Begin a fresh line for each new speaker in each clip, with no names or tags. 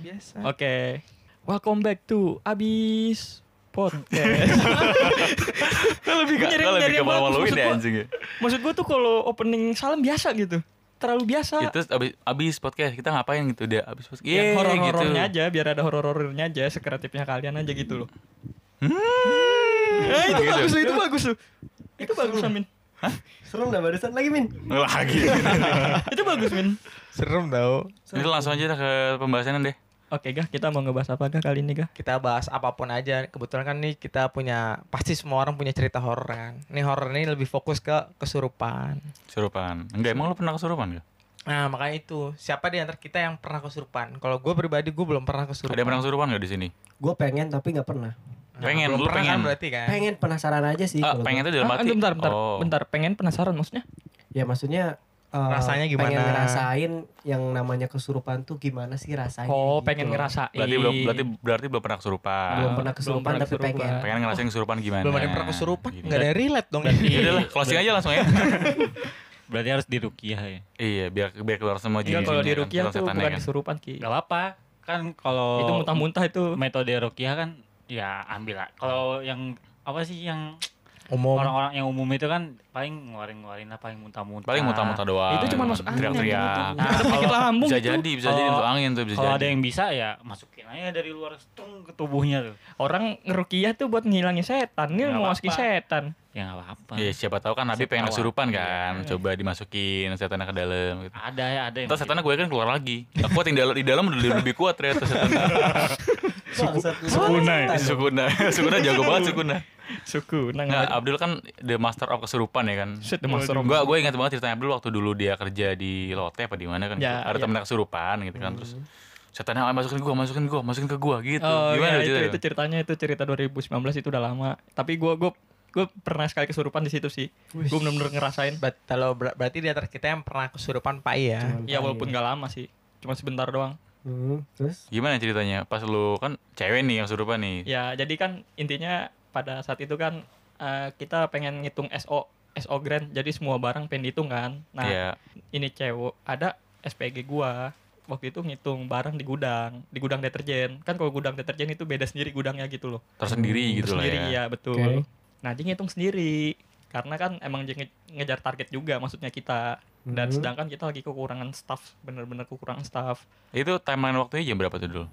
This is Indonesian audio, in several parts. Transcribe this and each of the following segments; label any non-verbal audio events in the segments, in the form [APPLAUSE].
Biasa.
Oke. Welcome back to Abis
[LAUGHS]
Podcast.
Lu lebih
Nyari-
gagal lebih
nyari
ke
yang bagus,
malu-maluin
maksud
deh
gua.
anjing ya.
Maksud gue tuh kalau opening salam biasa gitu. Terlalu biasa.
Ya, terus abis, abis podcast kita ngapain gitu dia abis podcast.
Yang
Yeay,
Ya, horor-horornya
gitu.
aja biar ada horor-horornya aja sekreatifnya kalian aja gitu
[LAUGHS]
loh. Eh, itu
Gitu.
bagus tuh, itu bagus tuh. Itu bagus Min.
Serem dah barusan lagi Min.
Lagi.
Itu bagus Min.
Serem tau.
[LAUGHS] Jadi langsung aja dah ke pembahasan deh.
Oke Gah, kita mau ngebahas apa Gah kali ini Gah?
Kita bahas apapun aja. Kebetulan kan nih kita punya pasti semua orang punya cerita horor kan. Ini horor ini lebih fokus ke kesurupan.
Kesurupan. Enggak emang lu pernah kesurupan gak?
Nah, makanya itu. Siapa di antara kita yang pernah kesurupan? Kalau gue pribadi gue belum pernah kesurupan.
Ada yang pernah kesurupan gak di sini?
Nah,
Gue pengen tapi nggak pernah.
Nah,
Pengen,
belum
lu
pernah
pengen.
Kan berarti
Eh.
kan.
Pengen penasaran aja sih.
Ah,
kalau
pengen
gua.
tuh dalam
Ah,
hati.
bentar, bentar,
Oh.
bentar. Pengen penasaran maksudnya?
Ya maksudnya eh,
Rasanya gimana?
Pengen ngerasain yang namanya kesurupan tuh gimana sih rasanya?
Oh,
gitu.
pengen ngerasain.
Berarti belum berarti berarti belum pernah kesurupan.
Belum pernah
belum
kesurupan
pernah
tapi
kesurupan. Iya,
pengen.
Pengen ngerasain kesurupan gimana?
Belum ada yang pernah kesurupan.
Gitu.
Enggak ada yang relate dong.
[LAUGHS] Ya udah lah, closing aja
[LAUGHS]
langsung ya.
iya. Berarti harus dirukiah ya.
iya, biar biar keluar semua
Iya
jin-jinnya
kalau di
kan,
Rukiah tuh
setan-setannya
bukan
kan.
disurupan Ki.
Gak apa-apa.
Oh.
Kan kalau
Itu muntah-muntah itu.
metode rukiah kan ya ambil lah. Kalau yang apa sih yang
Umum.
orang-orang yang umum itu kan paling ngeluarin-ngeluarin apa yang muntah-muntah.
Paling muntah-muntah doang.
Nah, Itu cuma masuk angin.
Teriak-teriak.
Nah, ada penyakit lambung
Bisa
itu.
jadi, bisa jadi
Kalau-
masuk angin tuh bisa
Kalau ada
jadi.
yang bisa ya masukin aja dari luar stung ke tubuhnya tuh.
Orang ngerukiah tuh buat ngilangin setan, nih
Nggak
mau masukin
apa-apa.
setan.
Ya nggak apa-apa.
Iya, siapa tahu kan Nabi
Siapa
pengen
tahu.
kesurupan
Iya,
kan. Coba dimasukin setannya ke dalam gitu.
Ada ya ada yang.
iya.
Terus setannya gue kan keluar lagi. Gak kuat yang di dalam, di dalam udah lebih kuat ternyata
[LAUGHS]
setannya.
Bangsat, lu.
Iya.
Di Sukuna. Sukuna jago banget Sukuna.
Suku, nah
Nah, Abdul kan the master of kesurupan ya kan.
Shit, the master of-
Gue gue ingat banget ceritanya Abdul waktu dulu dia kerja di Lotte apa di mana kan.
Ya,
ada
ya.
temennya kesurupan gitu kan. Terus setannya "Ah, masukin gua, masukin gua, masukin ke gua gitu.
Oh, iya,
Gimana
itu,
ceritanya?
itu ceritanya itu cerita 2019 itu udah lama. Tapi gua gua gua pernah sekali kesurupan di situ sih. Gua bener-bener ngerasain.
Ber- kalau ber- berarti di antara kita yang pernah kesurupan Pak ya.
Cuman
Ya
pengen.
walaupun gak lama sih. Cuma sebentar doang.
Hmm, terus
Gimana ceritanya? Pas lu kan cewek nih yang kesurupan nih.
Ya, jadi kan intinya pada saat itu kan eh, kita pengen ngitung SO SO grand. Jadi semua barang pengen dihitung kan. Nah,
Iya.
ini cewek ada SPG gua waktu itu ngitung barang di gudang di gudang deterjen kan kalau gudang deterjen itu beda sendiri gudangnya gitu loh
Tersendiri gitu lah
sendiri ya.
ya.
betul
Oke.
nah dia ngitung sendiri karena kan emang dia nge- ngejar target juga maksudnya kita dan
Mhm.
sedangkan kita lagi kekurangan staff bener-bener kekurangan staff
Itu timeline waktunya jam berapa tuh Oh, dulu?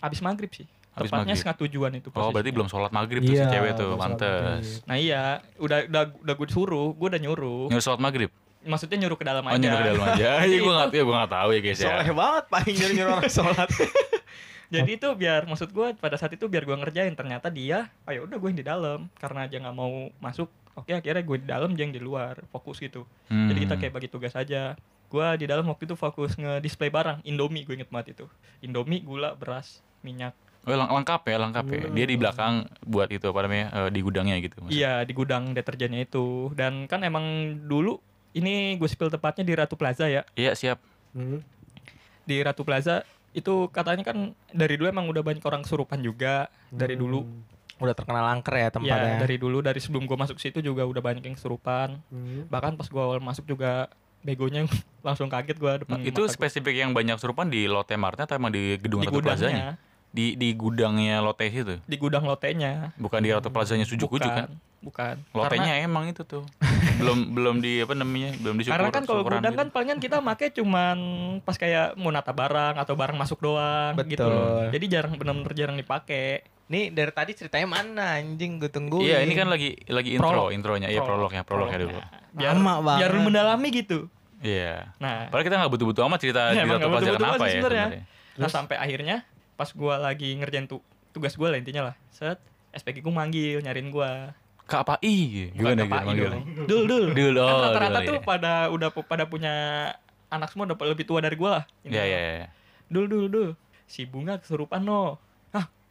abis maghrib sih
Abis
tepatnya
maghrib.
setengah tujuan itu
Oh,
posisinya.
berarti belum sholat maghrib tuh si
Iya,
cewek tuh.
belum sholat
Pantes.
nah iya udah udah udah gue suruh gue udah nyuruh
Nyuruh sholat maghrib?
maksudnya nyuruh ke dalam aja
Oh, nyuruh ke
[LAUGHS]
dalam aja. Iya, gue gak, ya, gua nggak tahu ya guys ya.
Soleh banget Pak nyuruh nyuruh orang sholat.
Jadi itu biar maksud gue pada saat itu biar gue ngerjain ternyata dia, ayo udah gue yang di dalam karena aja nggak mau masuk. Oke akhirnya gue di dalam dia yang di luar fokus gitu. Jadi kita
Hmm.
kayak bagi tugas aja. Gue di dalam waktu itu fokus nge-display barang Indomie gue inget banget itu. Indomie, gula, beras, minyak.
Oh, lang- lengkap ya, lengkap ya. Dia di belakang buat itu apa namanya? eh, di gudangnya gitu. maksudnya.
Hmm. Iya di gudang deterjennya itu. Dan kan emang dulu ini gue spill tepatnya di Ratu Plaza ya.
Iya, siap.
Hmm.
Di Ratu Plaza itu katanya kan dari dulu emang udah banyak orang kesurupan juga dari
Hmm.
dulu
Udah terkenal angker ya tempatnya.
Ya dari dulu dari sebelum gue masuk situ juga udah banyak yang kesurupan.
Hmm.
Bahkan pas gue awal masuk juga begonya [LAUGHS] langsung kaget gue depan
Hmm,
Nah, itu
mata gua.
spesifik yang banyak serupan di Lotte Martnya atau emang di gedung
di
Ratu Plazanya?
gudangnya,
Di di gudangnya Lotte itu.
di gudang lotenya.
Bukan di Ratu Plazanya Sujuk Ujuk kan?
Bukan.
Lotenya emang itu tuh. belum belum di apa namanya? Belum di
Karena, karena
syukur-
kan kalau
syukuran
gudang
gitu.
kan palingan kita make cuman pas kayak mau nata barang atau barang masuk doang gitu.
Betul.
Jadi jarang benar-benar jarang dipakai.
Nih dari tadi ceritanya mana anjing gue tungguin.
Iya, ini kan lagi lagi
Oh,
intro,
Prolog.
intronya. Iya,
Prolog. ya.
prolognya, prolognya dulu.
Biar
Lama banget.
biar lu mendalami gitu.
Iya.
Nah,
Padahal kita nggak butuh-butuh amat cerita di
Iya, Emang
Ratu
nggak
Plaza
butuh-butuh
kenapa
amat
ya
sih sebenarnya.
sebenarnya.
Nah sampai akhirnya pas gua lagi ngerjain tu- tugas gua lah intinya lah. Set SPG ku manggil nyariin gua.
Kak Pai,
Bukan
gimana
ke Pak I
gitu?
dong. Dul dul.
Dul,
Kan
oh,
rata-rata
dul,
tuh
iya.
pada udah pu- pada punya anak semua udah lebih tua dari gua lah. Ini.
Iya, iya, iya.
Dul dul dul. Si bunga kesurupan no.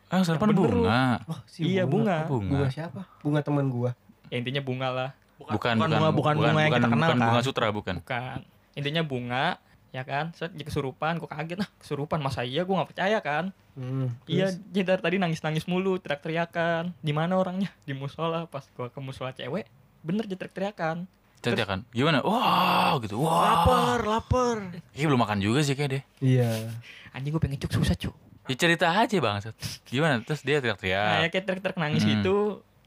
Ah, serupan
bener lu.
bunga.
Oh, si
iya bunga.
Bunga
Bunga.
siapa? Bunga teman gua.
Ya, intinya bunga lah.
Bukan,
bukan bunga- bukan bunga yang kita
bukan-
kenal,
bukan bunga
kan?
sutra, bukan.
Bukan. Intinya bunga ya kan. Set dia kesurupan gua kaget nah kesurupan masa iya gua nggak percaya kan.
Hmm,
Iya,
terus?
jadi dari tadi nangis-nangis mulu, teriak-teriakan. Di mana orangnya? Di musola. Pas gua ke musola cewek, bener dia teriak-teriakan.
Cerita kan? Gimana? Wow, gitu. Wow.
lapar.
Iya belum makan juga sih kayak deh.
Iya.
Anjing gue pengen cuk susah cuk
Ya cerita aja bang. Gimana? Terus
Nah,
dia
ya
teriak-teriak.
kayak teriak-teriak nangis
Ah. Hmm.
gitu.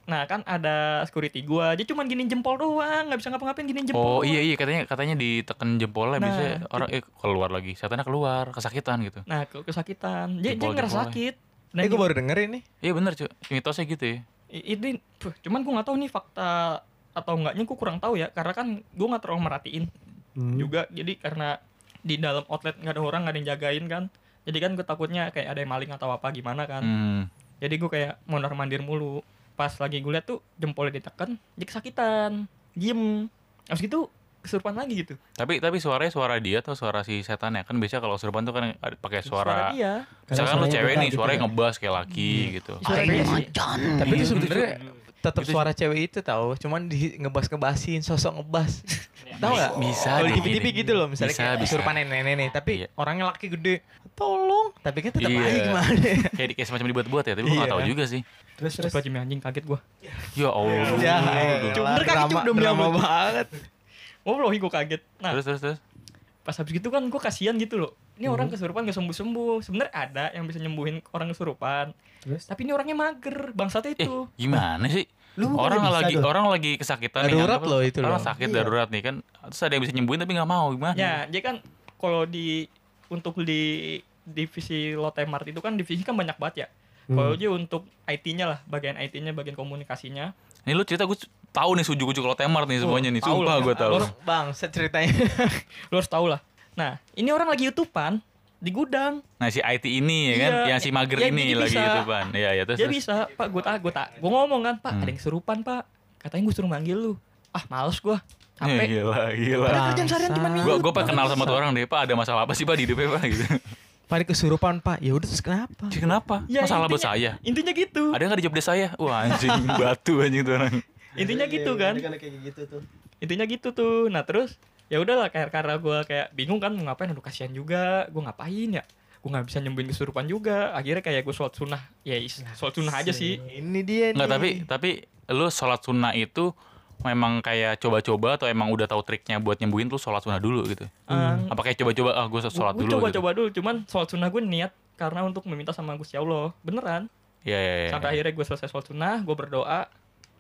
Nah, kan ada security gua, dia cuman giniin jempol doang, nggak bisa ngapa-ngapain giniin jempol.
Oh iya iya katanya katanya diteken jempolnya
Nah,
bisa orang eh, keluar lagi. Setannya keluar kesakitan gitu.
Nah, ke- kesakitan. Dia, dia
Jempol-jempolnya.
ngerasa sakit. Dan
Eh, gue
dia-
baru denger ini.
Iya bener cuy. Mitosnya gitu ya.
i- ini puh, cuman gua nggak tahu nih fakta atau enggaknya gua kurang tahu ya, karena kan gua nggak terlalu merhatiin
Hmm.
juga. Jadi karena di dalam outlet nggak ada orang, nggak ada yang jagain kan. Jadi kan gue takutnya kayak ada yang maling atau apa gimana kan.
Hmm.
Jadi gue kayak mondar mandir mulu. Pas lagi gue liat tuh jempolnya ditekan, dia kesakitan, diem. Abis gitu kesurupan lagi gitu.
Tapi tapi suaranya suara dia atau suara si setan ya kan biasanya kalau serupan tuh kan ada- pakai suara,
dia.
misalkan lu
Karena suaranya
cewek
beda
nih
gitu
suaranya
kan.
ngebas kayak laki gitu.
Suara dia sih.
Tapi itu sebenarnya tetap
Itu gitu sih.
Gitu. suara cewek itu tahu, cuman di ngebas ngebasin, sosok ngebas. tahu nggak?
Bisa
Kalau
deh,
di TV
gini.
gitu loh misalnya
Bisa,
kayak
bisa.
disuruh panen nenek nih, tapi
Iya.
orangnya laki gede. Tolong, tapi kan tetap
Iya.
aja
[LAUGHS]
gimana. ya?
Kayak, di- kayak semacam dibuat-buat ya, tapi gue gak
Iya.
tahu juga sih.
Terus terus.
Coba Jimmy anjing kaget gue.
Ya Allah.
Ya,
iya,
Cuk, bener kan,
drama,
Cuk, demi
drama
apa?
banget.
Wah gue kaget. Nah
Terus terus terus.
pas habis gitu kan gue kasihan gitu loh. Ini
Hmm.
orang kesurupan gak sembuh-sembuh. Sebenarnya ada yang bisa nyembuhin orang kesurupan.
Terus?
Tapi ini orangnya mager, bangsatnya
Eh,
itu.
gimana sih?
Lu bukannya
orang
bisa
lagi
dong.
orang lagi kesakitan
Darurat
anggap-
loh itu
orang
loh.
sakit
Iya.
darurat nih kan terus ada yang bisa nyembuhin tapi nggak mau gimana
Ya, dia kan kalau di untuk di divisi Lotemart itu kan divisi kan banyak banget ya.
Hmm.
Kalau dia untuk IT-nya lah, bagian IT-nya, bagian komunikasinya.
ini lu cerita gue tahu nih suju ujuk lo temar nih semuanya nih
Oh, tahu
sumpah
lah.
gue tahu
Orang-
Bang, set ceritanya.
[LAUGHS] Lu harus tahu lah. Nah, ini orang lagi yutupan di gudang.
nah si IT ini ya kan
Iya,
yang si mager
ya,
ini
jadi
lagi
bisa.
itu pan ya ya terus, Hmm.
Dia
terus.
bisa, Pak, gue tak, gue tak. Gue ngomong kan, Pak, ada yang kesurupan, Pak. Katanya gue suruh manggil lu. Ah, males gue.
Ya,
Capek.
gila gila
Padahal kerjaan seharian cuma
Bangsa.
gue gue kenal sama tuh orang deh pak ada masalah apa sih pak di hidupnya pak gitu [LAUGHS]
Pak kesurupan, Pak. Ya udah terus kenapa?
Jadi kenapa
Ya,
masalah buat
intinya-
saya
Intinya gitu.
ada nggak di job desk saya wah anjing [LAUGHS] batu anjing tuh orang
Intinya
Iya,
gitu
iya,
kan.
iya, kayak gitu tuh.
intinya gitu tuh nah terus ya udahlah kayak karena gue kayak bingung kan mau ngapain aduh kasihan juga gue ngapain ya gue nggak bisa nyembuhin kesurupan juga akhirnya kayak gue sholat sunnah ya is-
Nah,
sholat sunnah aja sih
Ini dia nih.
nggak tapi tapi lu sholat sunnah itu memang kayak coba-coba atau emang udah tahu triknya buat nyembuhin tuh sholat sunnah dulu gitu apa kayak coba-coba ah gue sholat
gue
dulu gitu.
Ehm, coba-coba dulu cuman sholat sunnah gue niat karena untuk meminta sama Gusti Allah beneran
Iya, iya, iya.
sampai akhirnya gue selesai sholat sunnah gue berdoa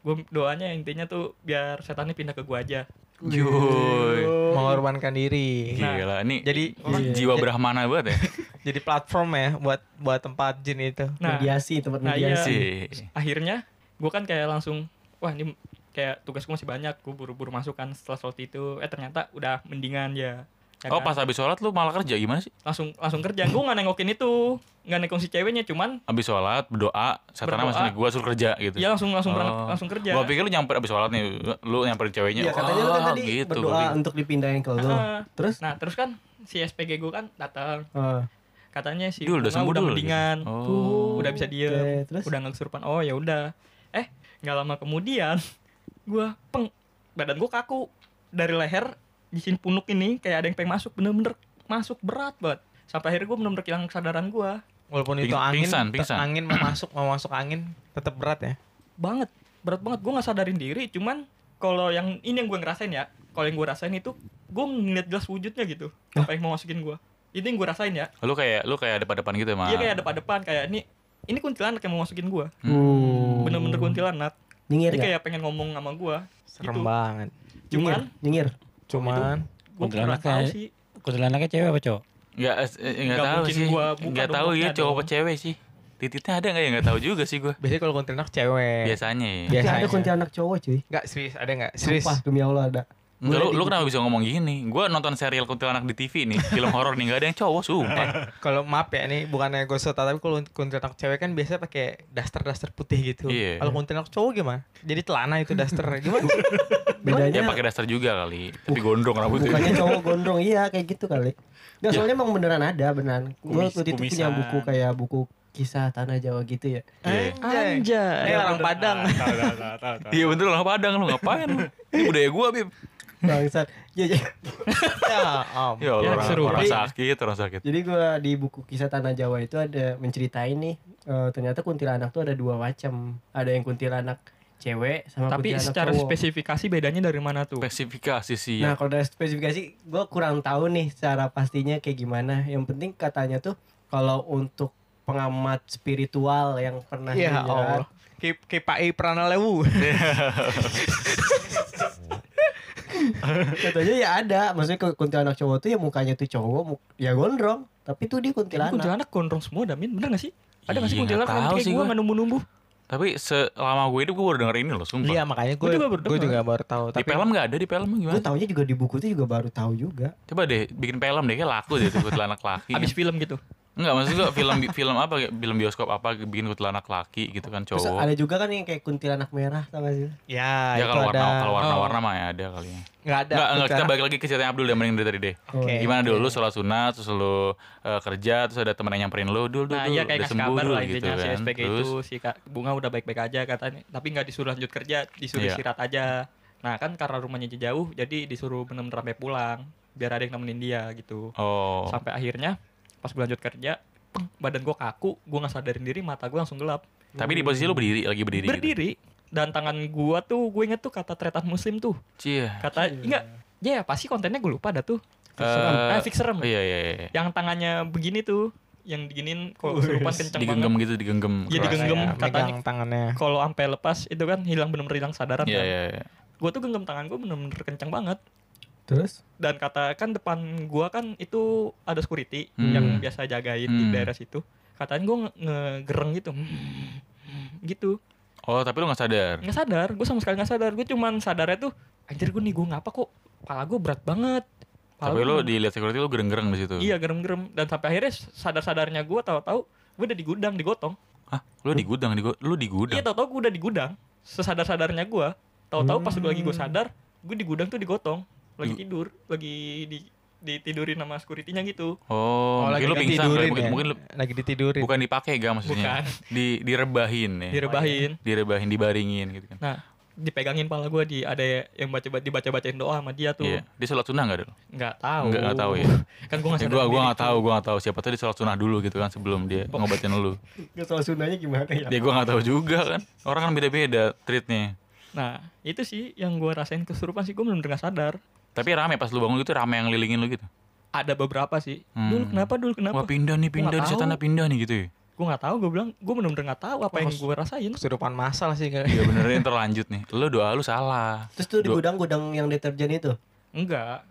gue doanya intinya tuh biar setannya pindah ke gue aja
Yuy.
mengorbankan diri.
Nah,
Gila, ini
Jadi
Iya.
jiwa Brahmana banget ya.
Iya.
jadi platform ya buat buat tempat jin itu.
nah
mediasi tempat
nah, iya.
mediasi.
Sih.
akhirnya gue kan kayak langsung wah ini kayak tugas gue masih banyak gue buru-buru masuk kan setelah sholat itu eh ternyata udah mendingan ya, Ya
Oh,
kan?
pas habis sholat lu malah kerja gimana sih?
langsung langsung kerja gue nggak nengokin itu nggak nengokin si ceweknya cuman
Habis sholat, berdoa, setan
Berdoa.
masih gue suruh kerja gitu.
ya langsung langsung berangkat
Oh.
langsung kerja
Gua pikir lu nyamper habis sholat nih, lu nyamperin ceweknya.
Iya, katanya lu kan
Wah,
tadi
gitu.
berdoa
Gua pikir.
untuk dipindahin ke lu.
Ah.
Terus
nah terus kan si SPG gue kan datang
ah,
katanya si
Dul, udah
Bunga
sembuh,
udah
Dul,
mendingan
gitu. Oh.
Tuh, udah bisa diem
Oke, terus?
udah nggak kesurupan oh ya udah eh nggak lama kemudian [LAUGHS] gue peng badan gue kaku dari leher di sini punuk ini kayak ada yang pengen masuk bener-bener masuk berat banget sampai akhirnya gue bener-bener kehilangan kesadaran gue
Walaupun
Ping-
itu angin,
pingsan,
te-
pingsan.
angin mau masuk, mau masuk angin tetap berat ya.
banget berat banget gue nggak sadarin diri cuman kalau yang ini yang gue ngerasain ya kalau yang gue rasain itu gue ngeliat jelas wujudnya gitu apa yang mau masukin gue itu yang gue rasain ya
Lu kayak lu kayak depan-depan gitu emang.
dia Iya, kayak depan-depan kayak ini ini kuntilanak yang mau masukin gue
Oh.
hmm.
bener-bener kuntilanak dia
nyengir ya? nggak?
kayak pengen ngomong sama gue
Iya. Serem
Gitu.
banget. Iya.
Nyengir,
cuman
nyengir.
Cuman
gue pernah
Kuntilanak
tahu
kayak-
sih
Kuntilanaknya cewek apa cowok?
Enggak enggak
Nggak
eh, tahu
mungkin
sih.
gua buka
Enggak
dong
tahu ya
mulutnya
cowok
dong.
apa cewek sih. Tititnya ada enggak ya? Enggak tahu juga sih gua.
biasanya kalau kuntilanak cewek.
Biasanya ya.
Tapi
Biasanya.
ada kuntilanak cowok cuy.
Enggak serius, ada enggak? Serius.
Sumpah demi Allah ada.
Enggak, lu,
Boleh
lu
di-
kenapa bisa ngomong gini? Gua nonton serial kuntilanak di TV nih, film horor nih, enggak ada yang cowok, sumpah.
Kalau maaf ya ini bukannya gue sota tapi kalau kuntilanak cewek kan biasanya pakai daster-daster putih gitu.
Iya.
Kalau kuntilanak cowok gimana? Jadi telana itu daster gimana? sih?
Ya
Bedanya
pakai daster juga kali, Uh, tapi gondrong rambutnya.
bukannya cowok gondrong iya kayak gitu kali. Nggak soalnya emang beneran ada beneran. Gue
Kumis-
waktu itu punya
kumisan.
buku kayak buku kisah tanah Jawa gitu ya.
Iya.
Anjay. Eh, orang Padang.
Ah, Tahu tahu tahu tahu. tahu.
[LAUGHS] Iya bener orang Padang lu ngapain lu? Ini budaya gua, Bib.
Bangsat. Ya, ya.
ya, om.
Ya Allah,
Ya,
orang,
seru.
orang
Jadi-
sakit, orang sakit.
Jadi gue di buku kisah tanah Jawa itu ada menceritain nih eh, ternyata kuntilanak tuh ada dua macam. Ada yang kuntilanak cewek sama
tapi
kuntilanak
secara
cowok.
spesifikasi bedanya dari mana tuh
Spesifikasi sih
Iya.
Nah
ya.
kalau dari spesifikasi gue kurang tahu nih secara pastinya kayak gimana. Yang penting katanya tuh kalau untuk pengamat spiritual yang pernah
Ya
menjerat.
Allah. K- KPI Pranalewu.
Iya.
Katanya ya ada, maksudnya ke- kuntilanak cowok tuh ya mukanya tuh cowok, mu- ya gondrong, tapi tuh dia kuntilanak.
kuntilanak gondrong semua Damin bener gak sih ada gak sih
Iya,
kuntilanak
nggak
yang
tahu
kayak
sih
gue
gua.
menumbu-numbu
Tapi selama gue hidup gue baru denger ini loh, sumpah.
Iya makanya gue
Gua juga baru
gue
dengar.
juga baru tahu.
Di film nggak ada, di film
Gue
gimana?
taunya juga di buku tuh juga baru tahu juga.
Coba deh bikin film deh, kayak laku deh tuh kuntilanak laki.
abis film gitu
Enggak, maksud gue film film apa kayak film bioskop apa bikin kuntilanak laki gitu kan
Terus
cowok.
ada juga kan yang kayak kuntilanak merah tau gak sih?
Ya,
Ya
itu
kalau warna
ada.
kalau warna-warna
Oh,
mah ya ada kali ya.
nggak ada.
Enggak, enggak kita
Kuntilanak.
balik lagi ke ceritanya Abdul yang mending dari tadi deh.
Oke.
Gimana dulu lu sholat sunat, terus lu eh, kerja, terus ada temen yang nyamperin lu, dul, dul,
nah
dul,
iya kayak
udah
kasih
sembuh
kabar
dul
lah
gitu
intinya si
kan.
SPG
terus
itu si Kak bunga udah baik-baik aja katanya tapi nggak disuruh lanjut kerja disuruh
Iya.
istirahat aja nah kan karena rumahnya jauh jadi disuruh bener-bener sampai pulang biar ada yang nemenin dia gitu
oh,
sampai akhirnya pas gue lanjut kerja peng, badan gue kaku gue nggak sadarin diri mata gue langsung gelap
tapi di posisi lu berdiri lagi berdiri. Gitu.
berdiri dan tangan gue tuh gue inget tuh kata tretan muslim tuh
Cie.
kata enggak ya pasti kontennya gue lupa dah tuh
Eh,
Fixerem. eh fixerem
Oh, iya iya iya.
yang tangannya begini tuh yang diginin kalau kesurupan kenceng banget
Digenggam gitu, digenggam.
Iya,
keras.
digenggam.
Ya,
katanya.
megang tangannya.
kalau sampai lepas itu kan hilang bener-bener hilang sadaran
Iya iya iya.
gue tuh genggam tangan gue bener-bener kencang banget
Terus?
dan kata kan depan gua kan itu ada security
Hmm.
yang biasa jagain di
Hmm.
daerah situ katanya gue ngegereng gitu Hmm, hmm, gitu
Oh, tapi lu gak sadar.
nggak sadar gue sama sekali nggak sadar gue cuman sadarnya tuh anjir gue nih gue ngapa kok kepala gue berat banget Kepala
Tapi
gua
lu
berat
dilihat security lu gereng-gereng di situ.
Iya gerem-gerem dan sampai akhirnya sadar-sadarnya gue tahu-tahu gue udah di gudang digotong.
Hah, lu di gudang, di gu- lu di gudang.
Iya tahu-tahu gue udah di gudang. Sesadar-sadarnya gue tahu-tahu pas gue lagi gue
Hmm.
sadar gue di gudang tuh digotong lagi
Di-
tidur lagi di ditidurin sama security-nya gitu.
Oh, mungkin lu pingsan, kali. mungkin,
ya.
mungkin lu
lagi ditidurin.
bukan dipakai gak maksudnya.
Bukan.
Di direbahin ya.
Direbahin.
Direbahin, dibaringin gitu kan.
Nah, dipegangin pala gue di ada yang baca dibaca-bacain doa sama dia tuh.
Iya. Dia sholat sunnah gak dulu?
Nggak tahu.
Nggak- nggak tahu ya.
[LAUGHS] kan gue nggak
Ya,
sadar.
gua gua
diri
nggak tahu, gua nggak tahu siapa tuh di sholat sunnah dulu gitu kan sebelum dia ngobatin
[LAUGHS]
lu.
Gak soal sunanya gimana
Iya.
ya?
Dia gua nggak tahu juga kan. Orang kan beda-beda treatnya.
Nah, itu sih yang gue rasain kesurupan sih gue belum nggak sadar.
Tapi rame pas lu bangun gitu rame yang lilingin lu gitu.
Ada beberapa sih. Dulu
Hmm.
kenapa dulu
Wah
kenapa?
pindah
Gua
nih,
nggak
pindah di
tahu.
setanah pindah nih
[LAUGHS]
gitu ya.
gue nggak tahu gue bilang gue bener-bener nggak tahu apa
Wah,
yang
kos-
gue rasain
Kesurupan massal sih kayak.
Iya bener ini terlanjut nih. Lu doa lu salah.
Terus tuh di
Dua-
gudang-gudang yang deterjen itu?
enggak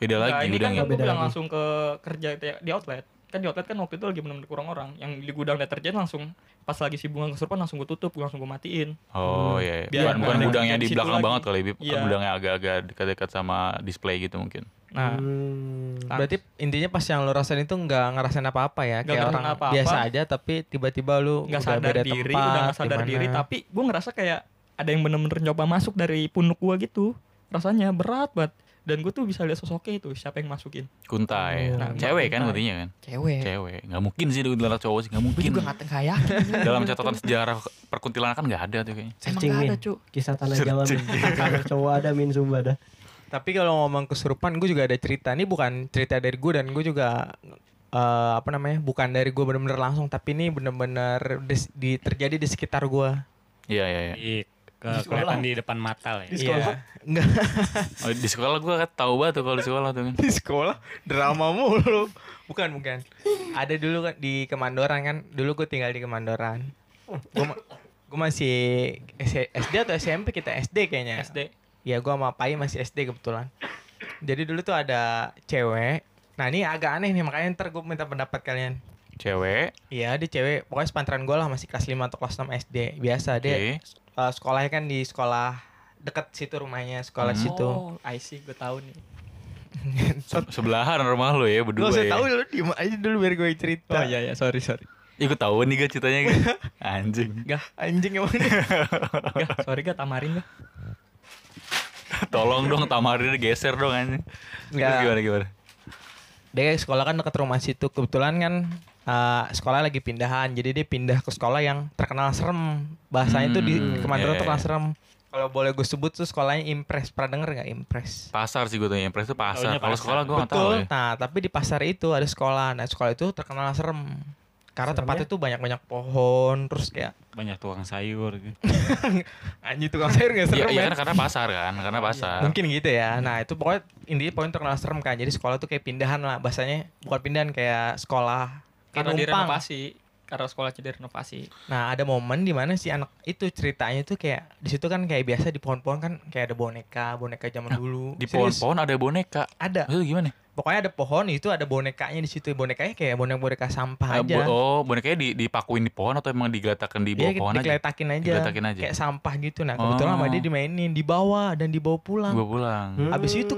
Beda
enggak
lagi
ini kan
gudang ya.
gue
Beda
bilang
lagi.
langsung ke kerja itu ya, di outlet kan di outlet kan waktu itu lagi benar-benar kurang orang yang di gudang deterjen langsung pas lagi si bunga kesurupan langsung gue tutup gua langsung gue matiin
Oh iya, iya.
Hmm. Biar
bukan, bukan
nggak ada
gudangnya
yang
di
situ
belakang
lagi.
banget kali, Bib.
Iya.
gudangnya agak-agak dekat-dekat sama display gitu mungkin.
nah
Hmm.
Berarti intinya pas yang lu rasain itu nggak ngerasain apa-apa ya,
Nggak
kayak
ngerasain
orang
apa-apa.
biasa aja tapi tiba-tiba lu Hmm.
nggak
udah
sadar
beda tempat,
diri udah nggak sadar
gimana.
diri tapi gue ngerasa kayak ada yang bener-bener nyoba masuk dari punuk gue gitu rasanya berat banget dan gue tuh bisa lihat sosoknya itu siapa yang masukin
Kuntai.
Nah,
cewek kan
kuntai.
kuntinya kan?
cewek
Cewek. Nggak mungkin sih kuntilanak cowok sih, nggak
gue
mungkin.
Iya. juga nggak nggak yakin
Dalam catatan sejarah perkuntilanak kan nggak ada tuh kayaknya.
emang
Searching
nggak ada
Min.
cu
Kisah tanah Jawa Min. Kalau cowok ada Min Sumba dah.
Tapi kalau ngomong kesurupan, gue juga ada cerita. Ini bukan cerita dari gue dan gue juga eh, apa namanya? Bukan dari gue bener-bener langsung, tapi ini bener-bener dis- di, terjadi di sekitar gue.
Iya, iya, iya.
Di, ke,
Di sekolah.
kelihatan di depan mata lah ya.
Di
Iya.
sekolah?
Enggak
Oh, di sekolah gua kan tahu banget tuh kalau di sekolah tuh kan.
[LAUGHS] di sekolah drama mulu. Bukan bukan. Ada dulu kan di Kemandoran kan. Dulu gue tinggal di Kemandoran. Gue ma- gue masih S- SD atau SMP kita SD kayaknya.
SD
Ya gua sama Pai masih SD kebetulan. Jadi dulu tuh ada cewek. Nah ini agak aneh nih makanya ntar gue minta pendapat kalian.
Cewek.
Iya dia cewek. Pokoknya sepantaran gue lah masih kelas 5 atau kelas 6 SD. Biasa
Oke.
dia eh, sekolahnya kan di sekolah dekat situ rumahnya sekolah situ. [LAUGHS]
oh I see gue tahu nih
Se- Sebelahan rumah lo ya
Gue
berdua.
usah
ya.
tahu lu diem aja dulu biar gue cerita.
oh iya iya sorry sorry
Ikut tahu nih gak ceritanya gak? Anjing.
Anjing emang nih.
Gah, sorry gak tamarin gak?
[LAUGHS] Tolong dong tamarin geser dong anjing. Terus
Ya.
gimana gimana?
Dia sekolah kan dekat rumah situ. Kebetulan kan eh, sekolah lagi pindahan. Jadi dia pindah ke sekolah yang terkenal serem. Bahasanya tuh di
Hmm,
Kemandoran
iya,
terkenal
iya.
serem. Kalau boleh gue sebut tuh sekolahnya Impress. Pernah denger gak Impress?
Pasar sih gue tanya. Impres tuh pasar.
Taunya
Kalau
pasar.
sekolah gue nggak tahu
Betul.
ya.
Nah, tapi di pasar itu ada sekolah. Nah, sekolah itu terkenal serem. Karena tempatnya tuh banyak-banyak pohon, terus kayak
Banyak tukang sayur gitu.
anjir tukang sayur gak
Iya
serem
iya
ya.
kan karena pasar kan,
Iya.
karena pasar.
Mungkin gitu
Hmm.
ya. Nah, itu pokoknya intinya poin terkenal serem kan. Jadi sekolah tuh kayak pindahan lah bahasanya. Bukan pindahan kayak sekolah. Kayak
Karena
numpang.
direnovasi karena sekolah jadi renovasi.
Nah ada momen di mana si anak itu ceritanya tuh kayak di situ kan kayak biasa di pohon-pohon kan kayak ada boneka boneka zaman dulu
Di
Serius,
pohon-pohon ada boneka.
ada
Maksudnya gimana? ya?
pokoknya ada pohon itu ada bonekanya di situ bonekanya kayak boneka boneka sampah
Ah,
aja
bo- oh, bonekanya di, dipakuin di pohon atau emang digeletakan di bawah
Iya,
pohon aja?
dikeletakin aja.
Digeletakin aja.
Kayak sampah gitu. Nah, kebetulan sama
Oh.
dia dimainin, dibawa dan dibawa pulang.
Gue pulang.
Hmm.
Habis itu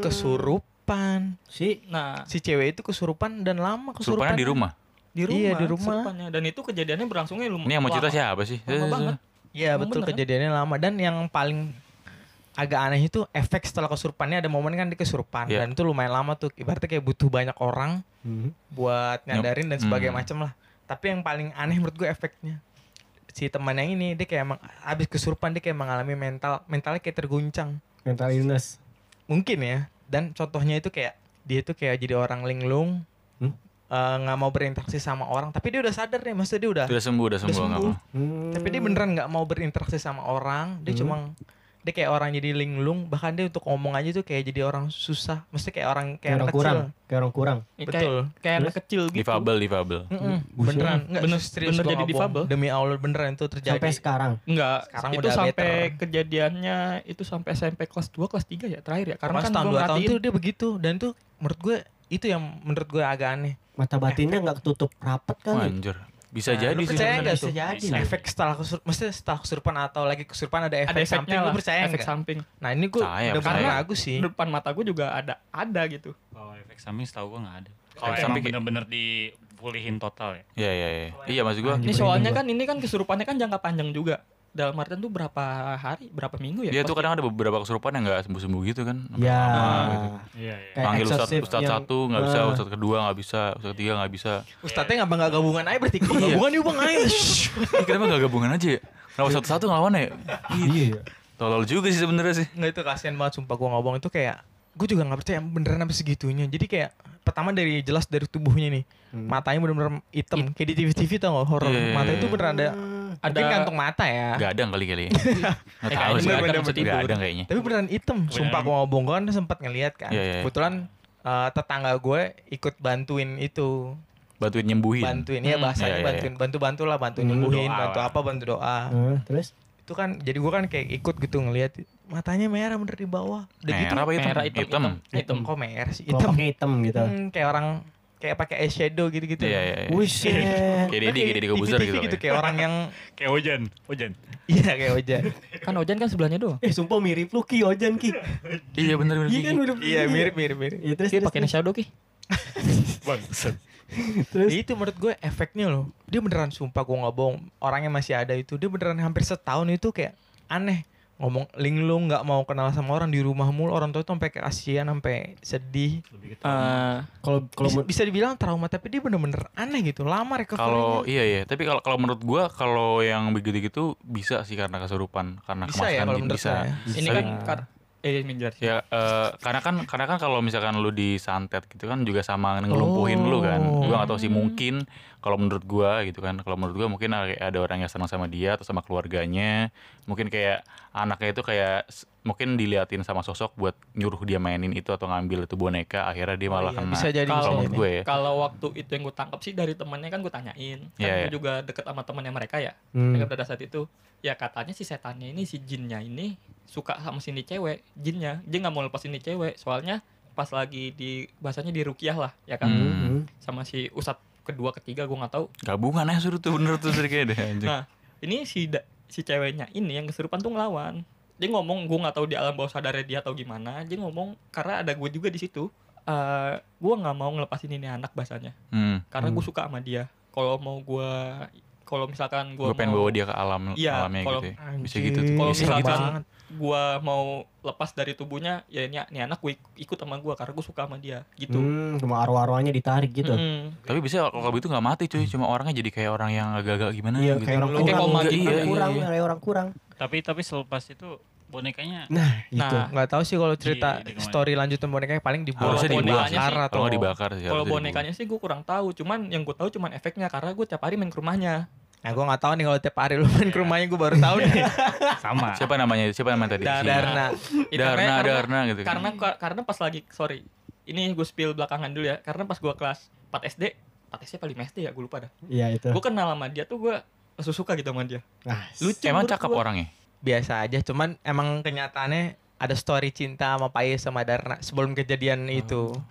kesurupan.
Si
Nah,
Si cewek itu kesurupan dan lama kesurupan.
Surupannya di rumah.
di rumah,
Iya, di rumah.
serupanya. dan itu kejadiannya berlangsungnya lumayan.
Ini yang mau cerita siapa sih? Eh,
Lama banget.
Iya,
Emang
betul
bener kan?
kejadiannya lama dan yang paling agak aneh itu efek setelah kesurupannya ada momen kan di kesurupan
Iya.
dan itu lumayan lama tuh. Ibaratnya kayak butuh banyak orang
Hmm.
buat nyadarin dan sebagainya
Hmm.
macam lah. Tapi yang paling aneh menurut gue efeknya si teman yang ini dia kayak emang habis kesurupan dia kayak mengalami mental mentalnya kayak terguncang.
mental illness.
mungkin ya dan contohnya itu kayak dia itu kayak jadi orang linglung
Hmm?
eh, nggak mau berinteraksi sama orang tapi dia udah sadar nih maksudnya dia udah
Udah sembuh, udah sembuh. nggak
sembuh.
apa-apa.
Hmm.
tapi dia beneran nggak mau berinteraksi sama orang dia
Hmm.
cuma dia kayak orang jadi linglung bahkan dia untuk ngomong aja tuh kayak jadi orang susah mesti kayak orang
kayak
kayak
orang
anak
kurang,
kecil
kayak orang kurang.
Ya,
betul
Kayak, kayak anak kecil gitu.
Difabel, difabel.
Mm-mm.
Hmm. Buset.
beneran nggak
Bener-
serius
bener
gua
jadi
nggak bohong.
difabel.
demi allah beneran itu terjadi
Sampai sekarang.
Enggak,
Sekarang
itu
udah
sampai
better.
kejadiannya itu sampai SMP kelas 2, kelas 3 ya terakhir ya. Karena
karena
kan
setahun
gua
dua tahun
merhatiin
tuh dia begitu dan tuh menurut gue itu yang menurut gue agak aneh
Mata batinnya nggak ketutup rapat
Wah,
kali.
Anjir. Bisa
Nah,
jadi
lu
sih.
percaya
sebenarnya
nggak
itu.
Bisa jadi.
Bisa.
efek setelah kesurupan, mesti setelah kesurupan atau lagi kesurupan ada efek
ada
samping
efeknya
lu
lah,
percaya
efek
nggak? Iya.
samping.
Nah ini gue
Percaya,
udah
percaya.
bener aku sih.
Depan mata gue juga ada ada gitu.
Kalau efek samping setahu gue nggak ada. Kalau
Efek
emang
samping-
bener-bener dipulihin total ya.
Iya, iya, iya. Iya, maksud gue.
Anjir.
Ini
Dibanding
soalnya
gua.
kan ini kan kesurupannya kan jangka panjang juga. Dalam artian tuh berapa hari, berapa minggu ya?
Dia Iya, tuh
Pasti.
kadang ada beberapa kesurupan yang nggak sembuh-sembuh gitu kan. Sampai
Ya.
lama gitu.
Iya iya.
Kayak
Panggil ustad,
eksorsif
ustad
yang-
satu nggak bisa,
Ah.
ustad kedua nggak bisa, ustad ketiga nggak bisa.
Ustadznya nggak bangga gabungan aja berarti
Iya.
gabungan yuk bang
[LAUGHS]
ayo. Shhh.
Ih, Kenapa nggak gabungan aja? ya? Kenapa satu-satu ngelawan ya?
Iya.
Tolol juga sih sebenarnya sih.
Nggak itu kasihan banget sumpah gue ngomong itu kayak gue juga nggak percaya beneran sampai segitunya. Jadi kayak pertama dari jelas dari tubuhnya nih
Hmm.
matanya bener-bener hitam kayak di TV-TV tau nggak horor
Iya.
mata itu beneran ada ada
Ada-
kantong mata ya.
Gadang kali kali. Nggak
Eh,
tahu
kayaknya
sih.
bener-bener
Gadang,
betul.
gadang kayaknya.
Tapi beneran hitam. Sumpah gue ngomong gue kan sempat ngeliat kan.
Iya, iya, iya.
Kebetulan eh, tetangga gue ikut bantuin itu
Bantuin nyembuhin.
bantuin ya
Hmm.
bahasanya
Iya, iya,
bantuin bantu bantulah bantu
Hmm.
nyembuhin
Doa
bantu
lah.
apa bantu doa
Hah, terus
itu kan jadi gua kan kayak ikut gitu ngelihat matanya merah bener di bawah udah gitu
Merah apa hitam?
merah, hitam,
Eh, Hitam.
hitam.
hitam kok merah sih hitam
kelompoknya hitam gitu.
Hmm, kayak orang kayak pakai eyeshadow gitu gitu
Iya, iya, iya.
Buset.
[LAUGHS] Kayak Deddy, kayak Deddy Kobuzer gitu.
gitu
kali.
kayak orang
[LAUGHS]
yang
Kayak hujan, hujan.
iya kayak Oja
Kan Ojan kan sebelahnya doang.
Eh sumpah mirip lu Ki Ojan Ki.
Iya bener bener.
Iya kan udah.
iya mirip mirip mirip
Ya, terus
Dia
terus,
pakai
terus,
shadow ki.
Bangsat.
terus.
Ya, itu menurut gue efeknya loh dia beneran sumpah gua nggak bohong orangnya masih ada itu dia beneran hampir setahun itu kayak aneh ngomong linglung nggak mau kenal sama orang di rumah mulu orang tua itu sampai kayak kasihan sampai sedih
Eh,
Kalau kalau
bisa,
men-
bisa dibilang trauma tapi dia bener-bener aneh gitu lama
Kalau
recovery
iya ya, tapi kalau kalau menurut gua kalau yang begitu-gitu bisa sih karena kesurupan, karena
bisa ya
kemasukan
kalau
jin
menurut
bisa.
saya
ini
Tapi-
kan kar- eh minjar.
Ya eh, karena kan karena kan kalau misalkan lu disantet gitu kan juga sama ngelumpuhin lu kan.
Oh.
Gua nggak tahu sih mungkin kalau menurut gua gitu kan. Kalau menurut gua mungkin ada ada orang yang senang sama dia atau sama keluarganya. Mungkin kayak anaknya itu kayak s- mungkin diliatin sama sosok buat nyuruh dia mainin itu atau ngambil itu boneka akhirnya dia
Oh
malah
iya,
kena.
bisa jadi,
kalau
bisa
menurut
jadi.
gue ya.
Kalau waktu itu yang gue tangkap sih dari temannya kan gue tanyain. Kan
Iya,
gue
iya.
juga deket sama temannya mereka ya.
Hmm.
Ya, pada saat itu ya katanya si setannya ini si jinnya ini suka sama sini cewek jinnya dia nggak mau lepas ini cewek soalnya pas lagi di bahasanya di rukiah lah ya kan
Hmm.
Hmm.
sama si usat kedua ketiga gua nggak tahu
Gabungan ya suruh tuh bener tuh Sri, kayaknya deh anjing.
Nah, ini si da- si ceweknya ini yang kesurupan tuh ngelawan. Dia ngomong gue nggak tahu di alam bawah sadarnya dia atau gimana. Dia ngomong karena ada gue juga di situ. Eh, gue nggak mau ngelepasin ini anak bahasanya.
Hmm.
Karena gue
Hmm.
suka sama dia. Kalau mau gue kalau misalkan gue
Gue pengen
mau
bawa dia ke alam
Iya,
alamnya
kalau-
gitu ya. Bisa gitu tuh.
Anjing,
Kalau
serem
misalkan-
banget.
gue mau lepas dari tubuhnya, ya ini, ini anak gue ikut sama gue karena gue suka sama dia gitu. Hmm.
Hmm, cuma arwah-arwahnya ditarik gitu.
Nah,
Mm-mm.
Tapi bisa kalau kalau itu nggak mati cuy, cuma orangnya jadi kayak orang yang agak-agak gimana
Iya,
gitu.
kayak orang
Kayak
kurang,
koma
kayak
gitu.
orang
Iya, iya,
kurang,
iya.
kayak orang kurang.
Tapi tapi selepas itu bonekanya
Nah, itu.
Nah,
nggak tahu sih kalau cerita
Di- di kemana?
story lanjutan bonekanya paling dibuang
Kalau
Harusnya dibuang
bonekanya sih,
sih.
Arah
Kalau nggak
atau-
dibakar
kalau
sih. harusnya dibuang.
bonekanya sih gue kurang tahu. Cuman yang gue tahu cuman efeknya karena gue tiap hari main ke rumahnya.
nah gue nggak tahu nih kalau tiap hari lu main
Iya.
ke rumahnya gue baru tahu
[LAUGHS]
nih
sama.
gitu. Siapa namanya? Siapa namanya tadi?
Dadar.
Si-
karena
Itu
Darna,
Ya, karena-
Darna gitu. kan.
karena karena pas lagi sorry ini gue spill belakangan dulu ya karena pas gue kelas 4 SD Patesnya paling SD ya gue lupa dah
Iya itu.
gue kenal sama dia tuh gue langsung suka gitu sama dia
Nah,
lucu
Emang
menurut
cakep
gua.
orangnya?
biasa aja cuman emang kenyataannya ada story cinta sama Pais sama Darna sebelum kejadian itu
hmm.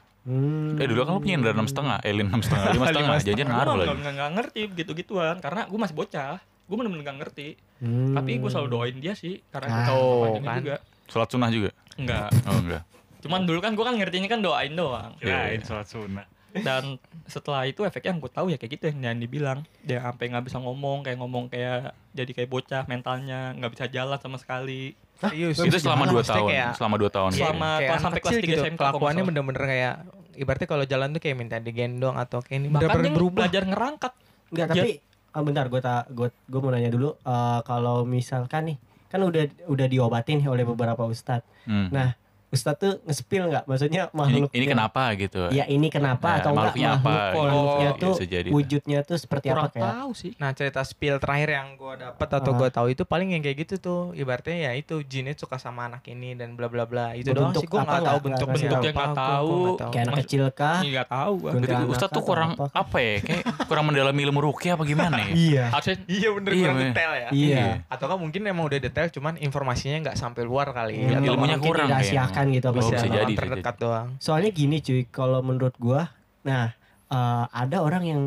Eh dulu kan lu punya dari enam setengah, eh enam
[LAUGHS]
setengah, lima setengah, jajan
Gua
ngaruh
nggak-
lagi.
nggak nggak ngerti gitu gituan karena gue masih bocah gue bener-bener gak ngerti
Hmm.
tapi gue selalu doain dia sih karena gue
Ah,
tahu
oh,
panjangnya
kan.
juga
Sholat sunnah
[LAUGHS]
juga?
enggak
Oh enggak.
cuman dulu kan gue kan ngertinya kan doain doang
Iya,
Kirain
iya.
sholat sunnah.
dan setelah itu efeknya yang gue tahu ya kayak gitu yang Nani bilang dia sampai nggak bisa ngomong kayak ngomong kayak jadi kayak bocah mentalnya nggak bisa jalan sama sekali
serius
Itu
Gimana?
selama dua
Maksudnya
tahun,
kayak-
selama dua tahun. iya.
kayak-
Selama
kayak
kelas
anak
sampai
kecil
kelas tiga
gitu,
SMK, kalau nggak
kelakuannya
salah.
bener-bener kayak ibaratnya kalau jalan tuh kayak minta digendong atau kayak ini
bahkan
bener-bener
dia
berubah
belajar ngerangkak
Enggak, tapi ah, bentar gue tak gue mau nanya dulu eh, kalau misalkan nih kan udah udah diobatin nih oleh beberapa ustadz.
Hmm.
Nah, Ustadz tuh ngespil nggak?
Ini,
Maksudnya makhluk
ini kenapa gitu?
Ya ini
Nah,
kenapa atau enggak
makhluknya apa?
makhluk-
gitu.
makhluknya
Iya,
tuh
bisa jadi.
wujudnya tuh seperti
kurang
apa ya? kayak?
tahu sih
Nah cerita spill terakhir yang gue dapet atau
Ah.
gue tahu itu paling yang kayak gitu tuh ibaratnya ya itu jinnya suka sama anak ini dan bla bla bla itu doang
Bentuk
sih gue
apa
nggak tahu
nggak-
bentuk
nggak
bentuknya
ngasih tahu.
nggak
Nggak
tahu.
tahu. Iya.
gua nggak tahu.
Kayak anak
Mas-
kecil kah?
nggak tahu gua
Gun-
Jadi Ustadz tuh kurang
Apa?
apa ya? Kayak kurang mendalami ilmu rukyah apa gimana
[LAUGHS]
ya?
Iya.
harusnya
Iya bener
Iya,
kurang
bener.
detail ya.
Iya.
Atau kan mungkin emang udah detail cuman informasinya nggak sampai luar kali. ya.
Iya,
Atau
ilmunya
mungkin
kurang kayaknya.
dirahasiakan gitu apa
Oh,
sih?
bisa
orang
jadi, bisa
terdekat doang.
Soalnya gini cuy, kalau menurut gua, nah eh, ada orang yang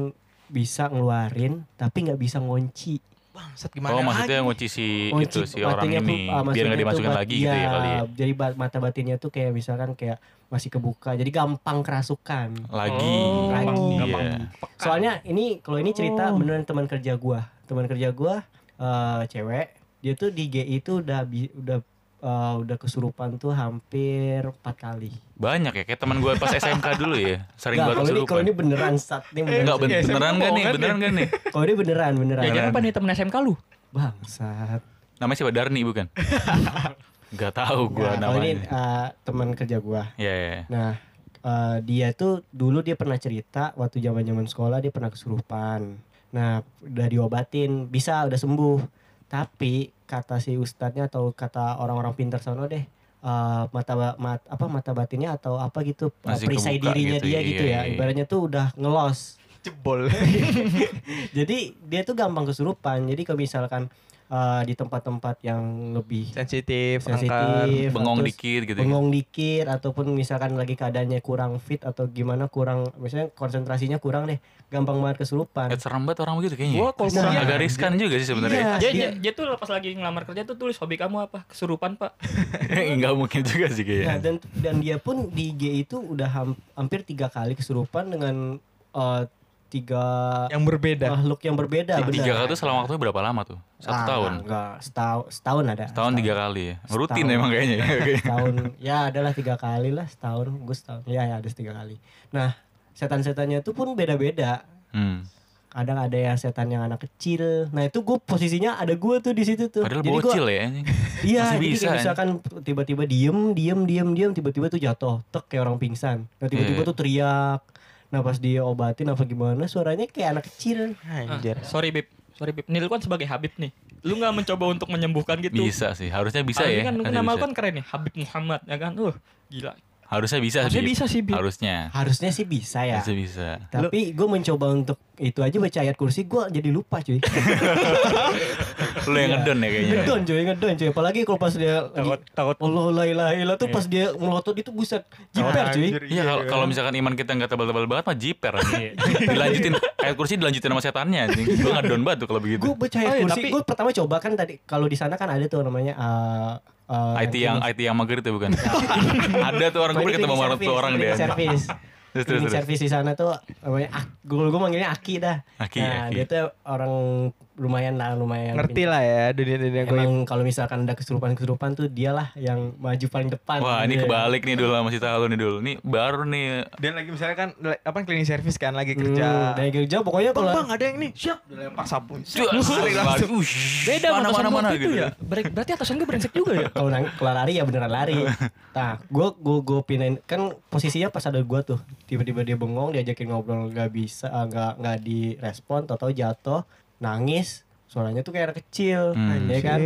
bisa ngeluarin tapi nggak bisa ngunci.
Bangsat gimana
Oh
lagi?
maksudnya ngunci si
Kunci
itu si orang
batinnya
ini
tuh, ah,
biar
maksudnya Iya.
nggak
tuh
dimasukin
bat-
lagi gitu ya kali ya.
Jadi bat- mata batinnya tuh kayak misalkan kayak masih kebuka, jadi gampang kerasukan.
Lagi,
Oh,
lagi.
Iya.
Soalnya ini kalau ini cerita
Oh.
beneran teman kerja gua. Teman kerja gua eh, cewek, dia tuh di GI itu udah bi- udah eh, udah kesurupan tuh hampir empat kali.
Banyak ya kayak teman gue pas
[LAUGHS]
SMK dulu ya sering banget
Nggak, kalau ini kalau
kesurupan.
ini beneran stat nih beneran. ya.
Eh,
Enggak ben-
SMK
beneran gak nih?
bohongan
Beneran gak
[LAUGHS]
nih?
Kalau ini beneran beneran.
jajan kan apa nih temen SMK lu
Bangsat.
Namanya siapa Darni bukan? Gak tahu gue
Nah, kalau ini
namanya.
eh, teman kerja gua.
Ya ya.
Nah, eh, dia tuh dulu dia pernah cerita waktu zaman-zaman sekolah dia pernah kesurupan. Nah, udah diobatin, bisa udah sembuh. Tapi kata si ustadznya atau kata orang-orang pintar sono deh eh, mata ba- mat- apa mata batinnya atau apa gitu eh,
Masih
perisai
kebuka
dirinya
gitu,
dia
iya,
gitu
iya,
ya
iya.
ibaratnya tuh udah ngelos [LAUGHS]
Jebol.
jadi dia tuh gampang kesurupan jadi kalau misalkan eh, di tempat-tempat yang lebih
Sensitif, angker.
sensitif
Bengong
Iya, terus-
dikit gitu. ya.
bengong dikit ataupun misalkan lagi keadaannya kurang fit atau gimana kurang misalnya konsentrasinya kurang deh gampang banget kesurupan
Eh, serem banget orang begitu kayaknya.
gua kalau
Nah,
kurang
iya.
Agak riskan juga sih sebenarnya. [LAUGHS]
Iya.
dia,
Dia-
dia, dia tuh pas lagi ngelamar kerja tuh tulis hobi kamu apa kesurupan pak
Enggak mungkin juga sih kayaknya.
nah dan dan dia pun di IG itu udah ham- hampir tiga kali kesurupan dengan eh, tiga
Yang berbeda.
makhluk yang berbeda
Iya, Tiga
benar.
kali tuh selama waktunya berapa lama tuh? Satu
Ah,
tahun.
enggak setahun setahun ada
Setahun tiga kali ya.
Setahun.
Rutin emang
[LAUGHS]
kayaknya.
setahun ya adalah tiga kali lah setahun gue setahun ya ya ada tiga kali nah setan-setannya itu pun beda-beda
Hmm.
kadang ada yang setan yang anak kecil nah itu gue posisinya ada gue tuh di situ tuh
Padahal
jadi gua-
bocil ya. anjing.
iya
Masih
jadi
bisa,
kayak
ya.
misalkan tiba-tiba diem diem diem diem tiba-tiba tuh jatuh tek kayak orang pingsan nah tiba-tiba
Iya.
tuh teriak nah pas dia obatin apa gimana suaranya kayak anak kecil
Anjir.
sorry bib sorry bib nih lu kan sebagai Habib nih lu nggak mencoba untuk menyembuhkan gitu
Bisa sih. Harusnya
Ah,
bisa
Apalagi
ya.
kan lu
Harusnya
nama lu
bisa.
kan keren nih Habib Muhammad ya kan uh gila
Harusnya bisa.
harusnya
Bib.
bisa sih bib
Harusnya.
harusnya sih bisa ya
Harusnya bisa.
tapi gue mencoba untuk itu aja baca ayat kursi gue jadi lupa cuy
[LAUGHS] Lu yang
Iya.
ngedon ya kayaknya.
ngedon cuy ngedon cuy apalagi kalau pas dia
Takut takut
Allah la ilaha illallah tuh pas dia melotot itu buset jiper cuy
Anjir,
Iya kalau kalau misalkan iman kita nggak tebal-tebal banget mah jiper
Iya.
anjing. [LAUGHS] dilanjutin kayak kursi dilanjutin sama setannya anjing. Gua ngedon banget tuh kalau begitu.
gue baca ayat
Oh iya,
kursi
tapi-
gue pertama coba kan tadi kalau di sana kan ada tuh namanya eh, eh,
IT yang IT yang mager itu
[LAUGHS]
bukan. Ada tuh orang
Ini
gue ketemu
cleaning
sama
service,
tuh orang dia.
cleaning service
[LAUGHS] Terus terus
cleaning
terus.
service di sana tuh namanya gue gue manggilnya Aki dah
Aki,
nah
Aki.
dia tuh orang lumayan lah lumayan
Ngerti lah ya dunia-dunia gue.
Emang kalau misalkan ada kesurupan-kesurupan tuh dialah yang maju paling depan.
Wah ini
Iya.
kebalik nih dulu sama si Talu nih dulu. Nih baru nih
Dan lagi misalnya kan le- apa cleaning service kan lagi
Hmm,
kerja.
dari kerja pokoknya
bang,
kalau
bang ada yang ini. Siap. Udah lempar sapu.
beda
mana mana mana
gitu
gitu
ya Ber- berarti atasan gue brengsek juga
[LAUGHS]
ya
kalau nang- kalau lari ya beneran lari. Nah, gue gue gue pinain kan posisinya pas ada gue tuh tiba-tiba dia bengong diajakin ngobrol nggak bisa ah, nggak nggak direspon, tau-tau jatuh nangis suaranya tuh kayak anak kecil,
Iya
kan?
Hmm.
ya kan?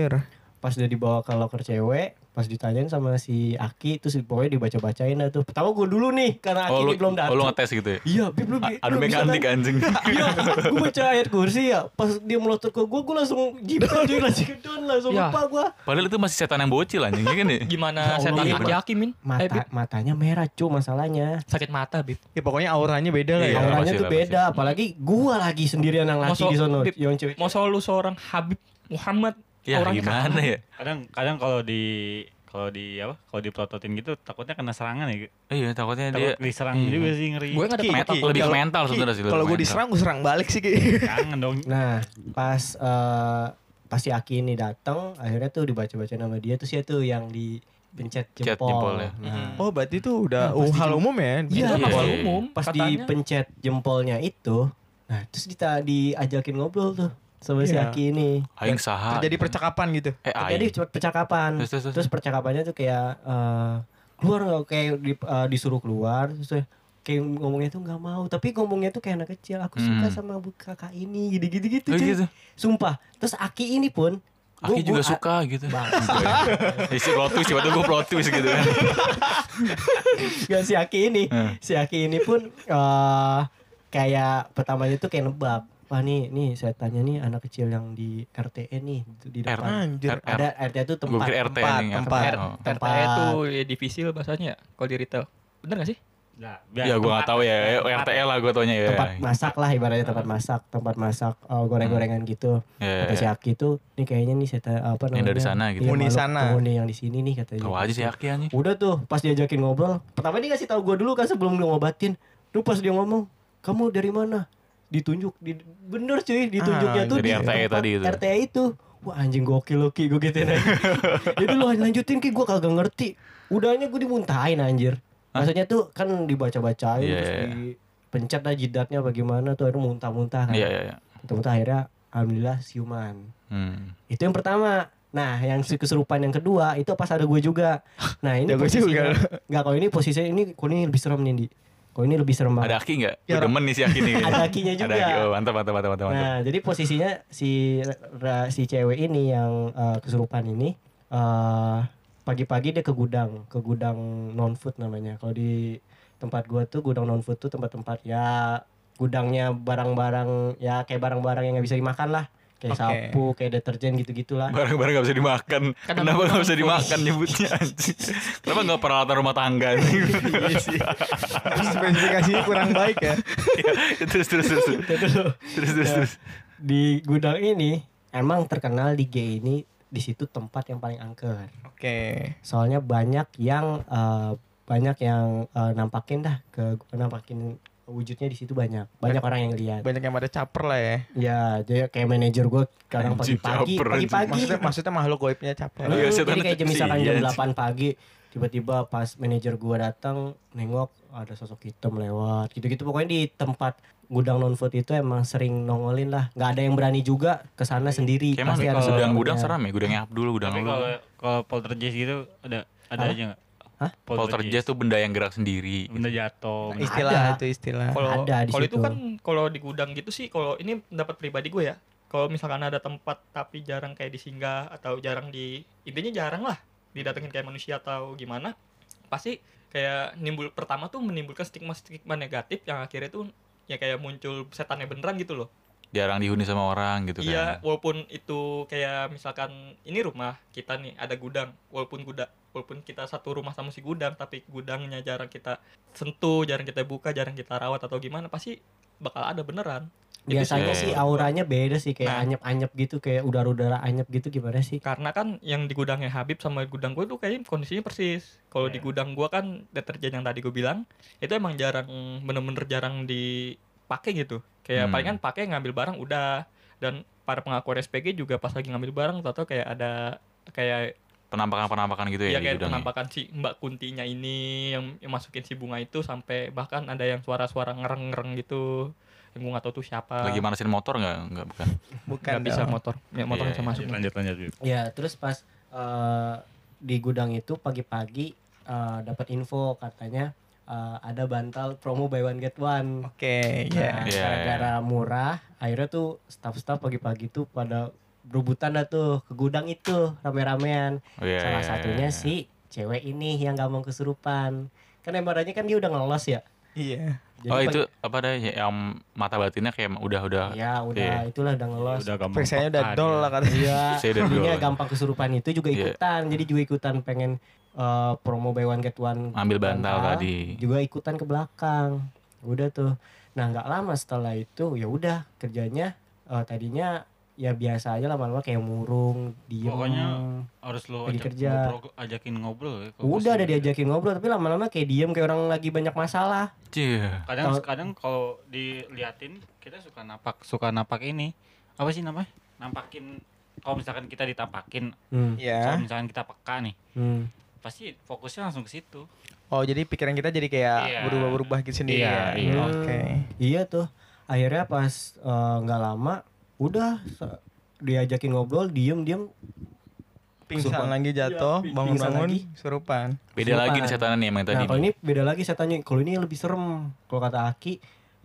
Pas dia dibawa ke loker cewek, pas ditanyain sama si Aki terus pokoknya dibaca-bacain dah tuh pertama gue dulu nih karena Aki
Oh lu,
ini Nah, belum
oh,
datang
lu ngetes gitu ya?
iya Bib lu
A-
bi-
kan? Adu
lu bisa
mekanik anjing.
Iya, gue baca ayat kursi ya. Pas dia melotot ke gue, gue langsung jipet dia langsung ke down, langsung
Ya.
lupa gue.
Padahal itu masih setan yang bocil anjing ya kan ya?
Gimana
Ya
setan
Allah,
aki aki min? Eh, Bib,
Mata, matanya merah cu masalahnya.
sakit mata bib.
Ya pokoknya auranya beda lah
Iya,
ya.
Auranya
pasti
tuh
lah,
beda, apalagi gue lagi sendirian yang laki
Masuk-
di sono,
Bib,
yang cewek.
Mau lu seorang Habib Muhammad
Ya
Orang
gimana ya?
kadang kadang kalau di kalau di apa kalau dipelototin gitu takutnya kena serangan ya
Iya takutnya dia
takut diserang
Iya.
juga sih ngeri
Gue nggak ada
Ki,
mental
Ki,
lebih ke
kalau-
mental
Ki,
sebenarnya sih. lebih
Kalau gue
mental.
diserang, gue serang balik sih. Ki.
jangan dong
Nah, pas eh pas si Aki ini datang, akhirnya tuh dibaca-baca nama dia terus ya tuh yang dipencet
Cet
jempol.
jempol ya.
Nah,
[LAUGHS] Oh berarti itu udah
Nah, pasti
hal
juga.
umum ya?
Iya,
Iya,
iya,
awal
iya.
umum.
pas
katanya.
dipencet jempolnya itu, nah terus kita diajakin ngobrol tuh sama si
Iya.
Aki ini.
Aing saha.
Terjadi percakapan [LAUGHS] gitu.
Eh
Jadi
aing.
cuma percakapan.
Terus,
Terus,
terus, terus.
percakapannya tuh kayak eh, keluar nggak? kayak di- eh, disuruh keluar terus kayak- kayak ngomongnya tuh nggak mau tapi ngomongnya tuh kayak anak kecil aku suka
Hmm.
sama bu kakak ini gitu gitu gitu,
Oh,
cuy.
gitu.
sumpah terus Aki ini pun gua-
Aki juga
gua-
suka gitu. [LAUGHS]
[LAUGHS] Bang. ya.
Isi plot twist, tiba-tiba gue plot twist gitu kan.
Gak si Aki ini
Hmm.
Si Aki ini pun eh Kayak pertamanya tuh kayak nebak Wah nih, nih saya tanya nih anak kecil yang di RTE nih di depan.
Anjir.
R- E.
Ada RTE tuh
Gue
tempat.
pikir RT
tempat,
anjing,
tempat.
RT. Oh.
RT
tempat.
itu ya divisi lah bahasanya ya, kalau di retail. Bener gak sih?
Nah, biar
Ya gue gak
tempat-
tau ya,
tempat-
RTL lah gue taunya ya.
tempat masak lah ibaratnya tempat
Ah.
masak, tempat masak eh, goreng-gorengan gitu.
Ya, ya,
Kata si
ya.
Aki tuh, nih kayaknya nih saya ta- apa namanya?
Yang dari sana gitu. Oh,
Iya,
Uni
makhluk
sana.
penghuni yang di sini nih katanya.
Tau aja sih Aki anjing.
Udah tuh pas diajakin ngobrol Pertama dia ngasih tahu gue dulu kan sebelum ngobatin Tuh pas dia ngomong Kamu dari mana? Ditunjuk di, Bener cuy ditunjuknya
Ah,
tuh
dari
di
RTE
tempat
tadi itu.
RTE itu Wah anjing gokil lo Ki Gue gituin
[LAUGHS]
aja Jadi lu lanjutin Ki Gue kagak ngerti Udahnya gue dimuntahin anjir Maksudnya tuh kan dibaca-bacain
Iya,
Terus
iya, iya.
dipencet lah jidatnya bagaimana Tuh akhirnya muntah-muntah kan
Iya, iya, iya.
Muntah-muntah akhirnya Alhamdulillah siuman
Hmm.
itu yang pertama. Nah, yang si kesurupan yang kedua itu pas ada gue juga. Nah,
[LAUGHS]
ini
Ada gua juga
posisinya. Enggak, kalau ini posisinya ini kalau ini lebih serem nih, Di. Kalau ini lebih serem banget.
Ada Aki gak? Gue
Ya,
demen nih si Aki nih.
Ada Akinya
Ada
juga.
Aki, oh, mantap, mantap, mantap, mantap. mantap.
Nah, jadi posisinya si ra- si cewek ini yang eh, kesurupan ini eh pagi-pagi dia ke gudang, ke gudang non food namanya. Kalau di tempat gua tuh gudang non food tuh tempat-tempat ya gudangnya barang-barang ya kayak barang-barang yang nggak bisa dimakan lah kayak
Oke.
sapu kayak deterjen gitu-gitulah
Barang-barang gak bisa dimakan. Kenapa gak bisa dimakan nyebutnya anjing? Kenapa gak peralatan rumah tangga anjing?
Iya Spesifikasinya kurang baik ya.
Iya, terus, terus, terus.
Gitu
Terus,
Ya.
terus, terus.
di gudang ini emang terkenal di G ini di situ tempat yang paling angker.
Oke.
Soalnya banyak yang eh, banyak yang eh, nampakin dah ke nampakin wujudnya di situ banyak. Banyak orang yang lihat.
Banyak yang pada caper lah ya.
Ya, jadi kayak manajer gue kadang
Anjing,
pagi-pagi,
caper, anjing.
pagi-pagi.
Maksudnya maksudnya makhluk goibnya caper.
Lu-
Iya, setan
jadi kayak jam
kecil,
misalkan
iya,
jam
anjing.
8 pagi tiba-tiba pas manajer gua datang nengok ada sosok hitam lewat gitu-gitu pokoknya di tempat gudang non food itu emang sering nongolin lah nggak ada yang berani juga ke sana sendiri
Kayak mana
ada
kalau gudang-gudang
temennya.
seram ya? Gudangnya Abdul, gudang
Tapi
lu.
kalau kalau poltergeist gitu ada ada
Apa?
aja nggak?
Hah?
Poltergeist tuh benda yang gerak sendiri. gitu.
Benda jatuh.
Nah,
Istilah
Ada.
itu istilah.
Kalau
Ada di
kalau itu
situ.
kan kalau di gudang gitu sih kalau ini pendapat pribadi gue ya. Kalau misalkan ada tempat tapi jarang kayak disinggah atau jarang di intinya jarang lah didatengin kayak manusia atau gimana pasti kayak nimbul pertama tuh menimbulkan stigma-stigma negatif yang akhirnya tuh ya kayak muncul setannya beneran gitu loh.
Jarang dihuni sama orang gitu
Iya,
kan.
walaupun itu kayak misalkan ini rumah kita nih ada gudang, walaupun guda, walaupun kita satu rumah sama si gudang, tapi gudangnya jarang kita sentuh, jarang kita buka, jarang kita rawat atau gimana, pasti bakal ada beneran. Itu
biasanya
sih.
sih auranya beda sih kayak
Nah.
anyep-anyep gitu kayak udara-udara anyep gitu gimana sih
Karena kan yang di gudangnya Habib sama gudang gue tuh kayaknya kondisinya persis. Kalau di
Iya.
gudang gue kan deterjen yang tadi gue bilang itu emang jarang bener-bener jarang dipakai gitu. Kayak
Hmm.
palingan pakai ngambil barang udah dan para pengaku SPG juga pas lagi ngambil barang tau kayak ada kayak
Penampakan-penampakan gitu
Iya
ya di
kayak
gudangnya.
penampakan si Mbak Kuntinya ini yang, yang masukin si bunga itu sampai bahkan ada yang suara-suara ngereng-ngereng gitu. Yang gue gak tau tuh siapa.
Lagi manasin motor nggak? Nggak bukan.
Bukan
Kan
Gak bisa
dong.
motor. Ya motornya
Iya,
bisa masuk.
Lanjut lanjut lanjut.
ya terus pas eh, di gudang itu pagi-pagi eh, dapat info katanya eh, ada bantal promo buy one get one
Oke, ya.
Nah,
Iya,
gara-gara murah, akhirnya tuh staff-staff pagi-pagi tuh pada berebutan dah tuh ke gudang itu rame-ramean.
Oh, iya,
[LAUGHS]
iya,
Salah satunya
iya.
si cewek ini yang gak mau kesurupan. Kan embarannya kan dia udah ngelos ya.
Iya.
Jadi
oh
pag-
itu apa deh yang mata batinnya kayak udah udah
Ya
Iya.
udah itulah udah ngelos.
udah gampang
Periksanya udah
pekan,
dol
ya.
lah katanya.
Iya.
[LAUGHS] Saya udah
Jadinya
duluan.
gampang kesurupan itu juga
Iya.
ikutan. Jadi juga ikutan pengen eh, promo buy one get one.
ambil bantal tadi.
Juga ikutan ke belakang. Udah tuh. Nah nggak lama setelah itu ya udah kerjanya eh, tadinya ya biasa aja lama-lama kayak murung, diem.
Pokoknya harus lu
Lagi
ajak
kerja.
ngobrol, ajakin ngobrol ya. kalau
udah
pasti.
ada diajakin ngobrol tapi lama-lama kayak diem kayak orang lagi banyak masalah.
Cie.
Kadang
Tau-
kadang kalau diliatin kita suka napak, suka napak ini. Apa sih namanya? Nampakin kalau misalkan kita ditampakin,
Hmm.
Iya.
kalau misalkan kita peka nih,
hmm.
pasti fokusnya langsung ke situ.
Oh jadi pikiran kita jadi kayak
Iya.
berubah-berubah gitu sendiri
Iya,
ya.
iya.
Oke.
Hmm. Iya tuh. Akhirnya pas eh, nggak lama udah se- diajakin ngobrol diem-diem
Pingsan
Kesurupan.
lagi jatuh,
Iya, pingsan
bangun-bangan,
lagi.
surupan.
Beda
Kesurupan.
lagi nih setanan nih yang tadi.
Nah kalau
nih.
ini beda lagi saya tanya kalau ini lebih serem kalau kata Aki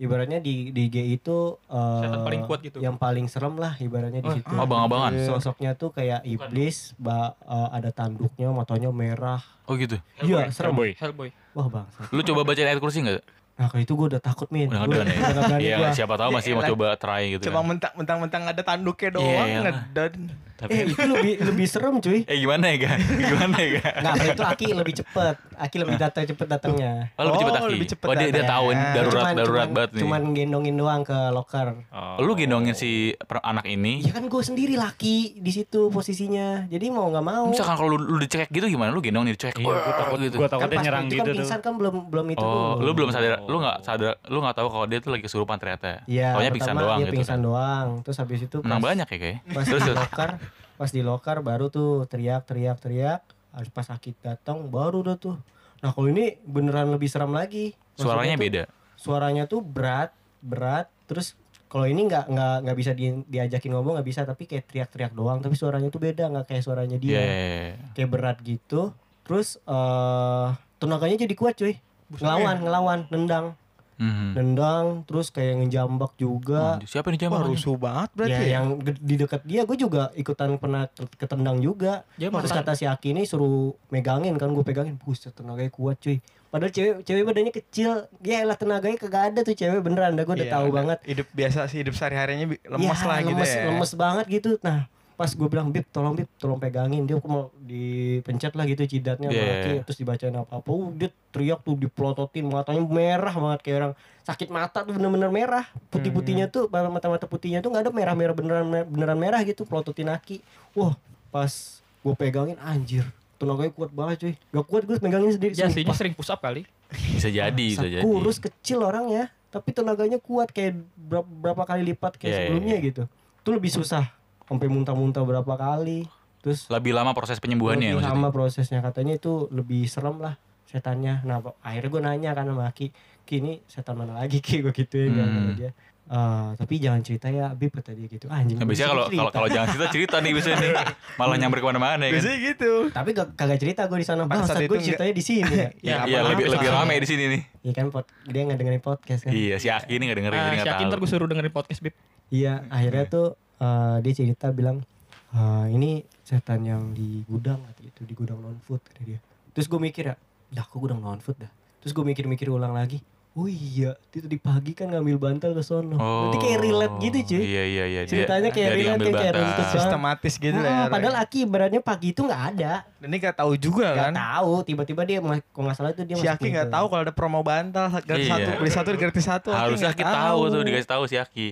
ibaratnya di di IG itu eh,
Setan paling kuat gitu.
yang paling serem lah ibaratnya di situ Iya,
Abang-abangan.
Iya.
sosoknya tuh kayak
Bukan.
iblis ba- eh, ada tanduknya matanya merah
Oh gitu.
iya
Ya,
serem
Boy.
Hellboy.
wah bang
Lu coba bacain ayat kursi enggak?
nah kalau itu gue udah takut min
Udah
Gua
ngedown ya.
udah berani
Iya,
gua.
siapa tahu masih mau
Iyalah.
coba try gitu.
Cuma
kan.
mentang- mentang-mentang ada tanduknya
Iya,
doang,
iyalah.
ngedon.
eh
Tapi
itu lebih lebih serem cuy
eh gimana ya, Ga? [LAUGHS] Gimana ya, Ga?
Nah, kalau itu Aki
[LAUGHS]
lebih cepet. Aki lebih datang cepet datangnya.
Oh, lebih cepet
Oh,
Aki.
lebih cepet
oh, dia, dia
datang.
tahu ini
Cuman-
darurat darurat
cuman,
banget nih. Oh,
Cuman gendongin doang ke locker.
oh.
Lu gitu? gendongin si per- anak ini.
Ya kan gue sendiri laki di situ posisinya. Jadi mau nggak mau.
Misalkan kalau lu, lu dicekek gitu gimana? Lu gendong nih dicekek.
Iya,
Wah,
gue takut
gitu.
Gue
kan
takutnya
pas
nyerang
itu
gitu
kan
tuh.
pingsan kan belum belum itu.
Oh, lu belum sadar, lu nggak
Oh.
sadar, lu nggak tahu kalau dia tuh lagi kesurupan ternyata.
Iya,
Taunya
pertama
pingsan doang
dia
gitu.
pingsan
kan.
doang. Terus habis itu
Menang
pas-
banyak ya kayak.
Pas di locker, pas di locker baru tuh teriak teriak teriak. Harus pas Aki datang baru udah tuh. Nah, kalau ini beneran lebih seram lagi.
Suaranya
Maksudnya tuh-
beda.
suaranya tuh berat berat terus kalau ini nggak nggak nggak bisa di- diajakin ngomong nggak bisa tapi kayak teriak-teriak doang tapi suaranya tuh beda nggak kayak
Iya.
suaranya dia kayak berat gitu terus eh tenaganya jadi kuat cuy ngelawan ngelawan nendang
Mhm.
nendang terus kayak ngejambak juga
Anjir, Siapa nih
Wah,
jamar?
rusuh banget berarti
ya
ya.
yang ge- di dekat dia gue juga ikutan pernah ke- ketendang juga
Dia
terus
mantan.
kata si Aki ini suruh megangin kan gue pegangin buset tenaganya kuat cuy padahal cewek cewek badannya kecil ya lah tenaganya kagak ada tuh cewek beneran dah gue udah
Iya,
tahu banget
Hidup biasa sih, hidup sehari-harinya bi- lemes
Ya,
lah gitu
lemes,
ya.
lemes banget gitu nah pas gue bilang bib tolong bib tolong pegangin dia mau dipencet lah gitu cidatnya sama
Iya,
Aki,
iya, iya.
terus dibacain apa apa dia teriak tuh dipelototin matanya merah banget kayak orang sakit mata tuh bener-bener merah putih putihnya
Hmm.
tuh mata-mata putihnya tuh nggak ada merah-merah beneran beneran merah gitu pelototin Aki wah pas gue pegangin anjir tenaganya kuat banget cuy gak kuat gue pegangin sendiri
Iya
Jasinya
sumpah.
sering push up kali.
Bisa jadi, bisa
Saat
jadi.
kurus kecil orangnya tapi tenaganya kuat kayak berapa, berapa kali lipat kayak
Iya, iya,
sebelumnya gitu itu lebih susah sampai muntah-muntah berapa kali terus
Lebih lama proses penyembuhannya ya
lebih
maksudnya.
lama prosesnya katanya itu lebih serem lah setannya nah po- akhirnya gue nanya kan sama Aki kini setan mana lagi ki gue gituin kan
Hmm.
sama dia "Eh, tapi jangan cerita ya Bib kata dia gitu "Ah, anjing
Nah, biasanya
gua
kalau
cerita."
kalau kalau jangan cerita cerita nih biasanya nih. Malah nyamber kemana-mana ya kan.
Biasanya gitu.
tapi gak, kagak cerita gue di sana
Pada
bang
saat itu
gue
enggak.
ceritanya di sini [LAUGHS] ya
Ya,
Iya,
apa-apa.
lebih lebih ramai di sini nih.
Iya kan pod- dia nggak dengerin podcast kan
Iya, si Aki ini enggak dengerin
Ah,
jadi
si
enggak
Akin ntar
tahu.
gue suruh dengerin podcast Bib.
Hmm,
Iya, akhirnya tuh eh, dia cerita bilang "Eh, ini setan yang di gudang kata gitu, di gudang non food kata dia. Terus gue mikir ya, dah kok gudang non food dah. Terus gue mikir-mikir ulang lagi. Oh iya, itu di pagi kan ngambil bantal ke sono. Berarti kayak relate gitu cuy.
Iya, iya, iya. Dia-
Ceritanya kayak
dia
relate,
diambil
kayak
bantal.
relate banget.
Sistematis gitu
Ah,
ya. Roy.
padahal Aki ibaratnya pagi itu nggak ada,
Dan ini gak tahu juga
nggak
kan.
tahu. Tiba-tiba dia ma- kalau nggak salah itu dia gitu.
Si
masuk
Aki nggak
pintu.
tahu kalau ada promo bantal gratis
Iya.
satu beli satu gratis satu. Aki
Harusnya
nggak
Aki tahu tuh dikasih tahu si Aki.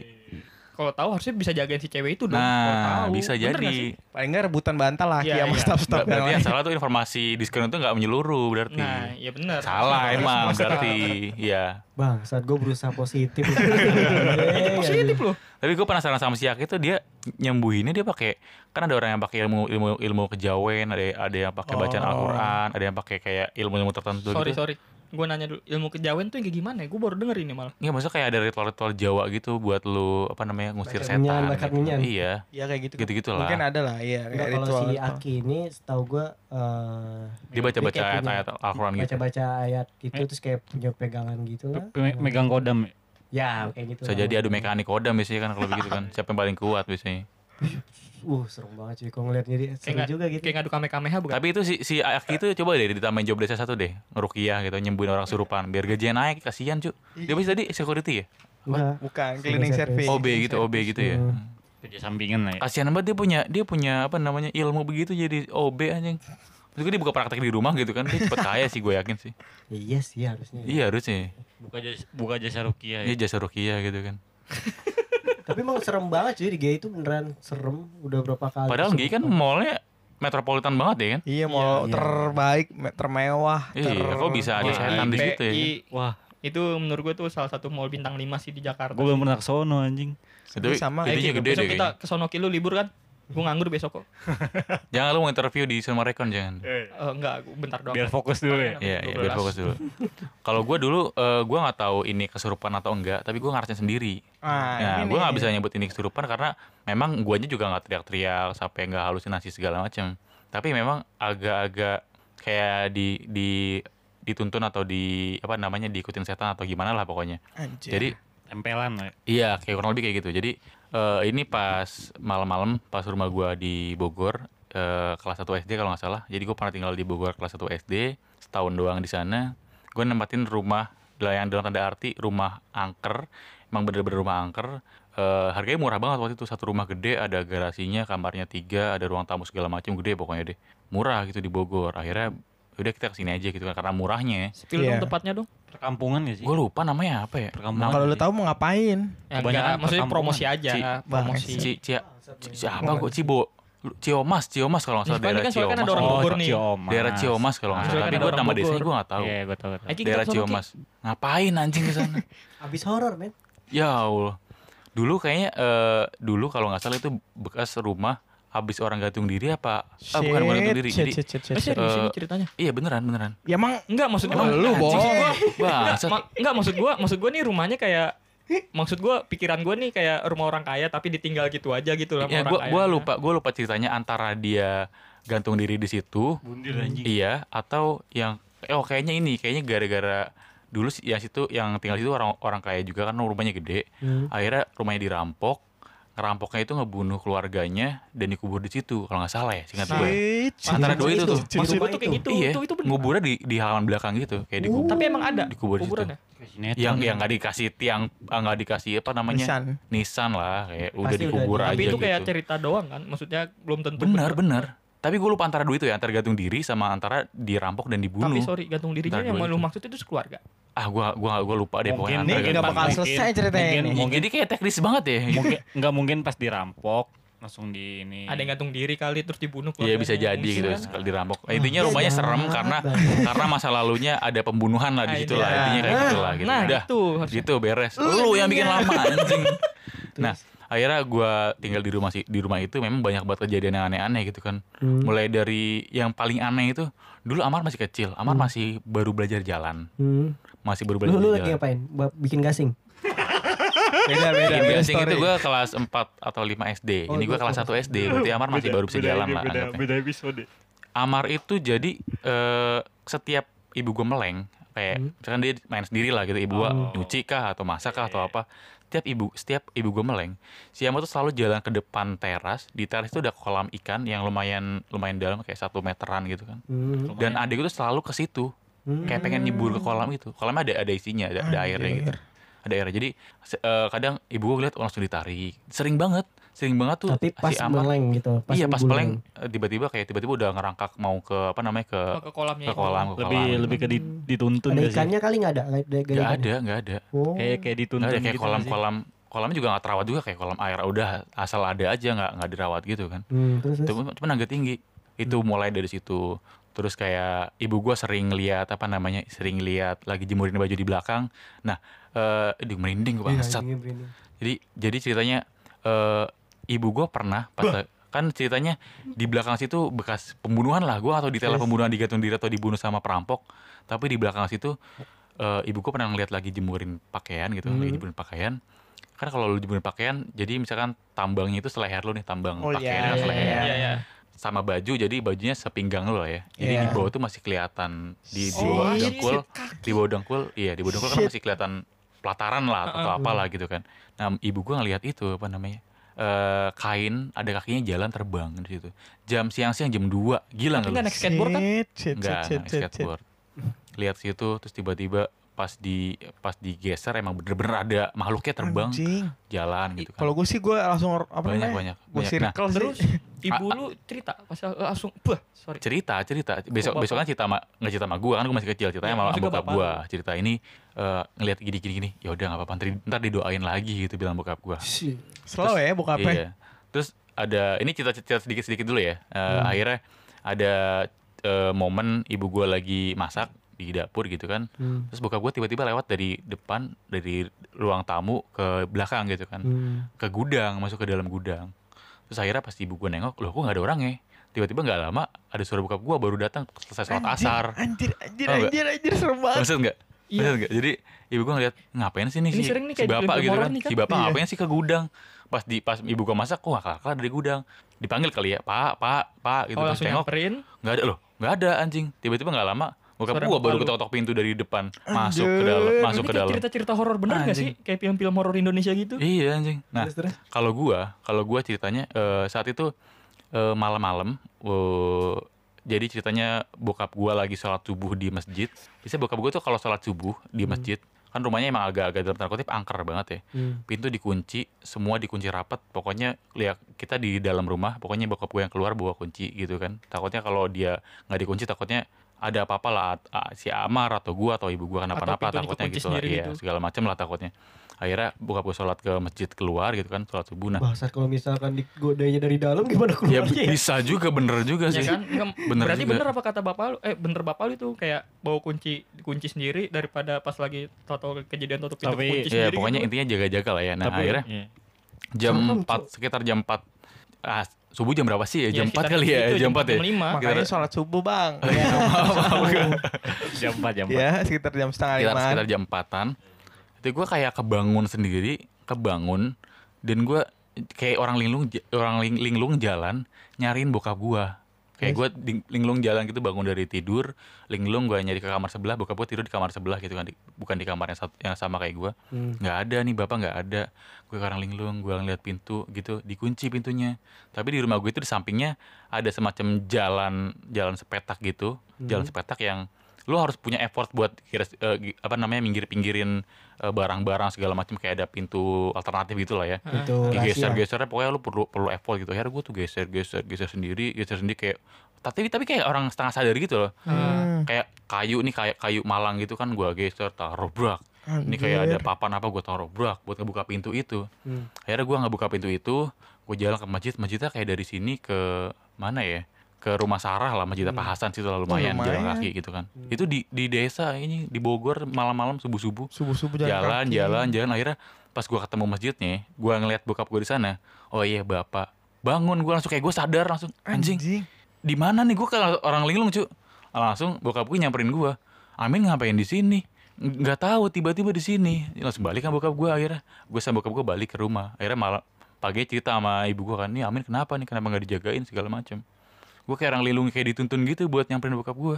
Kalau tahu harusnya bisa jagain si cewek itu dong. Kalau
Nah,
tahu.
bisa
Bener nggak sih?
jadi.
Paling nggak rebutan bantal lah Aki
Iya,
sama
iya.
staff-staff
Ber-
yang
Berarti ya
lain.
yang salah tuh informasi diskon itu nggak menyeluruh berarti.
Nah, ya benar.
iya. Salah emang
Harus masuk
berarti. Iya.
Bang, saat gue berusaha
[LAUGHS]
positif. Iya,
Itu positif loh.
Tapi gue penasaran sama si Aki tuh dia nyembuhinnya dia pakai kan ada orang yang pakai ilmu ilmu ilmu kejawen, ada ada yang pakai bacaan
Oh.
Al-Qur'an, ada yang pakai kayak ilmu-ilmu tertentu
Sorry,
gitu.
sorry. Gue nanya dulu, ilmu kejawen tuh yang kayak gimana ya? Gue baru denger ini malah.
Iya, maksudnya kayak ada ritual-ritual Jawa gitu buat lu apa namanya ngusir
Bakat
setan.
minyan, bakat
gitu.
minyan.
Iya,
Iya kayak gitu.
gitu-gitu lah.
Mungkin ada lah iya
Enggak
kayak
kalau
ritual.
si Aki ini setahu gue eh
Dia baca-baca
kayak punya-
ayat-ayat Al-Quran gitu. Eh.
Baca-baca ayat gitu terus kayak punya pegangan gitu lah.
Me- megang kodam ya.
Ya kayak gitu.
Bisa
lah.
jadi adu mekanik kodam biasanya kan kalau begitu kan. Siapa yang paling kuat biasanya.
uh serem banget cuy kalau ngeliatnya dia seru
Kayak nggak-
juga gitu
Kayak ngadu kamehameha bukan?
Tapi itu si, si Aki itu coba deh ditambahin job desa satu deh, ngerukiah gitu, nyembuhin orang surupan biar gajinya naik, kasihan cu. Dia bisa tadi security ya?
enggak
Bukan, cleaning service.
OB gitu, OB gitu ya.
Hmm.
Kerja sampingan lah ya.
Kasihan banget dia punya dia punya apa namanya ilmu begitu jadi OB anjing. Terus dia buka praktek di rumah gitu kan, dia cepet kaya sih gue yakin sih.
iya sih harusnya ya.
Iya harusnya.
Buka jasa, buka jasa rukiah
Dia
ya.
jasa rukiah gitu kan.
tapi emang serem banget cuy di GI itu beneran serem udah berapa kali
Padahal
kesurupan.
GI kan mallnya metropolitan banget ya kan.
Iya, mall
Iya.
terbaik, me- termewah,
Iya, kok bisa ada
Wah,
setan di situ ya?
IPI.
Wah,
Itu menurut gue tuh salah satu mall bintang 5 sih di Jakarta.
gue belum pernah ke sono anjing.
Itu
sama, kayak
eh, gitu. besok
gedenya gede deh.
kita
kayaknya.
ke sono Ki, lu libur kan? Gue nganggur besok kok.
Jangan lu mau interview di Cinema Recon jangan.
Eh, enggak, gua bentar doang.
Biar fokus dulu ya.
Iya, iya,
12.
biar fokus dulu. Kalau gue dulu, eh, gue nggak tahu ini kesurupan atau enggak, tapi gue ngarasin sendiri.
Ah,
Nah,
ini
gue nggak
nih.
bisa nyebut ini kesurupan karena memang guanya juga nggak teriak-teriak sampai nggak halusinasi segala macam. Tapi memang agak-agak kayak di di dituntun atau di apa namanya diikutin setan atau gimana lah pokoknya.
Anjir.
Jadi
Tempelan lah ya.
Iya, kayak kurang lebih kayak gitu. Jadi eh, ini pas malam-malam pas rumah gua di Bogor eh, kelas 1 SD kalau nggak salah. Jadi gua pernah tinggal di Bogor kelas 1 SD setahun doang di sana. Gua nempatin rumah yang dalam tanda arti rumah angker. Emang bener-bener rumah angker. Eh, harganya murah banget waktu itu satu rumah gede ada garasinya kamarnya tiga ada ruang tamu segala macam gede pokoknya deh murah gitu di Bogor akhirnya udah kita kesini aja gitu kan karena murahnya
Spill
Iya.
dong tempatnya dong.
Perkampungan gak sih?
gue lupa namanya apa ya
Perkampungan.
kalau lu tahu mau ngapain?
Ya,
Kebanyakan
enggak, maksudnya
perkampungan.
promosi aja,
Ci-
promosi.
si Cia Ci-
ya.
siapa gue Cibo Ciomas Ciomas kalau nggak salah
Ini kan-
daerah
kan soalnya kan
Ciomas
ada orang
Oh,
Bogor nih.
Ciomas.
daerah Ciomas kalau nggak
Ah,
salah
kan
tapi
ada
gue
orang
nama
Bogor.
desanya gue nggak tahu
Iya, gue tahu. gua tahu.
Eh, Ki, kita
daerah
ke sono, Ki.
Ciomas ngapain anjing ke sana
abis horor men
ya Allah dulu kayaknya eh, dulu kalau nggak salah itu bekas rumah habis orang gantung diri apa ah, bukan bukan gantung diri
Shit,
jadi
shit, shit, shit,
Eh,
shit.
serius ini
Eh,
ceritanya.
iya beneran beneran
Ya emang
Enggak maksud gua.
Emang lu
Anjing,
bohong.
maksud gua- Enggak,
bangsat
ma- enggak, maksud gua, maksud gua nih rumahnya kayak maksud gua pikiran gua nih kayak rumah orang kaya tapi ditinggal gitu aja gitu lah sama
ya
orang
gue
kaya.
gua lupa gue lupa ceritanya antara dia gantung diri di situ
Gitu,
Bundir anjing.
Iya, atau yang oh kayaknya ini kayaknya gara-gara dulu si- yang situ yang tinggal situ orang orang kaya juga kan rumahnya gede.
Hmm.
Akhirnya rumahnya dirampok. Ngerampoknya itu ngebunuh keluarganya dan dikubur di situ kalau nggak salah ya, singkat
Nah,
gue.
Shit,
antara
shit,
dua
shit, shit,
itu tuh.
shit,
Maksud
shit.
gua tuh kayak gitu.
iya,
Itu itu bener.
nguburnya di di halaman belakang gitu, kayak dikubur.
Tapi emang ada ya.
Dikubur di situ.
kuburannya.
Kayak sinetron.
Yang yang nggak dikasih tiang, ah, nggak dikasih apa namanya?
Nisan.
Nisan lah, kayak udah
udah
dikubur
di-
aja
Tapi itu kayak
gitu.
cerita doang kan, maksudnya belum tentu
Bener, bener. Tapi gue lupa antara dua itu ya, antara gantung diri sama antara dirampok dan dibunuh.
Tapi sorry, gantung dirinya
Ntar
yang
dulu
lu
itu.
maksud itu sekeluarga.
ah gua gua gua lupa deh pokoknya antara
Mungkin
nih,
gantung
nggak
diri.
bakal selesai ceritanya
mungkin,
ini.
[LAUGHS] Mungkin, Iya,
Jadi kayak teknis banget ya.
mungkin, nggak mungkin pas dirampok langsung di ini.
Ada yang gantung diri kali terus dibunuh
Iya bisa jadi
keluarganya.
gitu
Mungkin kan.
sekali dirampok. intinya
iya,
rumahnya
jangan
serem karena
banget.
karena masa lalunya ada pembunuhan lah
Ah,
di situ
iya.
lah. Intinya kayak
Nah,
gitu lah gitu.
Nah,
Udah
gitu. harusnya.
gitu beres. Lu yang bikin lama anjing. Nah, akhirnya gua tinggal di rumah si di rumah itu memang banyak banget kejadian yang aneh-aneh gitu kan.
Hmm.
Mulai dari yang paling aneh itu dulu Amar masih kecil, Amar masih baru belajar jalan,
hmm.
masih baru
lu
belajar
lu
jalan.
lagi ngapain Buat bikin gasing
Beda, beda,
Bikin
beda
gasing
story.
itu gue gitu, kelas 4 atau 5 SD.
Oh,
ini gue
lu
kelas 1 SD. Berarti Amar masih baru bisa jalan lah. anggapnya.
episode.
Amar itu jadi eh, setiap ibu gue meleng kayak misalkan dia main sendiri lah gitu ibu gue nyuci kah atau masak kah atau apa setiap ibu setiap ibu gue meleng si Amar tuh selalu jalan ke depan teras di teras itu ada kolam ikan yang lumayan lumayan dalam kayak satu meteran gitu kan
hmm.
dan adik gue tuh selalu ke situ
Hmm.
kayak pengen nyebur ke kolam itu kolamnya ada ada isinya
Ah,
ada, ada airnya gitu ada airnya jadi se- eh, kadang ibu gue lihat oh, langsung ditarik sering banget sering banget tuh
tapi pas meleng gitu
iya pas
ngebul.
meleng eh, tiba-tiba kayak tiba-tiba udah ngerangkak mau ke apa namanya ke
Oh, ke kolamnya.
ke
itu.
kolam ke
Iya, Lebih
kolam
lebih ke di- dituntun
ada
gak sih?
ikannya kali nggak ada Nggak ada,
nggak
ikannya?
ada nggak ada
Oh.
Kayak kayak dituntun
nggak ada kayak
gitu nggak sih?
kolam-kolam kolamnya juga nggak terawat juga kayak kolam air udah asal ada aja nggak nggak dirawat gitu kan
Hmm, terus, terus.
cuma cuma agak tinggi itu mulai dari situ terus kayak ibu gua sering lihat apa namanya sering lihat lagi jemurin baju di belakang nah eh aduh, merinding gua
Iya,
bangsat
anjingnya berani.
Jadi jadi ceritanya eh ibu gue pernah pas kan ceritanya di belakang situ bekas pembunuhan lah gue atau detail
Yes.
pembunuhan digantung diri atau dibunuh sama perampok tapi di belakang situ eh ibu gue pernah ngeliat lagi jemurin pakaian gitu lagi jemurin pakaian karena kalau lu jemurin pakaian jadi misalkan tambangnya itu seleher lu nih tambang
Oh,
pakaiannya kan
iya,
Iya,
seleher
iya, iya, iya.
sama baju jadi bajunya sepinggang lu lah ya jadi di
Iya.
bawah tuh masih kelihatan di di
Oh,
bawah
shit,
dengkul di bawah dengkul iya di bawah dengkul kan
Shit.
masih kelihatan pelataran lah atau apalah gitu kan nah ibu gua ngelihat itu apa namanya eh, kain ada kakinya jalan terbang di situ. Jam siang-siang jam 2. Gila
Tapi nggak
enggak lu?
naik skateboard kan?
Shit, shit,
Enggak,
shit, shit,
naik
shit.
skateboard. Lihat situ terus tiba-tiba pas di pas digeser emang bener-bener ada makhluknya terbang
Anjing.
jalan
I-
gitu kan.
Kalau gue sih gue langsung or- apa
banyak,
namanya?
banyak
Gue
banyak. Nah,
circle
Terus
sih.
ibu
A- a-
lu cerita pas eh, langsung bah, sorry.
cerita cerita besok
bapak.
besok kan cerita sama nggak cerita sama gue kan gue masih kecil ceritanya
Iya,
sama
maksud gua
bokap
bapak
gue cerita ini eh, ngelihat gini gini gini ya udah nggak apa-apa ntar, ntar didoain lagi gitu bilang bokap gue
Slow ya bokapnya.
Iya. Terus ada ini cerita-cerita sedikit-sedikit dulu ya. Eh, Akhirnya ada eh, momen ibu gue lagi masak di dapur gitu kan.
Hmm.
Terus bokap gue tiba-tiba lewat dari depan dari ruang tamu ke belakang gitu kan,
Hmm.
ke gudang masuk ke dalam gudang. Terus akhirnya pas ibu gue nengok, loh kok nggak ada orang ya? Tiba-tiba nggak lama ada suara bokap gue baru datang selesai sholat
Anjir,
asar.
Anjir, anjir,
Tau nggak?
anjir, anjir, serem banget.
Maksud nggak?
Iya.
Maksud nggak? Jadi ibu gua ngeliat ngapain sih nih
Ini
si,
sering nih
si
kayak di
bapak
film
gitu
horor
kan?
nih kan?
Si bapak
Iya.
ngapain sih ke gudang? Pas di pas ibu gua masak, kok kakak dari gudang? Dipanggil kali ya, pak, pak, pak gitu.
oh,
Terus
langsung
tengok,
nyamperin.
nggak ada loh, nggak ada anjing. Tiba-tiba nggak lama, bokap
Suara
gua
bapak
baru
lu.
ketok-ketok pintu dari depan, masuk ke dalam,
Anjir.
Ini
masuk ke
kayak
dalam.
cerita-cerita horor bener nggak sih?
Anjing.
Kayak film-film horor Indonesia gitu.
Iya anjing. Nah,
Terus, terus.
kalau gua, kalau gua ceritanya eh, saat itu eh, malam-malam, eh, jadi ceritanya bokap gua lagi sholat subuh di masjid. Biasanya bokap gua tuh kalau sholat subuh di masjid, kan rumahnya emang agak-agak dalam tanda kutip angker banget ya.
Hmm.
Pintu dikunci, semua dikunci rapat. Pokoknya lihat kita di dalam rumah, pokoknya bokap gua yang keluar bawa kunci gitu kan. Takutnya kalau dia nggak dikunci, takutnya ada apa-apa lah at- a- si Amar atau gua atau ibu gua kenapa-napa
pintunya
takutnya
kekunci
gitu lah.
sendiri
Iya,
gitu.
segala macam lah takutnya. Akhirnya bokap gua sholat ke masjid keluar gitu kan, sholat subuh. Nah,
Bangsat kalau misalkan digodainya dari dalam gimana
Ya
keluarnya ya?
bisa juga bener juga
Ya
sih.
kan? Nggak-
Bener
Berarti
juga.
bener apa kata bapak lu? Eh bener bapak lu itu kayak bawa kunci kunci sendiri daripada pas lagi tahu kejadian tutup pintu
Tapi-
kunci
Ya
sendiri.
pokoknya
gitu.
intinya jaga-jaga lah ya. Nah
Tapi-
akhirnya
iya.
jam
Serem,
4 sekitar jam 4 ah, subuh jam berapa sih ya? Jam
Ya,
4
sekitar
kali ya,
segitu,
jam 4 ya.
jam lima.
Sekitar,
Makanya sholat subuh bang.
Iya.
jam 4 jam 4.
Ya, sekitar jam setengah
sekitar,
limaan.
sekitar jam 4-an. Itu gue kayak kebangun sendiri, kebangun dan gue kayak orang linglung j- orang ling- linglung jalan nyariin bokap gua. Kayak gue linglung jalan gitu bangun dari tidur, linglung gue nyari ke kamar sebelah, bokap gue tidur di kamar sebelah gitu kan, di- bukan di kamar yang, sat- yang sama kayak gua.
Hmm.
nggak ada nih bapak nggak ada gue karang linglung gue ngeliat pintu gitu dikunci pintunya tapi di rumah gue itu di sampingnya ada semacam jalan jalan sepetak gitu jalan sepetak yang lu harus punya effort buat kira- eh, gi- apa namanya minggir pinggirin barang-barang segala macam kayak ada pintu alternatif gitu lah ya
Itu
digeser
Oh, rahasia.
gesernya pokoknya lu perlu perlu effort gitu akhirnya gue tuh geser geser geser sendiri geser sendiri kayak tapi tapi kayak orang setengah sadar gitu loh
Nah,
kayak kayu nih kayak kayu malang gitu kan gua geser taruh brak ini kayak ada papan apa gue taruh brak buat ngebuka pintu itu
Hmm.
akhirnya gua ngebuka pintu itu gue jalan ke masjid masjidnya kayak dari sini ke mana ya ke rumah Sarah lah masjid Pak Hasan situ lah lumayan, jalan
lumayan.
kaki gitu kan itu di di desa ini di Bogor malam-malam subuh-subuh
Subuh subuh
jalan jalan jalan akhirnya pas gua ketemu masjidnya gua ngeliat bokap gue di sana oh iya bapak bangun gua langsung kayak gue sadar langsung anjing
Anjing.
di mana nih gue ke orang linglung cu langsung bokap gue nyamperin gue Amin ngapain di sini nggak tahu tiba-tiba di sini langsung balik kan bokap gue akhirnya gue sama bokap gue balik ke rumah akhirnya malam pagi cerita sama ibu gue kan nih Amin kenapa nih kenapa nggak dijagain segala macam gue kayak orang linglung kayak dituntun gitu buat nyamperin bokap gue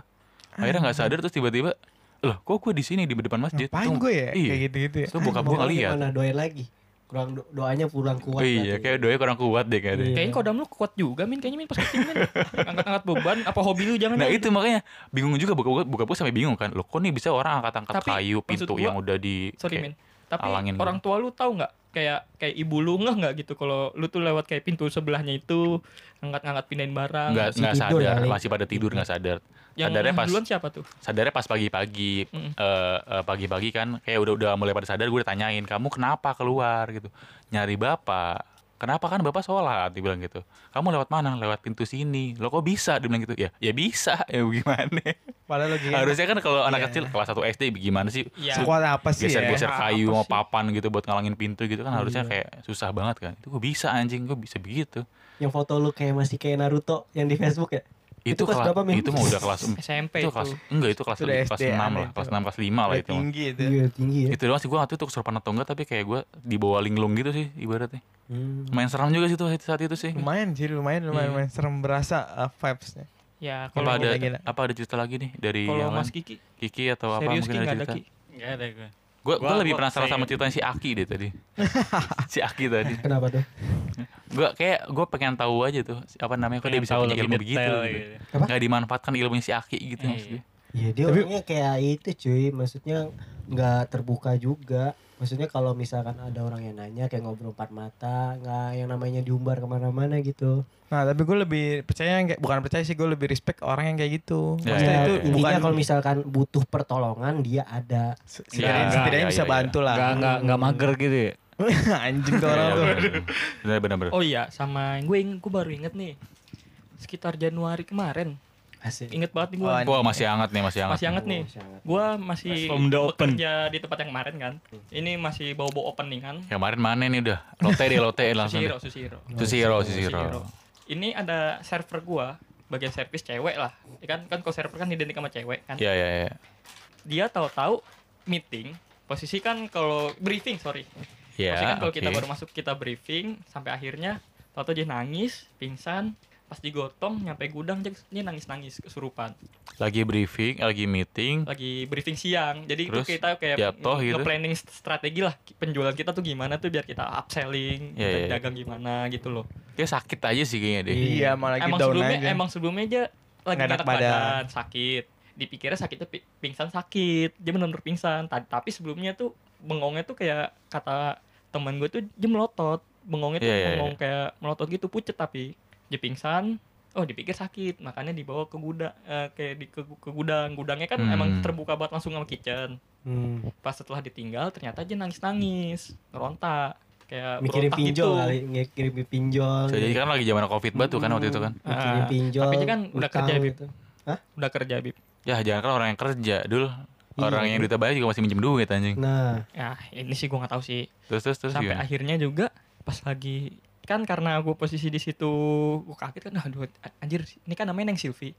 akhirnya nggak sadar terus tiba-tiba loh kok gue di sini di depan masjid
Ngapain
Tuh,
gue ya?
iya.
Kayak gitu-gitu ya.
Terus bokap gue ngeliat
Gimana doain lagi? Kurang do- doanya kurang kuat.
iya
berarti.
kayak doanya kurang kuat deh kayaknya
Iya.
Kayaknya kodam lu kuat juga min kayaknya min pas kecil min angkat-angkat beban apa hobi lu jangan
Nah
jangan.
itu makanya bingung juga buka buka buka sampai bingung kan. Loh kok nih bisa orang angkat-angkat
Tapi,
kayu
maksud
pintu
gua-
yang udah di
sorry
kayak-
min tapi
alangin
orang tua lu tahu nggak kayak kayak ibu lu nggak nggak gitu kalau lu tuh lewat kayak pintu sebelahnya itu angkat-angkat pindahin barang
nggak
masih
nggak
tidur
sadar
kali.
masih pada tidur ya, nggak sadar.
yang
sadarnya pas
duluan siapa tuh
sadarnya pas pagi-pagi
Mm.
eh, eh, pagi-pagi kan kayak udah udah mulai pada sadar gue udah tanyain kamu kenapa keluar gitu nyari bapak kenapa kan bapak sholat dibilang gitu kamu lewat mana lewat pintu sini lo kok bisa dibilang gitu ya ya bisa [LAUGHS] ya gimana
[LAUGHS] Padahal lagi
harusnya kan kalau anak
Iya.
kecil kelas 1 SD gimana sih
Iya.
Su-
sekuat apa sih ya?
geser-geser
Apa
kayu sama
sih?
papan gitu buat ngalangin pintu gitu kan harusnya
Iya.
kayak susah banget kan itu gue bisa anjing gue bisa begitu
Yang foto lu kayak masih kayak Naruto yang di Facebook ya?
itu,
Itu kelas
kela-
berapa, Min?
itu mah udah kelas em-
SMP
Hmm. itu
itu,
kelas enggak itu kelas
Itu udah
kelas
SD
6
aneh
lah
itu.
kelas 6 kelas 5 lah
Udah
itu mah.
tinggi itu.
Iya tinggi ya.
itu doang sih gue nggak tahu itu kesurupan atau enggak tapi kayak gue di bawah linglung gitu sih ibaratnya
Hmm.
main seram juga sih tuh saat itu sih
Lumayan sih, lumayan
Iya.
lumayan, lumayan. serem berasa uh, vibes-nya.
ya
apa
kalau
ada
gila-gila.
apa ada cerita lagi nih dari
kalau
yang
Mas
lain?
Kiki
Kiki atau apa
serius Ki
mungkin
nggak
ada
ada
cerita
Ki
Enggak ada gue.
Gue
Gua-
lebih
gua
penasaran
percaya.
sama ceritanya si Aki deh tadi. si Aki tadi.
Kenapa tuh?
Gue kayak gue pengen tahu aja tuh si- apa namanya kok dia
Pengen
bisa
tahu
punya
lebih
ilmu begitu.
detail
Gitu.
gitu.
Apa?
Gak dimanfaatkan ilmunya si Aki gitu
Iya.
maksudnya.
Iya dia
Tapi-
orangnya kayak itu cuy, maksudnya nggak terbuka juga. Maksudnya kalau misalkan ada orang yang nanya kayak ngobrol empat mata, nggak yang namanya diumbar kemana-mana gitu.
Nah tapi gue lebih percaya yang kayak bukan percaya sih gue lebih respect ke orang yang kayak gitu.
Ya,
Maksudnya
ya,
itu
ya.
bukan
Intinya kalau misalkan butuh pertolongan dia ada.
setidaknya,
Iya,
setidaknya
iya,
bisa
iya,
bantu lah.
Enggak enggak enggak mager gitu ya.
[LAUGHS]
Iya,
Anjing tuh
Iya,
orang tuh.
Bener bener bener.
Oh iya, sama gue ing- gue baru inget nih. Sekitar Januari kemarin.
Asik.
Inget banget nih gue.
Oh,
Wah masih hangat nih masih hangat.
masih hangat nih. Gue masih
From the open.
bekerja di tempat yang kemarin kan. Ini masih bawa-bawa kan. openingan.
Kemarin mana nih udah? Lote deh [LAUGHS] Oh, lote langsung.
Susiro, Susiro.
Itu si Hero, si
Susiro.
Hero.
Ini ada server gue bagian servis cewek lah. Ya kan kan kalau server kan identik sama cewek kan.
Iya iya iya.
Dia tahu-tahu meeting posisi kan kalau briefing sorry
Iya.
Pasti kan kalau kita
oke.
baru masuk kita briefing sampai akhirnya tahu dia nangis, pingsan, pas digotong nyampe gudang dia dia nangis-nangis kesurupan.
lagi briefing, lagi meeting.
Lagi briefing siang. Jadi
Terus
itu kita kayak
jatuh gitu.
planning strategi lah penjualan kita tuh gimana tuh biar kita upselling,
Iya,
kita
iya, iya.
dagang gimana gitu loh.
Dia sakit aja sih kayaknya deh.
Iya malah lagi
emang
down
sebelumnya
aja.
emang sebelumnya aja lagi
Nggak enak
nggak enak
badan.
badan. sakit. Dipikirnya sakitnya pi- pingsan sakit, dia benar pingsan. Ta- Tapi sebelumnya tuh bengongnya tuh kayak kata teman gue tuh dia melotot, bengongnya tuh
Iya, iya,
bengong kayak melotot gitu pucet tapi dia pingsan. Oh dipikir sakit, makanya dibawa ke gudang, eh, kayak di ke, ke gudang. Gudangnya kan
Hmm.
emang terbuka banget langsung sama kitchen.
eh,
Hmm.
Pas setelah ditinggal ternyata aja nangis-nangis, ngerontak, kayak
Mikirin
berontak
pinjol
gitu.
kali, mikirin pinjol.
Jadi kan lagi zaman covid banget tuh kan waktu itu kan.
Mikirin
Ah,
pinjol.
tapi dia kan udah
utang
kerja, Bib.
gitu.
Udah kerja Bib.
Ya jangan kan orang yang kerja dul.
Iya.
Orang yang duitnya banyak juga masih minjem duit anjing.
Nah,
Ya ini sih gue nggak tahu sih.
Terus terus terus
sampai
gimana?
akhirnya juga pas lagi kan karena gue posisi di situ gue kaget kan aduh anjir ini kan namanya Neng Silvi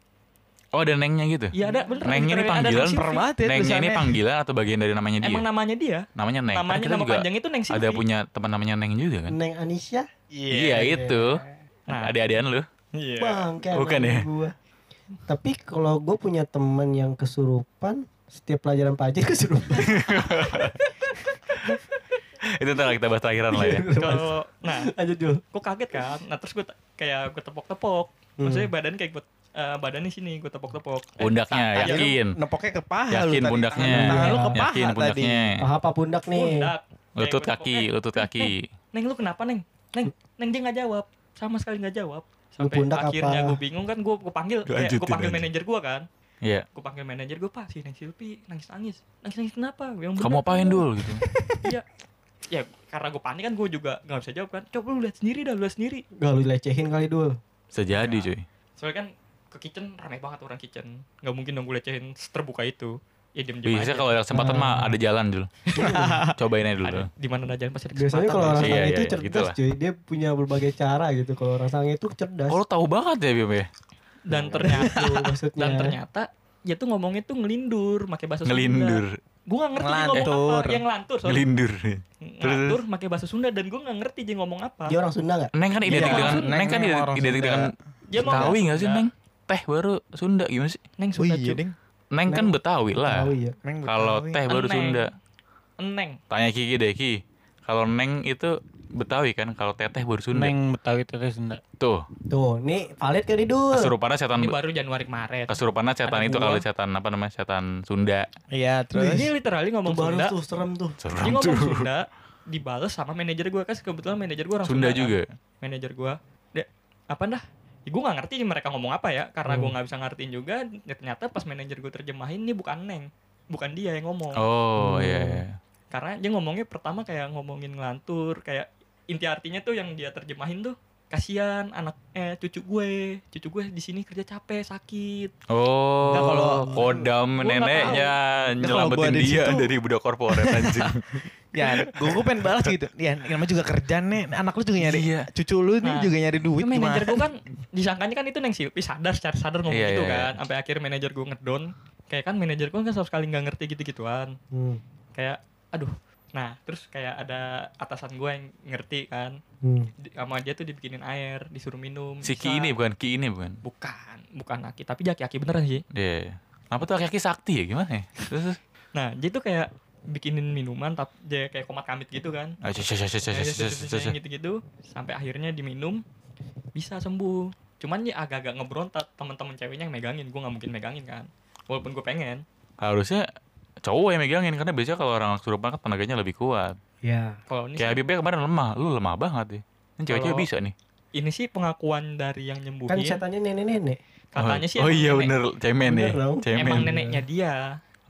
Oh ada nengnya gitu.
iya ada bener
Nengnya
bener, ada
ini
Neng
panggilan
Silvi.
per banget ya
Nengnya ini
tulisannya.
panggilan atau bagian dari namanya dia?
emang namanya dia
namanya Neng. Kan
namanya
kita
nama
juga
panjang itu Neng Silvi
ada punya teman namanya Neng juga kan?
Neng Anisya,
Iya itu.
Nah.
Nah, adik-adikan lu.
bang, kayak
Bukan
anak
ya?
Gua. Tapi kalau gue punya teman yang kesurupan, setiap pelajaran pajak
[LAUGHS]
kesurupan.
Itu ntar kita bahas terakhiran lah [LAUGHS] ya.
[LAUGHS] kalau nah
Aja dulu.
gue kaget kan nah terus gue kayak gue tepok-tepok
Hmm.
maksudnya badan kayak gue eh, badannya sini gue tepok-tepok Eh,
Pundaknya
tangan,
yakin.
Nepoknya ke paha Ah, lu
Yakin
tadi.
pundaknya.
Tangan- Tangan lu ke paha
Yakin
tadi.
pundaknya.
Paha apa pundak nih?
pundak. Kayak
Lutut
gua tepok,
kaki,
"Eh,
lutut kaki.
Neng lu kenapa Neng? Neng, Neng dia nggak jawab, sama sekali nggak jawab.
Lu
Sampai
pundak
akhirnya
apa?
gue bingung kan, gue panggil, kayak
Lanjutin,
gue panggil
lanjut.
manajer gue kan,
Iya.
gue panggil manajer gue pak si Neng Silpi nangis nangis, nangis nangis kenapa? Gua bilang, "Bener,
Kamu apain
Neng."
dul gitu.
Iya, ya karena gue panik kan gue juga nggak bisa jawab kan. Coba lu lihat sendiri dah, lu lihat sendiri.
Gak lu lecehin kali dulu.
Bisa jadi cuy.
Soalnya kan ke kitchen rame banget orang kitchen, nggak mungkin dong gue lecehin terbuka itu. Ya diem diem
Biasanya kalau ada kesempatan mah ada jalan dulu. Cobain aja dulu. Dul.
di mana aja pasti ada
Biasanya kalau
Iya,
orang sange
iya,
itu
iya,
cerdas
gitu lah.
cuy. Dia punya berbagai cara gitu. Kalau orang sange itu cerdas.
Oh, lo tahu banget ya Bim ya?
dan ternyata
Tuh, [LAUGHS] maksudnya.
dan ternyata dia tuh ngomongnya tuh ngelindur, pakai bahasa Sunda.
Ngelindur,
gue gak ngerti dia ngomong
Ngelantur.
apa yang lantur sorry
ngelindur.
lantur pakai bahasa Sunda dan gue gak ngerti dia ngomong apa
Dia orang Sunda gak?
Neng kan identik
Iya,
dengan
Neng
Neng kan
memang
identik
orang
identik
Sunda.
dengan
Dia mau
Betawi
nggak?
nggak sih
Nggak.
Neng? Teh baru Sunda gimana sih?
neng
Oh
Sunda
iya
cuy
ding.
Neng kan Betawi lah.
Oh iya.
Neng
Kalau
Betawi.
teh baru
Neng.
Sunda.
neng
Tanya Kiki deh Ki. Kalau Neng itu Betawi kan, kalau teteh baru Sunda.
Neng Betawi teteh Sunda.
Tuh,
Tuh, nih valid kali dulu.
kesurupannya setan
ini baru Januari kemarin
kesurupannya setan
Ada
itu
gua.
kalau setan apa namanya? Setan Sunda.
Iya terus.
dia literally
Tuh
ngomong
baru
Sunda
tuh serem tuh.
dia
Serem
ngomong
tuh.
Sunda dibales sama manajer gue kan kebetulan manajer gue orang Sunda,
Sunda
kan.
juga.
manajer gue dek apa dah gue gak ngerti mereka ngomong apa ya karena
Hmm.
gue gak bisa ngertiin juga ya ternyata pas manajer gue terjemahin ini bukan neng bukan dia yang ngomong
Oh, iya. iya.
karena dia ngomongnya pertama kayak ngomongin ngelantur kayak inti artinya tuh yang dia terjemahin tuh kasihan anak eh cucu gue cucu gue di sini kerja capek sakit
Oh,
Nah, kalau-
kodam
Gua nggak
neneknya
Nah, kalau gua
nyelamatin
ada di
dia
situ-
dari budak korporat anjing.
Ya, gue gue pengen balas gitu. Ya, namanya juga kerjaan nih. Anak lu juga nyari,
Iya.
cucu lu nih
Nah,
juga nyari duit.
Tapi manajer
gimana?
gue kan disangkanya kan itu neng Silvi sadar secara sadar ngomong
Iya,
gitu
iya,
kan sampai akhirnya manajer gue ngedown kayak kan manajer gue kan sama sekali nggak ngerti gitu gituan
Hmm.
kayak aduh nah terus kayak ada atasan gue yang ngerti kan
Hmm.
Di- sama dia tuh dibikinin air disuruh minum
Si
bisa.
Ki ini bukan Ki ini bukan.
bukan bukan aki tapi jaki aki beneran sih
Iya. iya. Apa tuh kaki sakti ya gimana ya? Terus, terus.
Nah, dia tuh kayak bikinin minuman tapi kayak komat kamit gitu kan
Ah, cus, cus, cus, cus, cus, cus, cus, cus.
yang gitu-gitu sampai akhirnya diminum bisa sembuh cuman ya agak-agak ngebrontak teman-teman ceweknya yang megangin gue nggak mungkin megangin kan walaupun gue pengen
Harusnya cowok yang megangin karena biasanya kalau orang kesurupan kan tenaganya lebih kuat.
Ya.
kalau ini
Kayak
sih,
Habibnya kemarin lemah, lu lemah banget ya. Ini cewek-cewek
Kalau-
bisa nih.
ini sih pengakuan dari yang nyembuhin
Kan setannya nenek-nenek.
katanya sih
Oh, oh
emang
iya
nenek-
bener, cemen ya.
Bener dong.
Cemen.
emang neneknya dia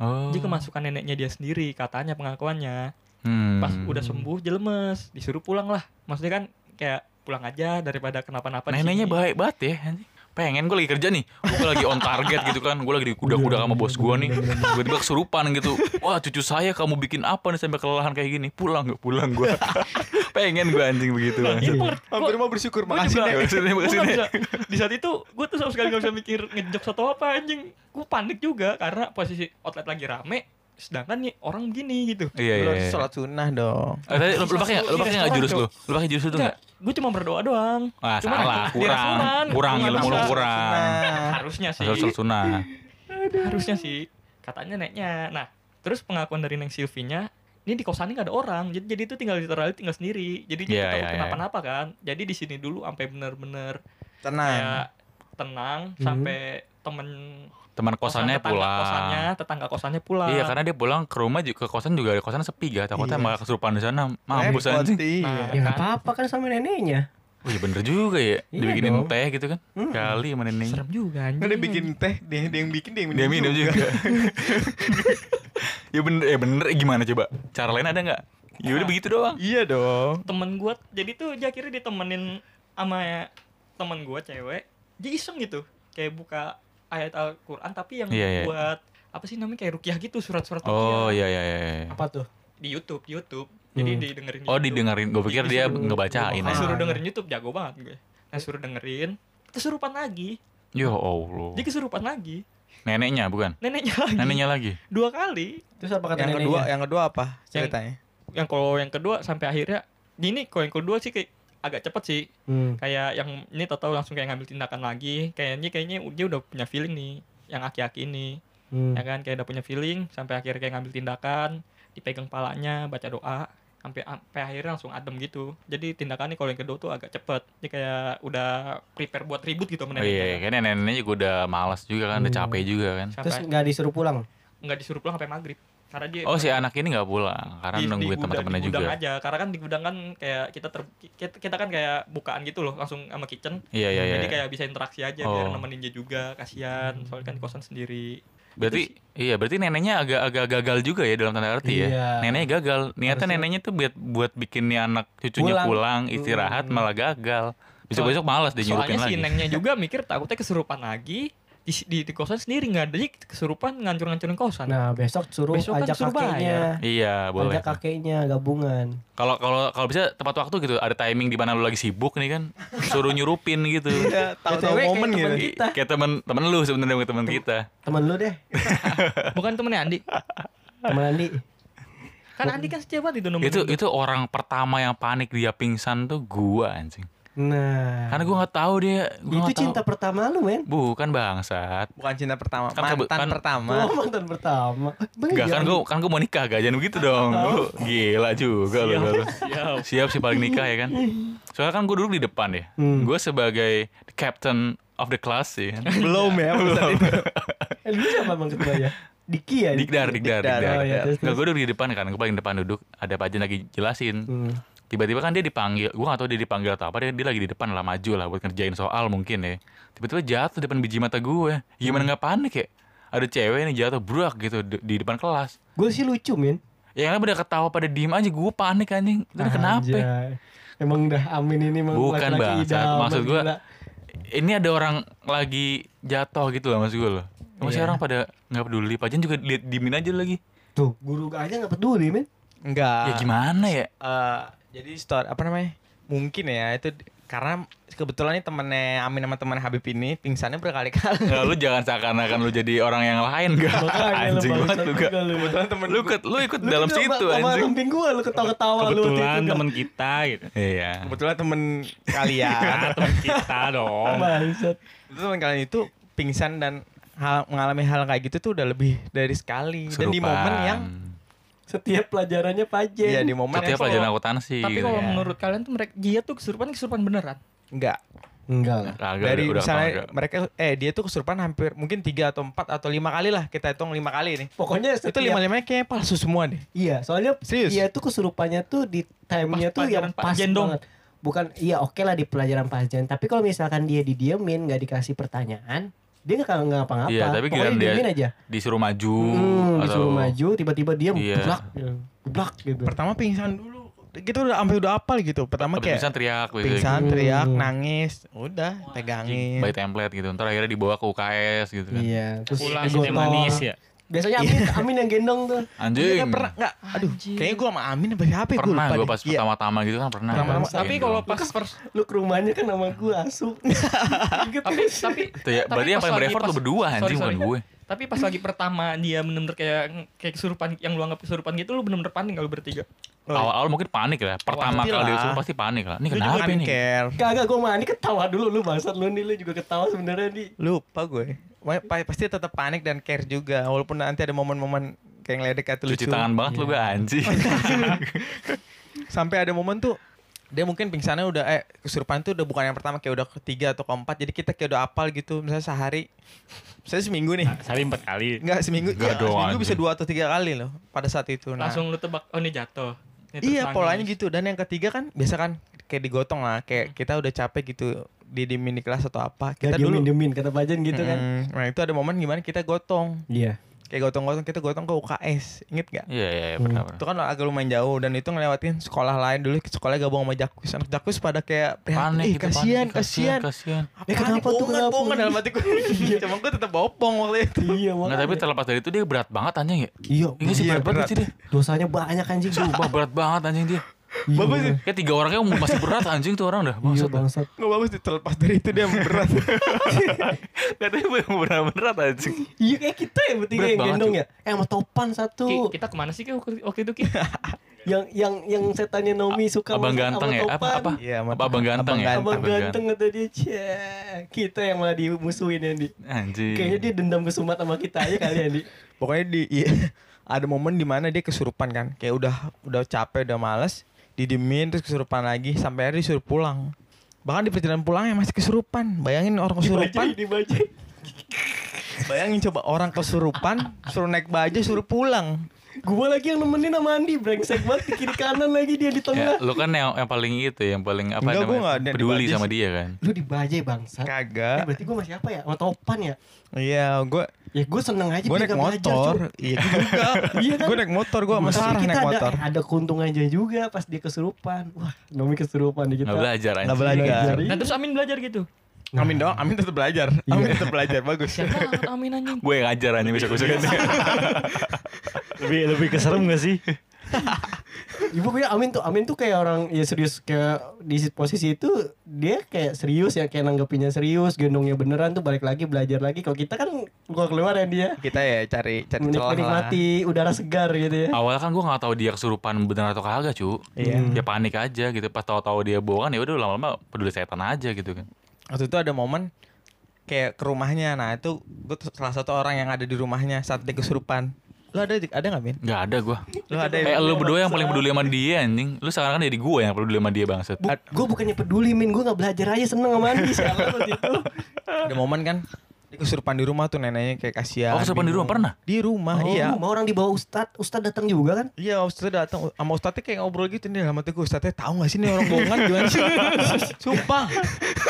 Oh.
dia kemasukan neneknya dia sendiri katanya pengakuannya
Hmm.
pas udah sembuh jelemes disuruh pulang lah maksudnya kan kayak pulang aja daripada kenapa-napa di
Neneknya
sini.
baik banget ya. anjing. Pengen gue lagi kerja nih, gue lagi on target gitu kan, gue lagi di kuda-kuda sama bos gue nih, tiba-tiba kesurupan gitu. Wah cucu saya kamu bikin apa nih sampai kelelahan kayak gini? Pulang gak pulang gue. [LAUGHS] Pengen gue anjing begitu. anjing.
Hampir mau bersyukur
Gua
makasih
juga-
Nek.
Makasih, Nek.
gua
Makasih,
nggak
Nek.
bisa-
[LAUGHS]
di saat itu gue tuh sama sekali gak bisa mikir ngejok atau apa anjing gue panik juga karena posisi outlet lagi rame sedangkan nih orang begini gitu
Iya
Lu
iya.
harus
iya.
sholat sunnah dong.
Eh, tadi lu, lu pakai nggak- lu pakai nggak jurus lu? Lu pakai jurus itu nggak?
gue cuma berdoa doang
Wah
Cuma
Ah, salah,
di
kurang,
rasulan.
kurang
Gua nggak
ilmu lu
bisa.
kurang.
Nah,
harusnya sih
Asal sunnah.
harusnya sih katanya neknya nah terus pengakuan dari neng Silvinya ini di kosannya nggak ada orang jadi jadi itu tinggal literally tinggal sendiri jadi dia
Iya,
nggak
iya,
tahu
iya. Nah.
kenapa-napa kan jadi di sini dulu sampai bener-bener
tenang. Eh,
kayak tenang
Mhm.
Hmm.
sampai temen
Teman kosannya
tetangga kosannya
pulang.
tetangga kosannya pulang
Iya karena dia pulang ke rumah juga ke kosan juga kosan sepi gak takutnya
Iya.
malah kesurupan di sana mampus
Repot,
anjing.
iya.
Nah,
Ya nggak apa-apa kan sama neneknya.
Oh iya bener juga ya
Iya
dibikinin
dong.
teh gitu kan
Hmm.
kali sama neneknya.
serem juga anjing
Nggak Kan dia bikin teh, dia, dia yang bikin, dia yang minum.
Dia minum juga. ya bener, ya bener gimana coba? Cara lain ada nggak? Ya udah begitu doang.
Iya dong.
temen gue jadi tuh dia akhirnya ditemenin sama ya, temen gue cewek dia iseng gitu kayak buka ayat Al-Quran tapi yang
Iya, iya.
buat apa sih namanya kayak rukiah gitu surat-surat
Oh
ruqyah.
iya iya iya.
Apa tuh?
di YouTube di YouTube jadi
Hmm.
didengerin
Oh
di YouTube.
didengerin, gue pikir dia
Disuruh-
ngebacain. ya.
Nah,
Ah.
aja.
suruh dengerin YouTube jago banget gue nah suruh dengerin kesurupan lagi
Ya Allah.
dia kesurupan lagi
Neneknya bukan?
neneknya lagi
Neneknya lagi.
dua kali
Terus apa kata
Yang
neneknya?
kedua, ya? yang kedua apa ceritanya?
yang kalau yang kedua sampai akhirnya ini kalau yang kedua sih kayak agak cepet sih
Hmm.
kayak yang ini tahu langsung kayak ngambil tindakan lagi kayaknya kayaknya dia udah punya feeling nih yang aki-aki ini
Hmm.
ya kan kayak udah punya feeling sampai akhirnya kayak ngambil tindakan dipegang palanya baca doa sampai sampai akhirnya langsung adem gitu jadi tindakannya kalau yang kedua tuh agak cepet dia kayak udah prepare buat ribut gitu
Oh,
menentukan
iya, kayaknya nenek-neneknya juga udah malas juga kan, udah
Hmm.
capek juga kan.
Terus
sampai
nggak disuruh pulang.
nggak disuruh pulang sampai maghrib karena dia
Oh si anak ini nggak pulang karena
di- di
nungguin
gudang-
teman-temannya
di
juga.
gudang aja karena kan di gudang kan kayak kita ter, kita, kita kan kayak bukaan gitu loh langsung sama kitchen
Iya iya iya.
Jadi kayak bisa interaksi aja biar
Oh.
nemenin dia juga, kasihan.
Hmm.
Soalnya kan di kosan sendiri.
Berarti iya berarti neneknya agak-agak gagal juga ya dalam tanda arti ya.
Iya.
Neneknya gagal. Niatnya
Harusnya-
neneknya tuh buat buat bikin nih anak cucunya
Pulang.
pulang, istirahat
Hmm.
malah gagal. Besok-besok malas dia nyurupin
Soalnya si
lagi. [LAUGHS]
nengnya juga mikir takutnya kesurupan lagi di di, di kosan sendiri nggak ada jadi kesurupan ngancur-ngancurin kosan.
Nah besok suruh
Besok kan
ajak
suruh
kakeknya.
Iya, boleh.
Ajak kakeknya gabungan.
Kalau kalau kalau bisa tepat waktu gitu, ada timing di mana lu lagi sibuk nih kan, suruh nyurupin gitu.
[LAUGHS]
Iya, tahu-tahu
BTW kayak
momen
temen
gitu.
kita.
Kayak teman-teman lu sebenarnya bukan teman kita.
Temen lu deh.
Bukan temennya Andi.
Temen Andi.
Kan Andi kan setia banget itu nemenin.
Itu itu orang pertama yang panik dia pingsan tuh gua anjing.
Nah.
Karena gua nggak tahu dia, Kan gua
itu
nggak tahu.
cinta pertama lu men.
Bukan bangsat.
Bukan cinta pertama,
Kan kebe-
mantan
kan-
pertama.
Lu mantan pertama. Bang,
Enggak kan gue
jangan.
kan gue mau nikah gak jangan begitu dong.
Oh.
Lu gila juga lu. lu.
Siap.
Siap sih paling nikah ya kan. Soalnya kan gue duduk di depan ya.
Hmm.
Gue sebagai captain of the class
[LAUGHS]
sih. Kan.
Belum ya, belum.
Eh, Lu siapa bang ketua ya? Diki ya?
Dikdar, dikdar,
Dikdar,
dikdar.
oh iya, terus,
Nggak, gue duduk di depan kan, gue paling depan duduk. Ada Pak Jen lagi jelasin.
Hmm.
Tiba-tiba kan dia dipanggil, gue gak tau dia dipanggil atau apa, dia, dia lagi di depan lah, maju lah buat ngerjain soal mungkin ya. Tiba-tiba jatuh depan biji mata gue.
Hmm.
Gimana nggak panik ya? Ada cewek nih jatuh brak gitu di- di depan kelas.
Gue sih lucu men.
Yang lain pada Ya, ketawa pada diem aja, gue panik anjing. Itu kenapa? ya?
Anjay. Emang dah Amin ini emang
Bukan,
laki-laki
Bang. Saat-
idaman,
maksud gua-
gila.
ini ada orang lagi jatuh gitu loh maksud gue loh masih
Iya.
orang pada nggak peduli pajan juga lihat dimin aja lagi
Tuh guru aja gak peduli men.
Enggak.
Ah.
ya gimana
[LAUGHS]
ya
Eh, jadi store apa namanya? Mungkin ya itu di- karena kebetulan nih temennya Amin sama teman Habib ini pingsannya berkali-kali.
Nggak, lu jangan seakan-akan lu jadi orang yang
[LAUGHS]
lain gak
Makanya lu
anjing banget lu
bangsat
gak
juga lu. ya.
Kebetulan temen
lu ikut lu ikut dalam
Lu
situ
sama
anjing
samping gua lu ketawa-ketawa Oh, lu.
Kebetulan teman kita gitu.
iya
kebetulan temen kalian.
Ah, teman kita dong.
Bangsat.
itu teman kalian itu pingsan dan hal, mengalami hal kayak gitu tuh udah lebih dari sekali dan di momen yang
Setiap pelajarannya pajak.
Iya di momen
Setiap
yang-
pelajaran akuntansi
Tapi
gitu
kalau
ya.
menurut kalian tuh mereka dia tuh kesurupan kesurupan beneran.
Iya,
enggak
Enggak lah.
Kagak,
dari
udah,
misalnya
kagak.
mereka eh dia tuh kesurupan hampir mungkin tiga atau empat atau lima kali lah kita hitung lima kali nih
Pokoknya
itu
setiap
lima limanya kayaknya palsu semua deh
Iya, soalnya
Serius?
dia tuh kesurupannya tuh di
Pas
time-nya tuh yang
pelajaran Pak
pas
Jendong.
banget. Bukan, iya oke lah di pelajaran pasjen. Tapi kalau misalkan dia didiemin, nggak dikasih pertanyaan, dia nggak nggak ngapa-ngapa.
Iya, tapi
Pokoknya
giliran dia-
didiemin aja.
disuruh maju atau
Hmm, disuruh maju, tiba-tiba dia
Iya.
blak, blak gitu.
pertama pingsan dulu gitu udah sampai udah apal gitu pertama
Habis
kayak
pingsan teriak gitu.
pingsan iya.
gitu.
teriak
Hmm.
nangis udah pegangin
By template gitu. Ntar akhirnya dibawa ke UKS gitu kan.
Iya, terus
pulang
digotong.
teh manis ya
Biasanya Amin, Amin yang gendong tuh.
Anjing.
Iya pernah enggak? Aduh, kayaknya gue sama Amin apa siapa ya, gua
pernah
lupa
gue
deh.
pas
Iya.
pertama-tama gitu kan pernah.
Pertama-tama.
Kan,
tapi
gitu.
kalau pas first
Lu ke rumahnya kan sama gua
[LAUGHS]
asu.
tapi tapi
Itu ya, berarti yang
pas
paling
lagi-
berefort tuh
pas-
berdua anjing
sorry,
bukan
sorry.
gue.
tapi pas lagi pertama dia bener-bener kayak kayak kesurupan yang lu anggap kesurupan gitu lu bener-bener panik kalau bertiga.
Oh,
Awal-awal mungkin panik lah. Pertama
pasti
kali
lah.
diusung pasti panik lah. Ini
Lu juga
kenapa
kan
nih?
care.
Kagak gua mandi ketawa dulu lu bangsat lu nih lu juga ketawa sebenarnya nih.
Lupa gue. Wa- pa- Pasti tetap panik dan care juga walaupun nanti ada momen-momen kayak ngeledek atau
Cuci
lucu. Iya.
tangan banget lu gue
[LAUGHS]
anjing.
Sampai ada momen tuh dia mungkin pingsannya udah eh kesurupan tuh udah bukan yang pertama kayak udah ketiga atau keempat jadi kita kayak udah apal gitu misalnya sehari saya seminggu nih
sehari empat kali
nggak seminggu
Nggak
iya,
dong,
seminggu bisa
anjing.
dua atau tiga kali loh pada saat itu nah,
Langsung lu tebak oh ini jatuh. Ini terus
Iya
nangis.
polanya gitu dan yang ketiga kan biasa kan kayak digotong lah kayak kita udah capek gitu di di mini kelas atau apa kita
Gak
dulu
diemin-diemin kata pajan gitu kan.
Mm, nah itu ada momen gimana kita gotong
Iya.
kayak gotong-gotong kita gotong ke UKS inget gak?
Iya iya iya, pernah pernah.
Itu kan agak lumayan jauh dan itu ngelewatin sekolah lain dulu sekolah gabung sama Jakus anak Jakus pada kayak prihatin
Panik
"Ih,
gitu, panik.
kasihan kasihan
kasihan.
apa
Eh, kenapa tuh, kenapa?
bohongan dalam [LAUGHS] hati gue Iya. cuma gue tetap bopong waktu itu
Iya,
Nggak, tapi
makanya.
terlepas dari itu dia berat banget anjing ya.
Iya,
Ini sih
Iya,
berat banget
berat.
sih dia.
dosanya banyak anjing
[LAUGHS] Sumpah berat banget anjing dia.
bagus sih
Kayak tiga orangnya masih berat anjing tuh orang dah.
Iya
Maksud
bangsat.
nggak bagus sih, terlepas dari itu dia
[LAUGHS]
berat
katanya berat-berat anjing.
Iya kayak kita ya bertiga
Berat
yang
banget,
gendong ya. Eh sama Topan satu.
Ki, kita kemana sih Ki waktu waktu itu Ki?
Yang yang yang setannya Naomi suka
Abang
masak
ganteng
sama
ya? Apa
Topan.
apa?
Iya,
Apa
mantap.
abang ganteng
Abang
ya?
Abang ganteng kata dia "Cie, Kita yang malah dimusuhin Andi
Anjing.
Kayaknya dia dendam ke Sumat sama kita aja kali ya, Andi
pokoknya di iya, ada momen dimana dia kesurupan kan kayak udah udah capek udah males didemin terus kesurupan lagi sampai akhirnya disuruh pulang bahkan di perjalanan pulangnya masih kesurupan bayangin
Iya,
orang kesurupan
Dibajak, dibajak
bayangin coba orang kesurupan suruh naik bajaj suruh pulang
Gue lagi yang nemenin sama Andi Brengsek banget ke kiri kanan lagi dia di
Ya,
tengah
lu kan yang, yang paling itu, yang paling apa
Enggak, gua nggak ada
namanya?
yang
Peduli
dibajak
sama
sih.
dia kan.
Lu dibajak bangsa Eh
kagak
berarti gue masih apa ya? Sama Topan ya?
iya gue
Ya gue seneng aja
gue
dia
naik
nggak bajak,
motor iya juga
Iya kan?
gue naik motor gue sama
Maksudnya
Sarah
kita
naik
ada,
motor
Ada keuntungannya juga pas dia kesurupan. Wah, Nomi kesurupan di kita.
Nggak belajar anjing.
nggak belajar
Nah terus Amin belajar gitu.
Amin doang Amin tetap belajar Amin tetap belajar bagus
Siapa Amin anjing?
Gue yang ngajar anjing kan. bisa
[LAUGHS]
kusuk
lebih lebih keserem gak sih
Ibu punya Amin tuh, Amin tuh kayak orang ya serius kayak di posisi itu dia kayak serius ya kayak nanggepinnya serius, gendongnya beneran tuh balik lagi belajar lagi. Kalau kita kan keluar keluar ya dia
kita ya cari cari
menik-
celah lah
menikmati udara segar gitu ya.
Awalnya kan gue nggak tahu dia kesurupan bener atau kagak cu.
Iya.
Ya panik aja gitu. Pas tahu-tahu dia bohongan ya udah lama-lama peduli setan aja gitu kan.
waktu itu ada momen kayak ke rumahnya nah itu gue salah satu orang yang ada di rumahnya saat dia kesurupan lo ada ada nggak min
Nggak ada gue.
lo ada
Eh lu berdua yang paling
bangsa.
peduli sama dia anjing. Lu sekarang kan jadi gue yang peduli sama dia bangset.
Gue bukannya peduli min, gue nggak belajar aja seneng sama Andi siapa waktu itu.
[LAUGHS] ada momen kan dia kesurupan di rumah tuh neneknya kayak kasihan
Oh, kesurupan di
bingung.
rumah pernah?
di rumah
Oh,
iya
Mau orang dibawa Ustad, Ustad datang juga kan?
Iya Ustadz datang sama Ustadz kayak ngobrol gitu nih sama gue Ustadz tahu gak sih nih orang bohongan gimana sih [LAUGHS] Sumpah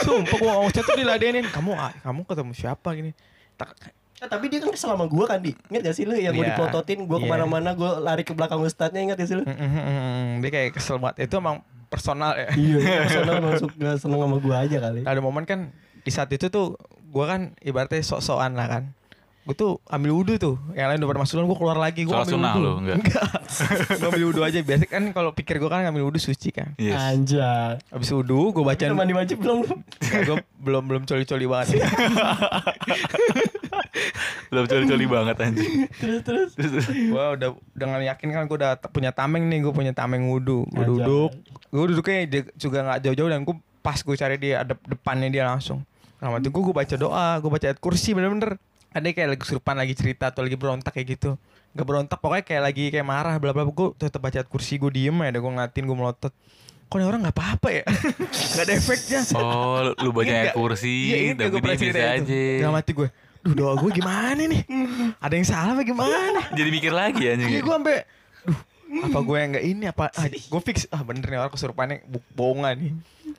Sumpah gue sama Ustadz tuh diladenin Kamu ah, kamu ketemu siapa gini Tak-
Eh, tapi dia kan kesel sama gue kan di, ingat gak sih lu yang gue
Iya.
dipelototin, gue
Iya.
kemana-mana, gue lari ke belakang Ustadnya ingat gak sih lu?
Mm, mm, mm, mm. Dia kayak kesel banget Itu emang personal ya
[LAUGHS] iya, personal masuk gak seneng sama gue aja kali.
Ada momen kan di saat itu tuh gue kan ibaratnya sok-sokan lah kan Gue tuh ambil wudhu tuh Yang lain udah pada masuk gue keluar lagi Gue
Sholat
ambil
sunnah
wudhu
lu, enggak?
Gue ambil wudhu aja Biasanya kan kalau pikir gue kan ngambil wudhu suci kan
Yes.
Anjay.
Abis wudhu gue
Tapi
bacaan
mandi wajib
[LAUGHS]
belum lu?
Gue belum belum coli-coli banget
Lu coli-coli banget
[LAUGHS]
anjing.
Terus terus.
Terus, terus.
gue udah dengan yakin kan gue udah t- punya tameng nih gue punya tameng wudhu gue
Anjay.
duduk gue duduknya dia juga nggak jauh-jauh dan gue pas gue cari dia ada depannya dia langsung nah waktu itu gue baca doa gue baca ayat kursi bener-bener ada kayak lagi kesurupan lagi cerita atau lagi berontak kayak gitu nggak berontak pokoknya kayak lagi kayak marah bla bla gue tetap baca kursi gue diem ya gue ngatin gue melotot kok ini orang nggak apa apa ya [LAUGHS] nggak ada efeknya
Oh, lu- lu baca
Ingat
ayat
nggak? Iya,
kursi, gitu,
ingat nggak gua
tapi dia
pernah cerita
biasa
itu?
aja.
Dalam mati gue duh doa gue gimana nih ada yang salah apa gimana
Jadi mikir lagi anjing.
Iya gue sampai duh
Hmm.
apa gue yang nggak ini apa ah, gue fix ah bener nih orang kesurupannya bu- bohongan nih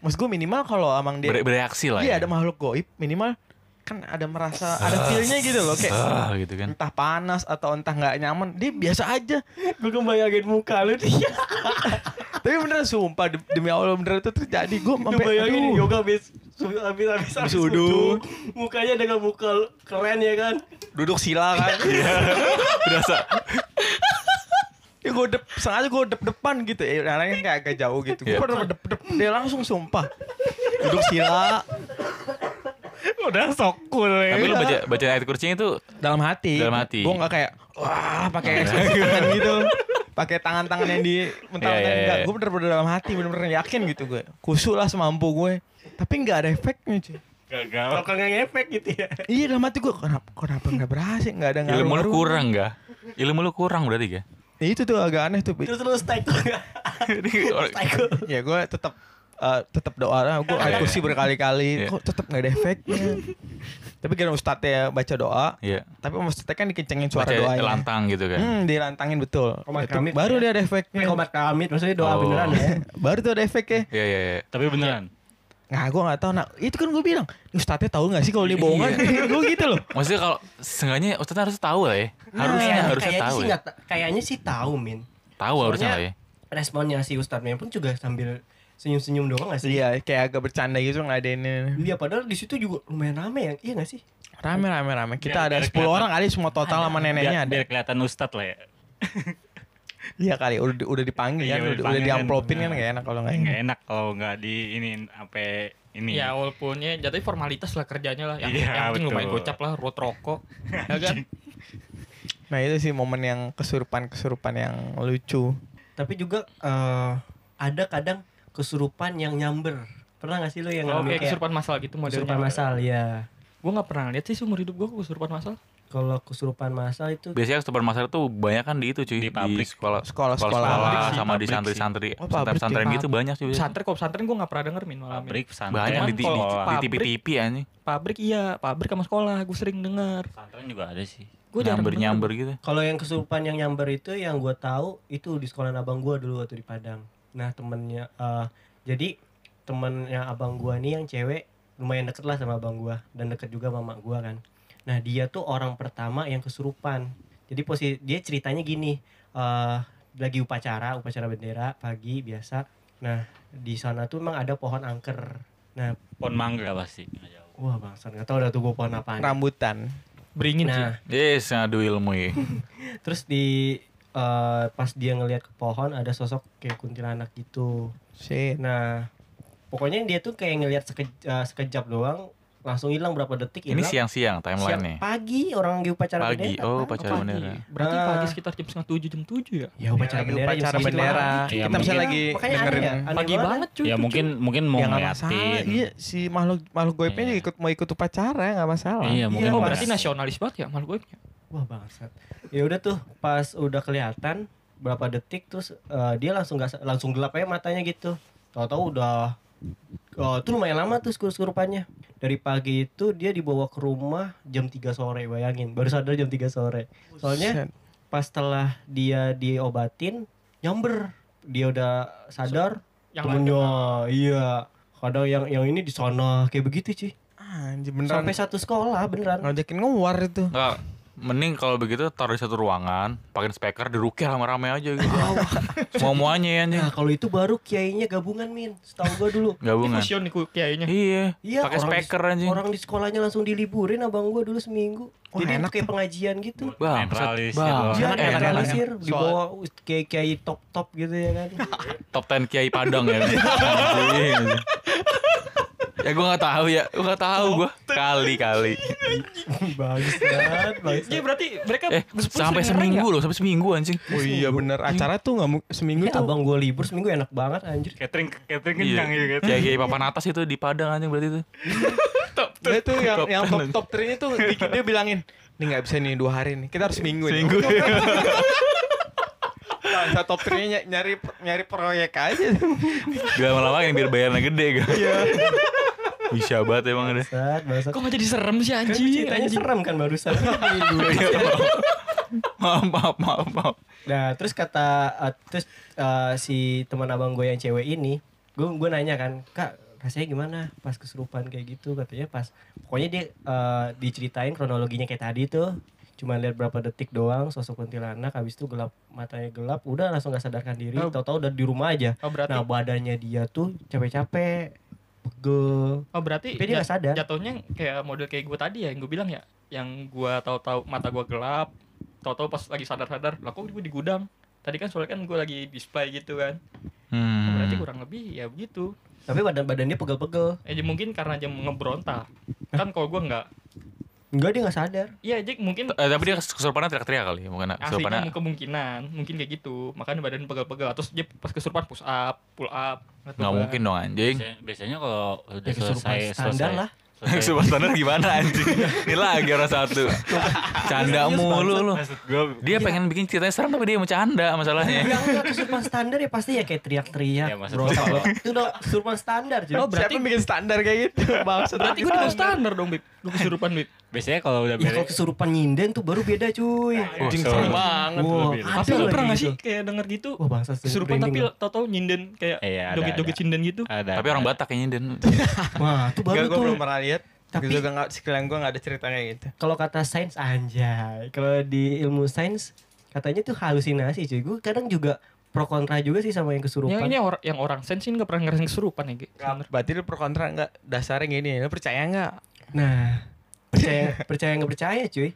mas gue minimal kalau amang dia
Bere- bereaksi lah.
dia
ya.
ada makhluk goib minimal kan ada merasa ada feelnya gitu loh kayak
Ah, gitu kan.
entah panas atau entah nggak nyaman dia biasa aja
Gue kebayangin muka lu
Iya,
dia.
tapi bener sumpah dem- demi allah bener itu terjadi gue sampai
Kebayangin
aduh.
yoga habis habis habis habis
wudhu.
wudhu. Mukanya dengan muka lu- keren ya kan.
duduk sila
[LAUGHS]
kan
Iya. Berasa.
ya gue dep sengaja gue dep depan gitu ya yang lain kayak agak jauh gitu gue
Iya.
pernah dep dep dia langsung sumpah duduk sila
Udah sok cool ya.
Tapi lu baca baca ayat kursinya itu
dalam hati
Dalam hati. Iya.
gue nggak kayak wah pakai ekspresi [LAUGHS] tangan gitu pakai tangan-tangan yang di mentah-mentah
Iya, iya,
enggak
iya.
gue bener-bener dalam hati bener-bener yakin gitu gue kusuk lah semampu gue tapi nggak ada efeknya cuy
Kalau kagak ngefek gitu ya.
iya dalam hati gue kenapa kenapa nggak berhasil nggak ada
ilmu lu
ngaruh-ngaruh."
kurang gak? Ilmu lu kurang berarti gak?
Ya, itu tuh agak aneh tuh Bi.
Terus lu stack lu nggak? Stack lu.
ya gue tetap eh, tetap doa lah gue ayat kursi berkali-kali
Iya.
kok tetap nggak ada efeknya tapi karena ustadznya baca doa
Iya.
tapi ustadznya kan dikencengin suara
Baca
doanya
lantang gitu kan.
hmm, dilantangin betul
Komat
Itu
kamit
baru
ya.
dia ada efeknya
Komat kamit maksudnya doa
Oh.
beneran ya.
Iya. baru tuh ada efeknya
Iya iya iya.
Tapi beneran.
Nah gue gak tau nah, Itu kan gue bilang Ustadznya tahu gak sih kalau dia bohongan
Iya.
[LAUGHS] Gue gitu loh
Maksudnya kalau seenggaknya Ustaz harus tahu lah ya. [LAUGHS] Harusnya
Nah,
harusnya
kayaknya
tahu.
sih
Ya.
nggak ta- kayaknya sih tahu min.
Tahu harusnya lah ya.
Responnya si Ustadznya pun juga sambil senyum-senyum doang gak sih?
Iya kayak agak bercanda gitu ngadainnya
Iya padahal di situ juga lumayan rame ya, iya gak sih?
Rame rame rame Kita ada
Biar-
10
biar kelihatan.
orang kali semua total sama neneknya
Biar,
ada
biar kelihatan ustad lah ya.
Iya kali udah, udah dipanggil
Iya,
kan
udah
Udah, udah
dipanggil kan. Iya.
diamplopin kan gak enak kalau gak
Nggak
Iya.
enak
enak kalau nggak di ini apa ini.
Ya walaupun ya jatuhnya formalitas lah kerjanya lah. Yang,
Iya,
yang penting
betul.
lumayan gocap lah, ruwet rokok. ya kan?
Nah itu sih momen yang kesurupan-kesurupan yang lucu
Tapi juga eh, ada kadang kesurupan yang nyamber. Pernah gak sih lu yang
Oh,
ngalamin
kayak kesurupan masalah gitu modelnya.
Iya. kesurupan masal ya?
Gue nggak pernah lihat sih seumur hidup gue kesurupan masal.
Kalau kesurupan masal itu
Biasanya kesurupan masyarakat tuh banyak kan di itu cuy di,
Di pabrik.
sekolah
Sekolah-sekolah
sekolah sama
sih,
di
pabrik sih.
santri-santri
Oh, pabrik sih,
pesantren-pesantren gitu banyak sih biasanya.
Pesantren kok pesantren gue nggak pernah denger min malam.
pabrik pesantren. Kan
banyak di, di, di,
sekolah.
di TV-TV anjing
Pabrik iya, pabrik sama sekolah gue sering denger.
Pesantren juga ada sih.
Gue jarang
nyamber
denger.
nyamber gitu
Kalau yang kesurupan yang nyamber itu yang gue tahu itu di sekolah abang gue dulu waktu di Padang. Nah temennya, eh, jadi temennya abang gue nih yang cewek lumayan deket lah sama abang gue dan deket juga sama mak gue kan. Nah dia tuh orang pertama yang kesurupan. Jadi posisi dia ceritanya gini, eh, lagi upacara upacara bendera pagi biasa. Nah di sana tuh emang ada pohon angker.
Pohon mangga pasti.
Wah bangsa nggak tahu dah tuh gue pohon apaan.
Rambutan
Beringin ah. sih.
Nah
yes ngadu ilmu ya
Terus di eh, pas dia ngelihat ke pohon ada sosok kayak kuntilanak gitu.
Shit
Nah, pokoknya dia tuh kayak ngelihat seke- eh, sekejap doang, langsung hilang berapa detik
ini
hilang.
siang-siang timelinenya
pagi orang lagi upacara
pagi
bendera. kan?
oh
Pak.
pacar
Pagi.
bendera
Berarti
Ah.
pagi sekitar jam setengah tujuh jam tujuh ya.
Ya upacara
Lagi
bendera, jam
upacara
segitu
bendera.
malam.
Iya,
Kita bisa
Iya,
lagi
makanya aneh
dengerin
ya, aneh
Pagi
banget.
banget cuy.
Ya
itu, cuy.
mungkin mungkin mau
ya nggak masalah
ngeliatin.
iya si makhluk makhluk goibnya
Iya.
juga ikut mau ikut upacara nggak masalah
Iya, mungkin
Oh
mau
berarti
ngeliatin.
nasionalis banget ya malu gue.
Wah bangsat. Ya udah tuh pas udah kelihatan berapa detik terus eh, dia langsung gak, langsung gelap aja matanya gitu. Tahu-tahu udah eh, tuh lumayan lama tuh sekurup-sekurupannya. Dari pagi itu dia dibawa ke rumah jam 3 sore bayangin. Baru sadar jam 3 sore. Soalnya
Buset.
pas setelah dia diobatin nyamber. Dia udah sadar
Yang
temennya iya. Kadang yang yang ini di sana kayak begitu sih.
anjir beneran
Sampai satu sekolah beneran.
ngajakin ngewar itu
enggak mending kalau begitu taruh di satu ruangan pakai speaker dirukir rame-rame aja gitu mau muanya ya anjing
Nah kalau itu baru kiainya gabungan min, setahu gua dulu.
Ini
gabungan
fusion nih ku- kiainya.
iya pakai
Iya, orang di-
speaker anjing
Orang di sekolahnya langsung diliburin abang gua dulu seminggu.
Wah,
Jadi
enak
kayak pengajian gitu.
bang
Netralis ya,
bang
Dia
Bang.
Oh, enak,
enak
enak.
realisir dibawa kiai kiai top top gitu ya kan.
top 10 kiai padang ya Anjing, anjing. ya gue nggak tahu ya gue nggak tahu gue kali kali
bagus banget, bagus.
Iya berarti mereka
eh sampai seminggu loh sampai seminggu anjing
oh iya bener acara tuh nggak mu- seminggu tuh
Ya, abang gua libur seminggu enak banget anjir.
Catering catering
Iya.
kencang gitu.
Kayak kayak papan atas itu di Padang anjing berarti itu.
dia tuh yang
Top
yang
ten.
[LAUGHS] top top 3 tuh di- dia bilangin Ini nggak bisa nih dua hari nih. Kita harus minggu. nih. [LAUGHS]
Seminggu.
Bangsa top three nya nyari nyari proyek aja.
Gak lama-lama yang biar bayarnya gede kan. Bisa banget emang deh.
Set, bahasa
Kok nggak jadi serem sih
Kan
anjing?
ceritanya
anjing.
serem kan barusan.
Iya, maaf, maaf, maaf, maaf.
nah, terus kata eh, terus eh, si teman abang gue yang cewek ini, gue gue nanya kan, "Kak, rasanya gimana pas kesurupan kayak gitu?" Katanya pas pokoknya dia eh, diceritain kronologinya kayak tadi tuh. Cuma lihat berapa detik doang sosok kuntilanak habis itu gelap matanya gelap udah langsung gak sadarkan diri
Oh.
tahu-tahu udah di rumah aja
Oh berarti
nah badannya dia tuh capek-capek pegel
Oh berarti
tapi dia
jat-
gak sadar
jatuhnya kayak model kayak gue tadi ya yang gue bilang ya, yang gue tahu-tahu mata gue gelap, tahu-tahu pas lagi sadar-sadar, lah kok gue di gudang. Tadi kan soalnya kan gue lagi display gitu kan. Oh,
Hmm.
Berarti kurang lebih ya begitu.
tapi badan badannya pegel-pegel
Eh mungkin karena jam ngebrontak. Kan kalau gue nggak,
enggak dia nggak sadar
iya Jack mungkin
Eh, tapi dia kesurupannya teriak-teriak kali,
aslinya
bukan kesurupannya.
kemungkinan mungkin kayak gitu makanya badan pegel-pegel terus dia pas kesurupan push up pull up gitu kan. atau
Nggak
apa.
mungkin dong anjing.
Biasanya, biasanya kalau udah
Ya, kesurupan
selesai
standar
selesai,
lah.
selesai
Kesurupan standar gimana anjing? Ini lagi orang satu. Canda mulu lu.
Iya.
Dia pengen bikin ceritanya serem tapi dia mau canda masalahnya.
Yang enggak kesurupan standar ya pasti ya kayak teriak-teriak.
Ya, maksud
bro,
gua
Bro. itu udah kesurupan standar cuy.
Oh, berarti-
siapa bikin standar kayak [LAUGHS] gitu? Bangsa
berarti gue di bawah standar dong bib gue kesurupan bib
biasanya kalau udah
Iya,
ya, kalau
beres
kesurupan nyinden tuh baru beda cuy.
Anjing
Wah,
serem
serem.
banget.
Wah,
beda.
ada
tapi lu
lagi
pernah nggak sih
gitu.
kayak denger gitu
Wah bangsa
kesurupan tapi tau-tau nyinden kayak
Iya, ada,
joget-joget
ada.
sinden gitu
Ah,
ada
Tapi orang Batak kayaknya dan
gitu. Wah itu baru
Enggak, gue
tuh.
belum pernah lihat. Tapi
Tapi-
juga nggak sekalian gue nggak ada cerita kayak gitu.
Kalau kata sains anjay. Kalau di ilmu sains katanya tuh halusinasi cuy. Gue kadang juga pro kontra juga sih sama yang
yang
kesurupan.
ini or- yang orang sensin nggak pernah ngerasain kesurupan ya Ge. Bener.
Berarti lu pro kontra nggak dasarnya gini? Lu percaya nggak?
Nah percaya percaya nggak percaya cuy.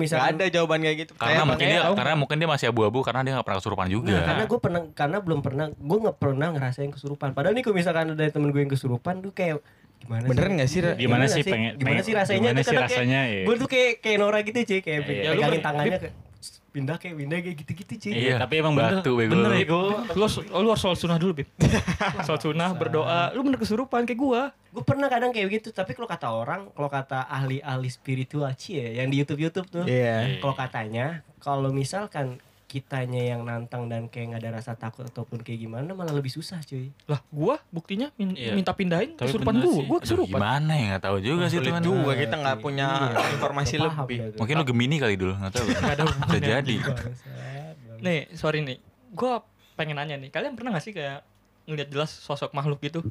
Nggak
misalkan
ada jawaban kayak gitu.
karena
Percaya
mungkin
apa
dia
nggak?
karena mungkin dia masih abu-abu karena dia nggak pernah kesurupan juga.
Nah, karena gue pernah karena belum pernah gue nggak pernah ngerasain kesurupan. Padahal nih kalau misalkan ada temen gue yang kesurupan, tuh kayak gimana?
Beneran
sih?
nggak sih? Ra?
gimana sih
sih?
pengen
Gimana
pengen-
sih rasanya?
gimana
Itu
sih
kadang kayak-
rasanya ya.
Gue tuh kayak kayak Nora gitu cuy, kayak
Iya, iya.
pe-
Ya, lu
pegangin
ber-
tangannya kayak "Sss, pindah kayak pindah kayak gitu-gitu cuy.
Iya, tapi emang bener. iya.
batu bego.
bener ya gue lu harus lu harus sholat sunnah
[LAUGHS]
dulu bib sholat sunnah berdoa lu bener kesurupan kayak gue
Gue pernah kadang kayak gitu, tapi kalau kata orang, kalau kata ahli-ahli spiritual cuy ya, yang di YouTube-YouTube tuh,
Iya.
kalau katanya kalau misalkan kitanya yang nantang dan kayak nggak ada rasa takut ataupun kayak gimana malah lebih susah cuy.
lah gue buktinya min-
Iya.
minta pindahin
Tapi
kesurupan
bener
gue
sih.
gue
Aduh,
kesurupan
gimana ya nggak tahu juga sih
Sulit
teman.
juga
Nah,
kita nggak
cuy.
punya informasi
nggak paham
lebih.
dia tuh.
Mungkin lu gemini kali dulu nggak tahu.
Nggak ada
Bisa
hubungannya.
jadi.
Bangsat, bangsat.
Nih, sorry nih. Gue pengen nanya nih. Kalian pernah gak sih kayak ngeliat jelas sosok makhluk gitu?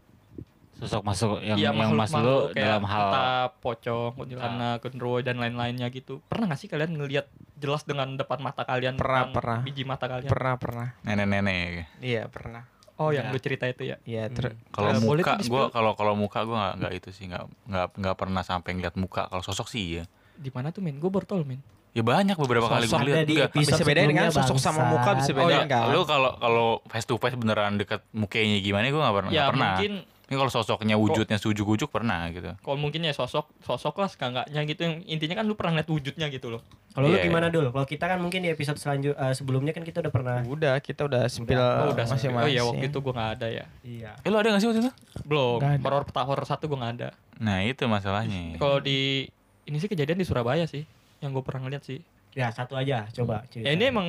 sosok masuk yang
Iya,
yang masuk lu
makhluk-makhluk kayak
dalam hal Ah.
Kata pocong, kuntilanak, genderuwo dan lain-lainnya gitu. Pernah gak sih kalian ngeliat jelas dengan depan mata kalian?
Pernah,
dengan
pernah.
Biji mata kalian?
Pernah pernah.
Nenek-nenek.
Iya pernah.
oh, yang
Pernah.
gue cerita itu ya.
Iya ter.
Kalau
Eh, boleh tuh
muka gue
di-spill.
kalau kalau muka gue nggak nggak itu sih nggak nggak nggak pernah sampai ngeliat muka. Kalau sosok sih ya.
Di mana tuh, men? Gue baru tau, men.
Ya banyak beberapa kali gue
Sosok
lihat.
ada di
Nggak.
episode
Bisa bedain kan
sebelumnya,
sosok sama
bangsat.
muka bisa
Oh,
Oh
bedain
ya,
kan?
lu kalau kalau face to face beneran deket mukanya gimana gue nggak pernah.
ya,
nggak pernah.
mungkin
Ini kalau sosoknya wujudnya sujuk-ujuk pernah gitu.
kalau mungkin ya sosok sosok lah seenggaknya gitu yang intinya kan lu pernah lihat wujudnya gitu loh
Kalau
Iya,
lu gimana dul? Kalau kita kan mungkin di episode selanjutnya sebelumnya kan kita udah pernah.
Udah kita udah spill
oh, udah
Eh, masing-masing.
oh iya waktu itu gue nggak ada ya
Iya.
Eh lu ada gak sih waktu itu?
belum
Nggak ada.
horor petahor satu gue nggak ada
Nah itu
Iya.
masalahnya.
Kalau di ini sih kejadian di Surabaya sih, yang gue pernah ngeliat sih.
Ya satu aja
Hmm.
coba cerita.
Ya
Iya.
ini emang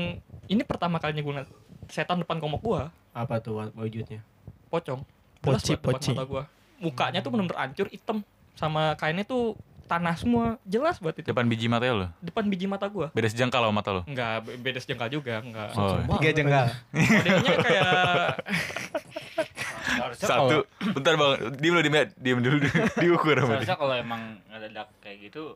ini pertama kalinya gue ngeliat setan depan komok gue,
apa tuh wa- wujudnya?
pocong. Jelas
Poci
banget depan
poci.
mata gua. Mukanya tuh bener-bener hancur, hitam, sama kainnya tuh tanah semua, jelas buat itu
Depan biji mata lu.
depan biji mata gua.
Beda sejengkal sama mata lu.
Enggak, be- beda sejengkal juga, enggak.
Oh.
Tiga jenggal.
ya?
Modelnya
[LAUGHS]
kayak
Harusnya kalau-
Satu. Bentar Bang, diem lu diem, ya. diem dulu [LAUGHS] diukur sama dia.
Seharusnya kalau emang ngedadak kayak gitu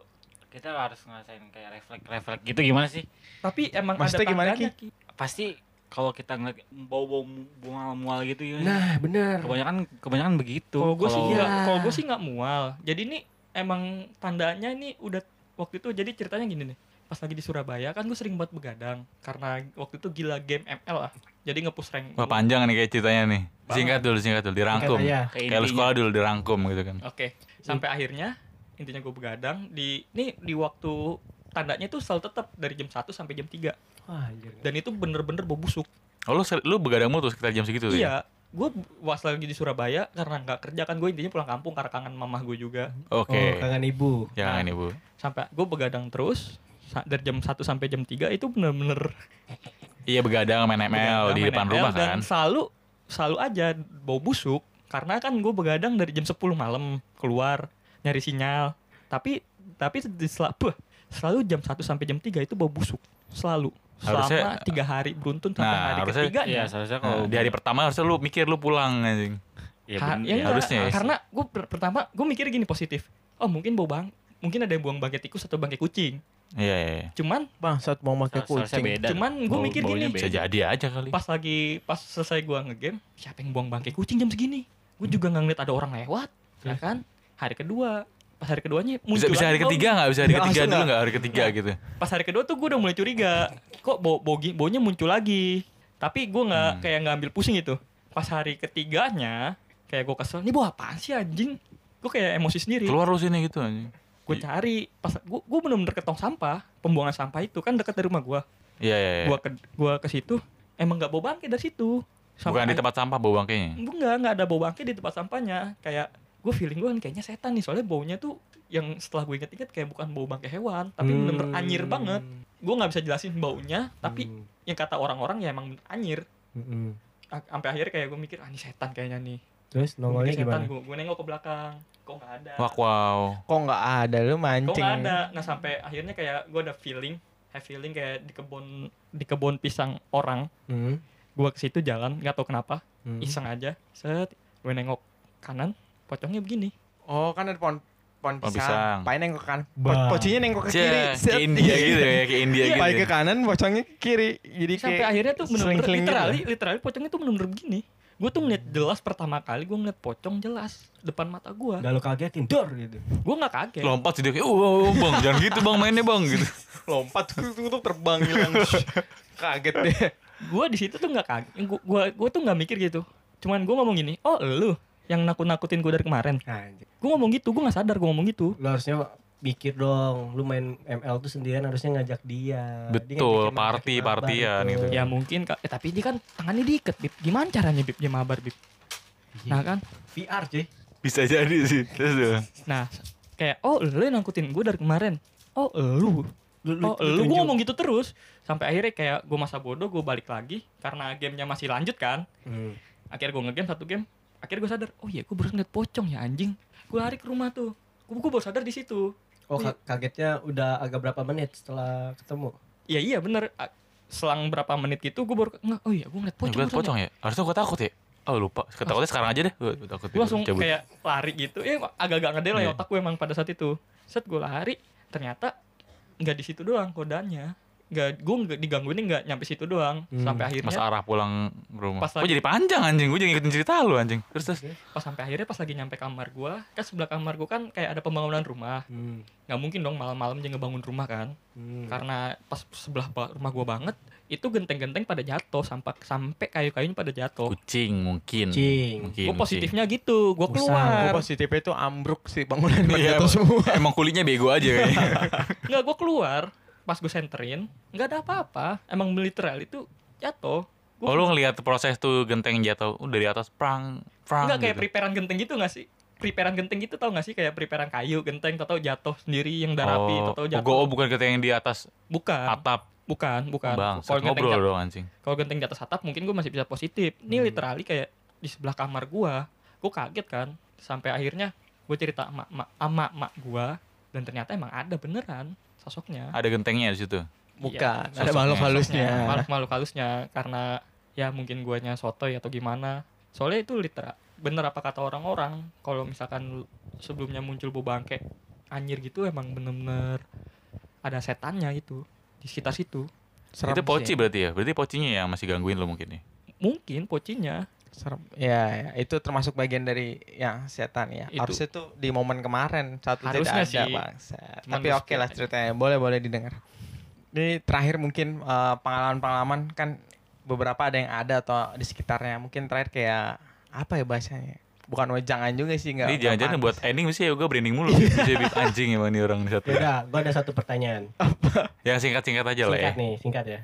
kita harus ngerasain kayak refleks-refleks gitu gimana sih?
tapi emang
Maksudnya gimana,
tandanya, Ki.
Pasti kalau kita ngeliat bau-bau mu- mual-mual gitu ya.
Nah bener.
kebanyakan kebanyakan begitu.
Kalau gue sih
Kalau-
enggak,
Iya.
kalau gue sih enggak mual. Jadi ini emang tandanya ini udah waktu itu jadi ceritanya gini nih. Pas lagi di Surabaya kan gue sering buat begadang karena waktu itu gila game ML lah. Jadi ngepush rank.
Wah
dulu.
panjang nih kayak ceritanya nih. Singkat dulu, singkat dulu, dirangkum.
Katanya.
ke
Kayak lu
intinya.
sekolah dulu dirangkum gitu kan.
Oke, sampai akhirnya intinya gue begadang di ini di waktu tandanya tuh selalu tetap dari jam 1 sampai jam 3
Wah anjir.
dan itu bener-bener bau busuk.
Oh lu, ser- lu begadang mulu tuh sekitar jam segitu tuh ya?
Iya, gue was lagi di Surabaya karena nggak kerja kan gue intinya pulang
Mhm.
kampung karena kangen mamah gue juga.
Oke.
Oh, kangen ibu.
Jangan ibu.
Sampai gue begadang terus sa- dari jam 1 sampai jam 3 itu bener-bener
Iya begadang main
Gitu
ML di
main
depan
ML,
rumah
kan. dan
kan.
selalu selalu aja bau busuk karena kan gue begadang dari jam 10 malam keluar nyari sinyal tapi tapi di sel- buh, selalu jam 1 sampai jam 3 itu bau busuk selalu
Harusnya-
selama tiga hari beruntun sampai
Nah,
hari
harusnya-
ketiga
Iya, seharusnya
Nah,
kalau
di hari pertama harusnya lu mikir lu pulang anjing.
ya,
Ha-
ben-
ya
ya,
enggak,
harusnya ya.
karena gue pertama gue mikir gini positif oh mungkin bau bang mungkin ada yang buang bangkai tikus atau bangkai kucing
Iya, iya, iya.
cuman
Bangsat mau pakai
seharusnya
kucing.
beda.
Cuman gua
Bau-
mikir
baunya
gini.
Bisa
beda.
jadi aja kali.
pas lagi pas selesai gua ngegame siapa yang buang bangkai kucing jam segini gue juga nggak ngeliat ada orang lewat ya kan hari kedua pas hari keduanya
Iya. Bisa,
muncul
bisa
lagi
hari
bau.
ketiga nggak? Bisa hari
Ya,
ketiga
langsung
dulu
nggak?
nggak? Hari ketiga gitu.
pas hari kedua tuh gue udah mulai curiga kok bau bogi baunya muncul lagi tapi gua nggak
Hmm.
kayak nggak ambil pusing gitu pas hari ketiganya kayak gue kesel ini bau apaan sih anjing gue kayak emosi sendiri
Keluar lu sini gitu anjing.
gue cari pas gue gue bener-bener ke tong sampah pembuangan sampah itu kan dekat dari rumah gua
Iya, iya, iya.
gua ke gua ke situ emang nggak bau bangkai dari situ
Bukan
Sampah
di tempat sampah bau bangkainya.
enggak enggak ada bau bangkai di tempat sampahnya kayak gue feeling gue kayaknya setan nih soalnya baunya tuh yang setelah gue inget-inget kayak bukan bau bangkai hewan tapi
Hmm.
bener-bener anjir banget gue nggak bisa jelasin baunya
Hmm.
tapi yang kata orang-orang ya emang bener anjir
Mm-mm.
A- sampai akhirnya kayak gue mikir ah ini setan kayaknya nih Gua
Terus nongolnya
mikir setan
gimana?
gue nengok ke belakang kok nggak ada
Wak wow.
Kok nggak ada lu
kok
mancing?
nggak ada nah sampai akhirnya kayak gue ada feeling have feeling kayak di kebun di kebun pisang orang
Hmm.
gue ke situ jalan nggak tahu kenapa
Hmm.
iseng aja set gue nengok kanan pocongnya begini
Oh kan ada pohon pohon
Pohon pisang.
pisang. Pain nengok ke kanan. Po-
Bah.
Pocongnya nengok ke kiri.
Cie,
Set.
Ke India gitu ya, ke India
Iya,
gitu.
Pai ke kanan, pocongnya ke kiri. Jadi
sampai
kayak
akhirnya tuh bener-bener
seling-seling gitu.
literally, literally pocongnya tuh bener-bener begini gue tuh ngeliat jelas pertama kali gue ngeliat pocong jelas depan mata gue
Nah.
Gak lu kagetin dor gitu.
gue nggak kaget
Lompat sih dia kayak, "Uh, uh, uh, bang, jangan gitu bang mainnya bang." gitu.
lompat tutup terbang [LAUGHS] hilang. Kaget deh.
gue di situ tuh nggak kaget gue gua gua tuh nggak mikir gitu cuman gue ngomong gini oh lu yang nakut-nakutin gue dari kemarin
Anjir.
gue ngomong gitu gue nggak sadar gue ngomong gitu
Lu harusnya mikir dong, lu main ML tuh sendirian harusnya ngajak dia. Dia
Betul,
nggak bikin mabar,
party,
bikin mabar
partian gitu.
ya mungkin Kak. Eh, tapi ini kan tangannya diikat bib gimana caranya bib dia mabar bib nah kan
VR cuy.
Bisa jadi sih. Terus tuh.
nah kayak oh lu yang nakutin gue dari kemarin oh lu
Lu,
Oh, lu gue ngomong gitu terus sampai akhirnya kayak gue masa bodoh gue balik lagi karena gamenya masih lanjut kan
Hmm.
akhirnya gue ngegame satu game akhirnya gue sadar oh iya gue baru ngeliat pocong ya anjing gue lari ke rumah tuh gue, gue baru sadar di situ
Oh ka- kagetnya udah agak berapa menit setelah ketemu?
iya iya bener A- selang berapa menit gitu gue baru nggak oh iya gue ngeliat
Pocong,
pocong barusan
pocong ya? Harusnya gua takut ya? Oh lupa, takutnya sekarang aja deh Gua gua takut
gue langsung
cabut.
kayak lari gitu ya agak-agak ngedel ya
Iya.
otak gue emang pada saat itu set gue lari ternyata nggak di situ doang kodannya nggak gue nggak digangguinnya nggak nyampe situ doang
Hmm.
sampai
Mas
akhirnya
arah pulang ke rumah
Pas
Pas
lagi-
jadi panjang anjing, gue jadi ngikutin cerita lu anjing Terus terus
pas sampai akhirnya pas lagi nyampe kamar gue kan sebelah kamar gue kan kayak ada pembangunan rumah
Hmm.
nggak mungkin dong malam-malam dia ngebangun rumah kan
Hmm.
Iya.
karena pas sebelah ba- rumah gua banget itu genteng-genteng pada jatuh sampai sampai kayu-kayunya pada jatuh
Kucing mungkin
Kucing.
Mungkin
gue
kucing.
positifnya gitu gue
Usah,
Gua
keluar
positifnya itu ambruk sih bangunan
Iya,
iya, jatuh semua.
Emang kulitnya bego aja
[LAUGHS]
kayaknya
nggak gue keluar pas gue senterin nggak ada apa-apa emang literal itu jatuh
Oh lu ngeliat proses tuh genteng jatuh uh, dari atas prang prang
nggak kayak
gitu.
preparean genteng gitu nggak sih preparean genteng gitu tau nggak sih kayak preparean kayu genteng tau jatuh sendiri yang udah rapi
Oh,
tau
oh,
jatuh
gua- oh, bukan genteng yang di atas
bukan
atap
bukan bukan
Bang,
kalau genteng
ngobrol
jat-
dong anjing
kalau genteng di atas atap mungkin gue masih bisa positif
Hmm.
ini literally kayak di sebelah kamar gua gue kaget kan sampai akhirnya gue cerita ah, sama mak sama mak gue dan ternyata emang ada beneran sosoknya
Ada gentengnya di situ
Bukan,
Iya,
ada
sosoknya,
makhluk halusnya.
Sosoknya, makhluk-makhluk halusnya karena ya mungkin guanya sotoy atau gimana soalnya itu literal bener apa kata orang-orang kalau misalkan sebelumnya muncul bau bangke anjir gitu emang bener-bener ada setannya itu di sekitar situ
Serem
Itu
sih.
poci berarti ya? Berarti pocinya yang masih gangguin lu mungkin ya? nih
mungkin pocinya
Serem. Ya, ya, itu termasuk bagian dari yang setan ya.
Itu.
Harusnya tuh di momen kemarin saat itu tidak
Harusnya
ada
sih.
bangsat.
Cuman
Tapi
lu
oke lah
skip aja.
ceritanya, boleh boleh didengar. Ini terakhir mungkin eh, pengalaman-pengalaman kan beberapa ada yang ada atau di sekitarnya. Mungkin terakhir kayak apa ya bahasanya? Bukan wejangan juga sih nggak.
Ini
nggak
jangan-jangan
pantas.
buat ending mesti ya gue branding mulu Bisa jadi anjing emang nih orang di satu
Yaudah, Ya gua ada satu pertanyaan.
Ah, Yang singkat-singkat aja lah ya
Singkat nih, singkat ya.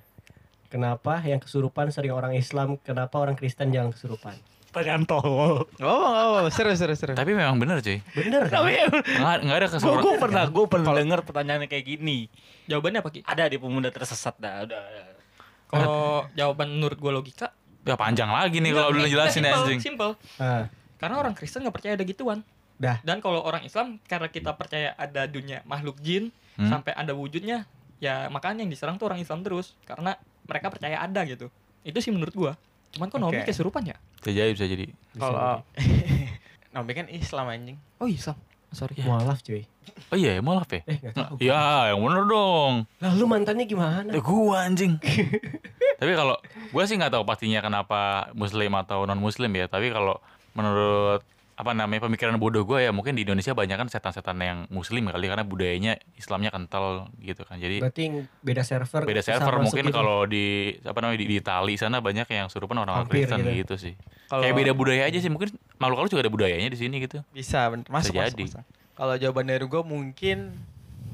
Kenapa yang kesurupan sering orang Islam, kenapa orang Kristen jangan kesurupan?
pertanyaan tolol.
Gak apa-apa, gak apa-apa. Oh, Seru, seru, seru.
Tapi memang bener cuy.
Bener kan?
Tapi
Nggak, nggak ada
gue
keseluruhan.
gue pernah gue pernah denger pertanyaan kayak gini.
Jawabannya apa Ki?
Ada di pemuda tersesat dah. Udah. udah.
[LAUGHS]
Kalau jawaban menurut gue logika
Ya panjang lagi nih kalau
Enggak,
belum jelasin
simple,
anjing.
Simple.
Ah,
Karena orang Kristen nggak percaya ada gituan.
Dah.
Dan kalau orang Islam karena kita percaya ada dunia makhluk jin
Hmm.
sampai ada wujudnya, ya makanya yang diserang tuh orang Islam terus karena mereka percaya ada gitu. Itu sih menurut gua. Cuman kok Naomi
Oke.
kesurupan ya?
Bisa jadi, bisa jadi.
bisa
Kalau [LAUGHS] Nabi kan Islam anjing.
Oh Islam. Sorry.
jadi.
ya.
mualaf cuy.
Oh iya, mau ya?
Eh nggak tahu.
Ya, yang bener dong.
Lalu mantannya gimana?
Ya, gua anjing. [LAUGHS] tapi kalau gua sih nggak tahu pastinya kenapa muslim atau non muslim ya, tapi kalau menurut apa namanya pemikiran bodoh gua ya mungkin di Indonesia banyak kan setan-setan yang muslim kali karena budayanya Islamnya kental gitu kan. Jadi
Berarti beda server.
beda
susah
server
masuk
mungkin
gitu.
kalau di apa namanya di, di Itali sana banyak yang surupan orang-orang
Hampir
Kristen
gitu.
gitu sih.
Kalau
Kayak beda budaya aja sih mungkin makhluk halus juga ada budayanya di sini gitu.
bisa bener. masuk,
Bisa
masuk,
jadi.
masuk. Kalau jawaban dari gue mungkin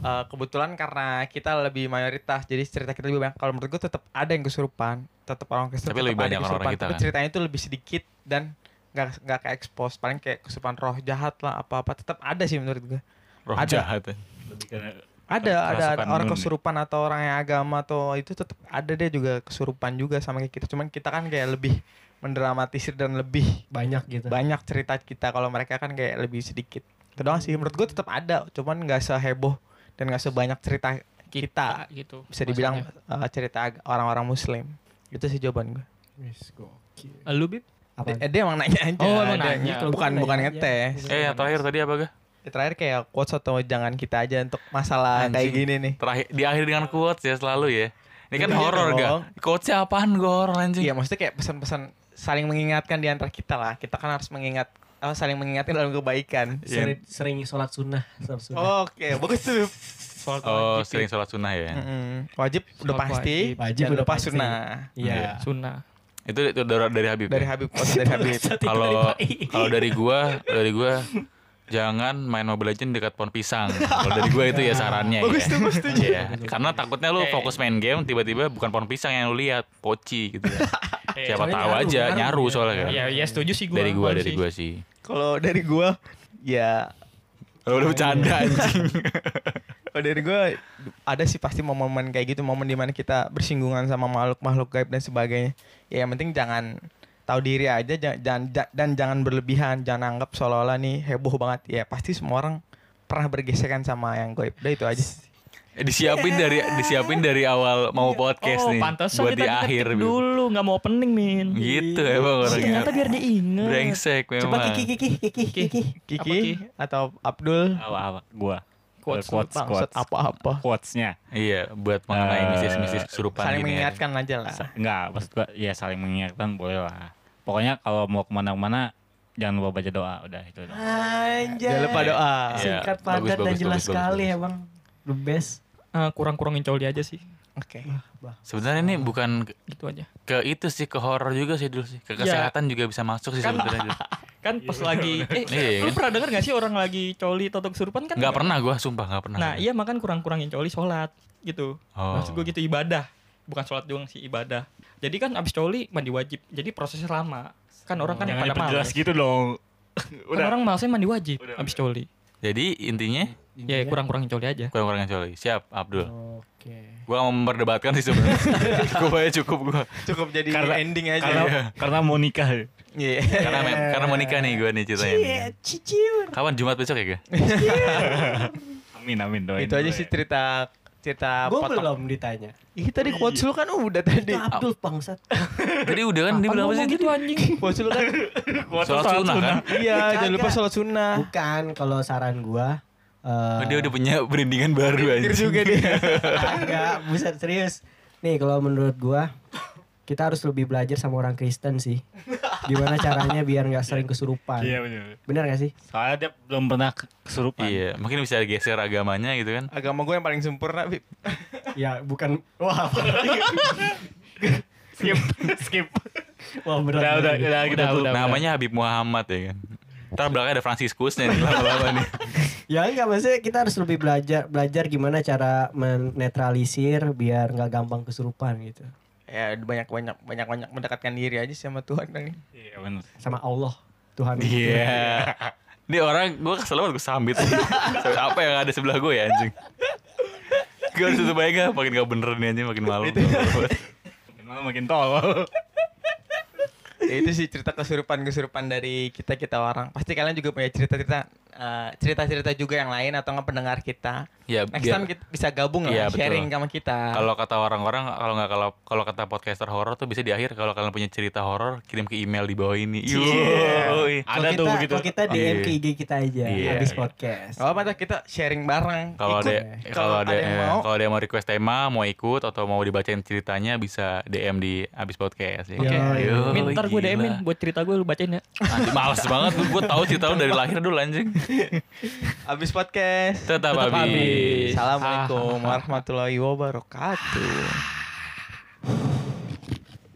eh, kebetulan karena kita lebih mayoritas jadi cerita kita lebih banyak. Kalau menurut gue tetap ada yang kesurupan, tetap orang Kristen.
Tapi
tetap
lebih
ada
banyak
yang
orang-orang
kesurupan.
kita
Tapi
kan?
ceritanya itu lebih sedikit dan nggak nggak ke expose paling kayak kesurupan roh jahat lah apa apa tetap ada sih menurut gue
Roh
Ada.
jahat. Eh,
Lebih karena-
ada ada, ada
Kerasukan
orang
nun.
kesurupan atau orang yang agama atau itu tetap ada deh juga kesurupan juga sama kayak kita cuman kita kan kayak lebih mendramatisir dan lebih
banyak gitu.
banyak cerita kita kalau mereka kan kayak lebih sedikit itu doang sih menurut gue tetap ada cuman nggak seheboh dan nggak sebanyak cerita kita
gitu.
bisa dibilang uh, cerita ag- orang-orang muslim itu sih jawaban gue
Wis, gokil.
Lu Bib?
Apa?
dia, dia emang nanya aja
Oh, emang
Dia-
nanya.
bukan bukan,
Nanya aja.
ngetes
Eh, yang terakhir tadi apa, Gah?
Ya, terakhir kayak quotes atau jangan kita aja untuk masalah Ah, kayak
Anjing.
gini nih
Terakhir di akhir dengan quotes ya selalu ya. Ini kan
Iya
horor, Gah.
dong.
Quotesnya apaan gue horor anjing?
Iya maksudnya kayak pesan-pesan saling mengingatkan di antara kita lah kita kan harus mengingat oh, saling mengingatkan dalam kebaikan
Iya.
Sering, sering sholat sunnah, sholat sunnah.
oke bagus tuh Bib.
Soal
Oh, sering sholat sunnah ya.
Mm-mm. wajib udah
Sholat
pasti
wajib. Wajib
jangan
udah
lupa
pasti.
sunnah
Iya.
Ah.
sunnah.
Itu, itu dari, dari Habib.
dari
ya?
Habib quotes dari [LAUGHS] Habib
Kalau kalau dari gua, dari gua jangan main Mobile Legends dekat pohon pisang. Kalau dari gua itu ya sarannya
Bagus
ya.
tuh, gue setuju.
Iya, karena takutnya lu
Eh.
Oke.
fokus main game tiba-tiba bukan pohon pisang yang lu lihat, poci gitu
[LAUGHS]
ya.
Eh,
Siapa
soalnya
tahu
nyaru,
aja
nyaru.
nyaru soalnya kan.
Ya, ya setuju sih gua.
Dari gua,
Gua
dari
sih.
gua sih.
kalau dari gua ya
Lu udah
[LAUGHS]
bercanda anjing.
kalau dari gua ada sih pasti momen-momen kayak gitu momen dimana kita bersinggungan sama makhluk-makhluk gaib dan sebagainya ya yang penting jangan tahu diri aja ja- jangan, ja- dan jangan berlebihan jangan anggap seolah-olah nih heboh banget ya pasti semua orang pernah bergesekan sama yang gaib udah itu aja
Eh, Disiapin dari disiapin dari awal mau podcast
oh,
nih.
pantesan
Buat
kita
di akhir
diketik
Bib.
dulu, nggak mau opening, Min.
Gitu emang orangnya.
Ternyata biar diingat.
Brengsek memang.
Coba kiki kiki kiki kiki.
Kiki
Apa, Ki?
atau Abdul
Apa apa? Gua.
Quotes,
quotes,
bangsat
quotes.
apa-apa
Quotesnya.
Iya, buat mengenai
Eh,
misis-misis kesurupan
saling
gini ya.
mengingatkan aja lah
Sa- Enggak, maksud gua ya saling mengingatkan boleh lah. Pokoknya kalau mau kemana-mana jangan lupa baca doa udah itu doang.
Anjay.
jangan lupa doa
Iya,
Singkat
bagus,
padat dan
bagus,
jelas
bagus,
sekali
bagus.
ya bang. The best.
Eh, kurang-kurangin coli aja sih.
oke
Sebenarnya ini bukan ke-
Gitu aja.
ke itu sih ke horor juga sih dulu sih. Ke
Iya.
kesehatan juga bisa masuk sih
Kan-
sebenarnya. Dul.
kan pas
[LAUGHS]
lagi eh
Iya,
lu
kan?
pernah denger gak sih orang lagi coli atau kesurupan kan
Enggak pernah gua sumpah enggak pernah.
nah iya makan kurang-kurangin coli sholat gitu
Oh.
maksud gue gitu ibadah bukan sholat doang sih ibadah jadi kan abis coli mandi wajib jadi prosesnya lama kan orang kan
Jangan
pada
diperjelas
males
gitu dong.
kan orang malesnya mandi wajib
Udah, Iya.
abis coli
Jadi intinya
ya kurang-kurangin coli aja
kurang-kurangnya coli. Siap,
Oh.
Abdul.
Oke.
Gua mau memperdebatkan sih sebenarnya. gua aja cukup gua.
cukup jadi
Karena-
ending aja
Karena karena mau nikah.
Iya.
Karena me- karena mau nikah nih gua nih ceritanya. nih.
Cicil.
Kapan Jumat besok ya, Ga?
Amin amin doain.
itu
Gitu
aja
dulu
sih
ya.
cerita cerita
Gue belum ditanya.
Ih tadi quotes lu kan udah tadi.
Itu Abdul bangsat.
Tadi udah kan dia
Kapan
bilang apa sih?
ngomong gitu anjing
[LAUGHS]
Quotes lu kan
Quotes
Sholat
sholat
sunnah kan?
iya jangan lupa sholat sunnah.
[LAUGHS] Bukan kalau saran gua
Oh,
eh
Dia udah punya brandingan baru
Pikir
anjing.
juga dia.
Enggak, buset serius. Nih kalau menurut gua kita harus lebih belajar sama orang Kristen sih. Gimana caranya biar nggak sering kesurupan.
Iya benar.
Bener gak sih?
Soalnya dia belum pernah ke-
[LAUGHS]
kesurupan.
Iya, mungkin bisa geser agamanya gitu kan.
Agama gue yang paling sempurna. Bib.
Ya bukan. Wah,
Skip [LAUGHS] skip.
wah berat.
udah, udah, udah, kita
Udah,
udah,
namanya Habib Muhammad ya kan. Ntar belakangnya ada Franciscusnya nih lama-lama nih.
Ya enggak maksudnya kita harus lebih belajar belajar gimana cara menetralisir biar nggak gampang kesurupan gitu.
ya banyak banyak banyak banyak mendekatkan diri aja sama Tuhan kali.
Iya bener.
sama Allah Tuhan
Iya. Ini orang gue kesel banget gue sambit. [LAUGHS] Sampai apa yang ada sebelah gue ya anjing. Gue harus tutup aja gak? makin gak bener nih anjing makin malu.
Makin malam makin tolol.
Ya, itu sih cerita kesurupan kesurupan dari kita kita orang. Pasti kalian juga punya cerita cerita cerita cerita juga yang lain atau nggak pendengar kita.
ya
Next
biar-
time kita bisa gabung lah
Iya, betul.
sharing sama kita.
[LAUGHS] kalau kata orang-orang kalau nggak kalau kalau kata podcaster horor tuh bisa di akhir kalau kalian punya cerita horor kirim ke email di bawah ini. Yoi.
Kalau
Ada
kita-
tuh begitu.
kalau kita DM
Iya.
ke IG kita aja
Iya.
habis podcast
Kalau apa kita sharing bareng.
Kalau
Ikut.
ada kalau ada eh, kalau ada yang mau request tema mau ikut atau mau dibacain ceritanya bisa DM di abis podcast ya.
Oke.
Yoi,
Min, ntar gue
gila.
DM-in buat cerita gue lu bacain ya.
Anjing, males banget gue tahu cerita lu dari lahir dulu anjing.
Abis podcast.
Tetap,
Tetap
habis.
habis.
Assalamualaikum warahmatullahi wabarakatuh.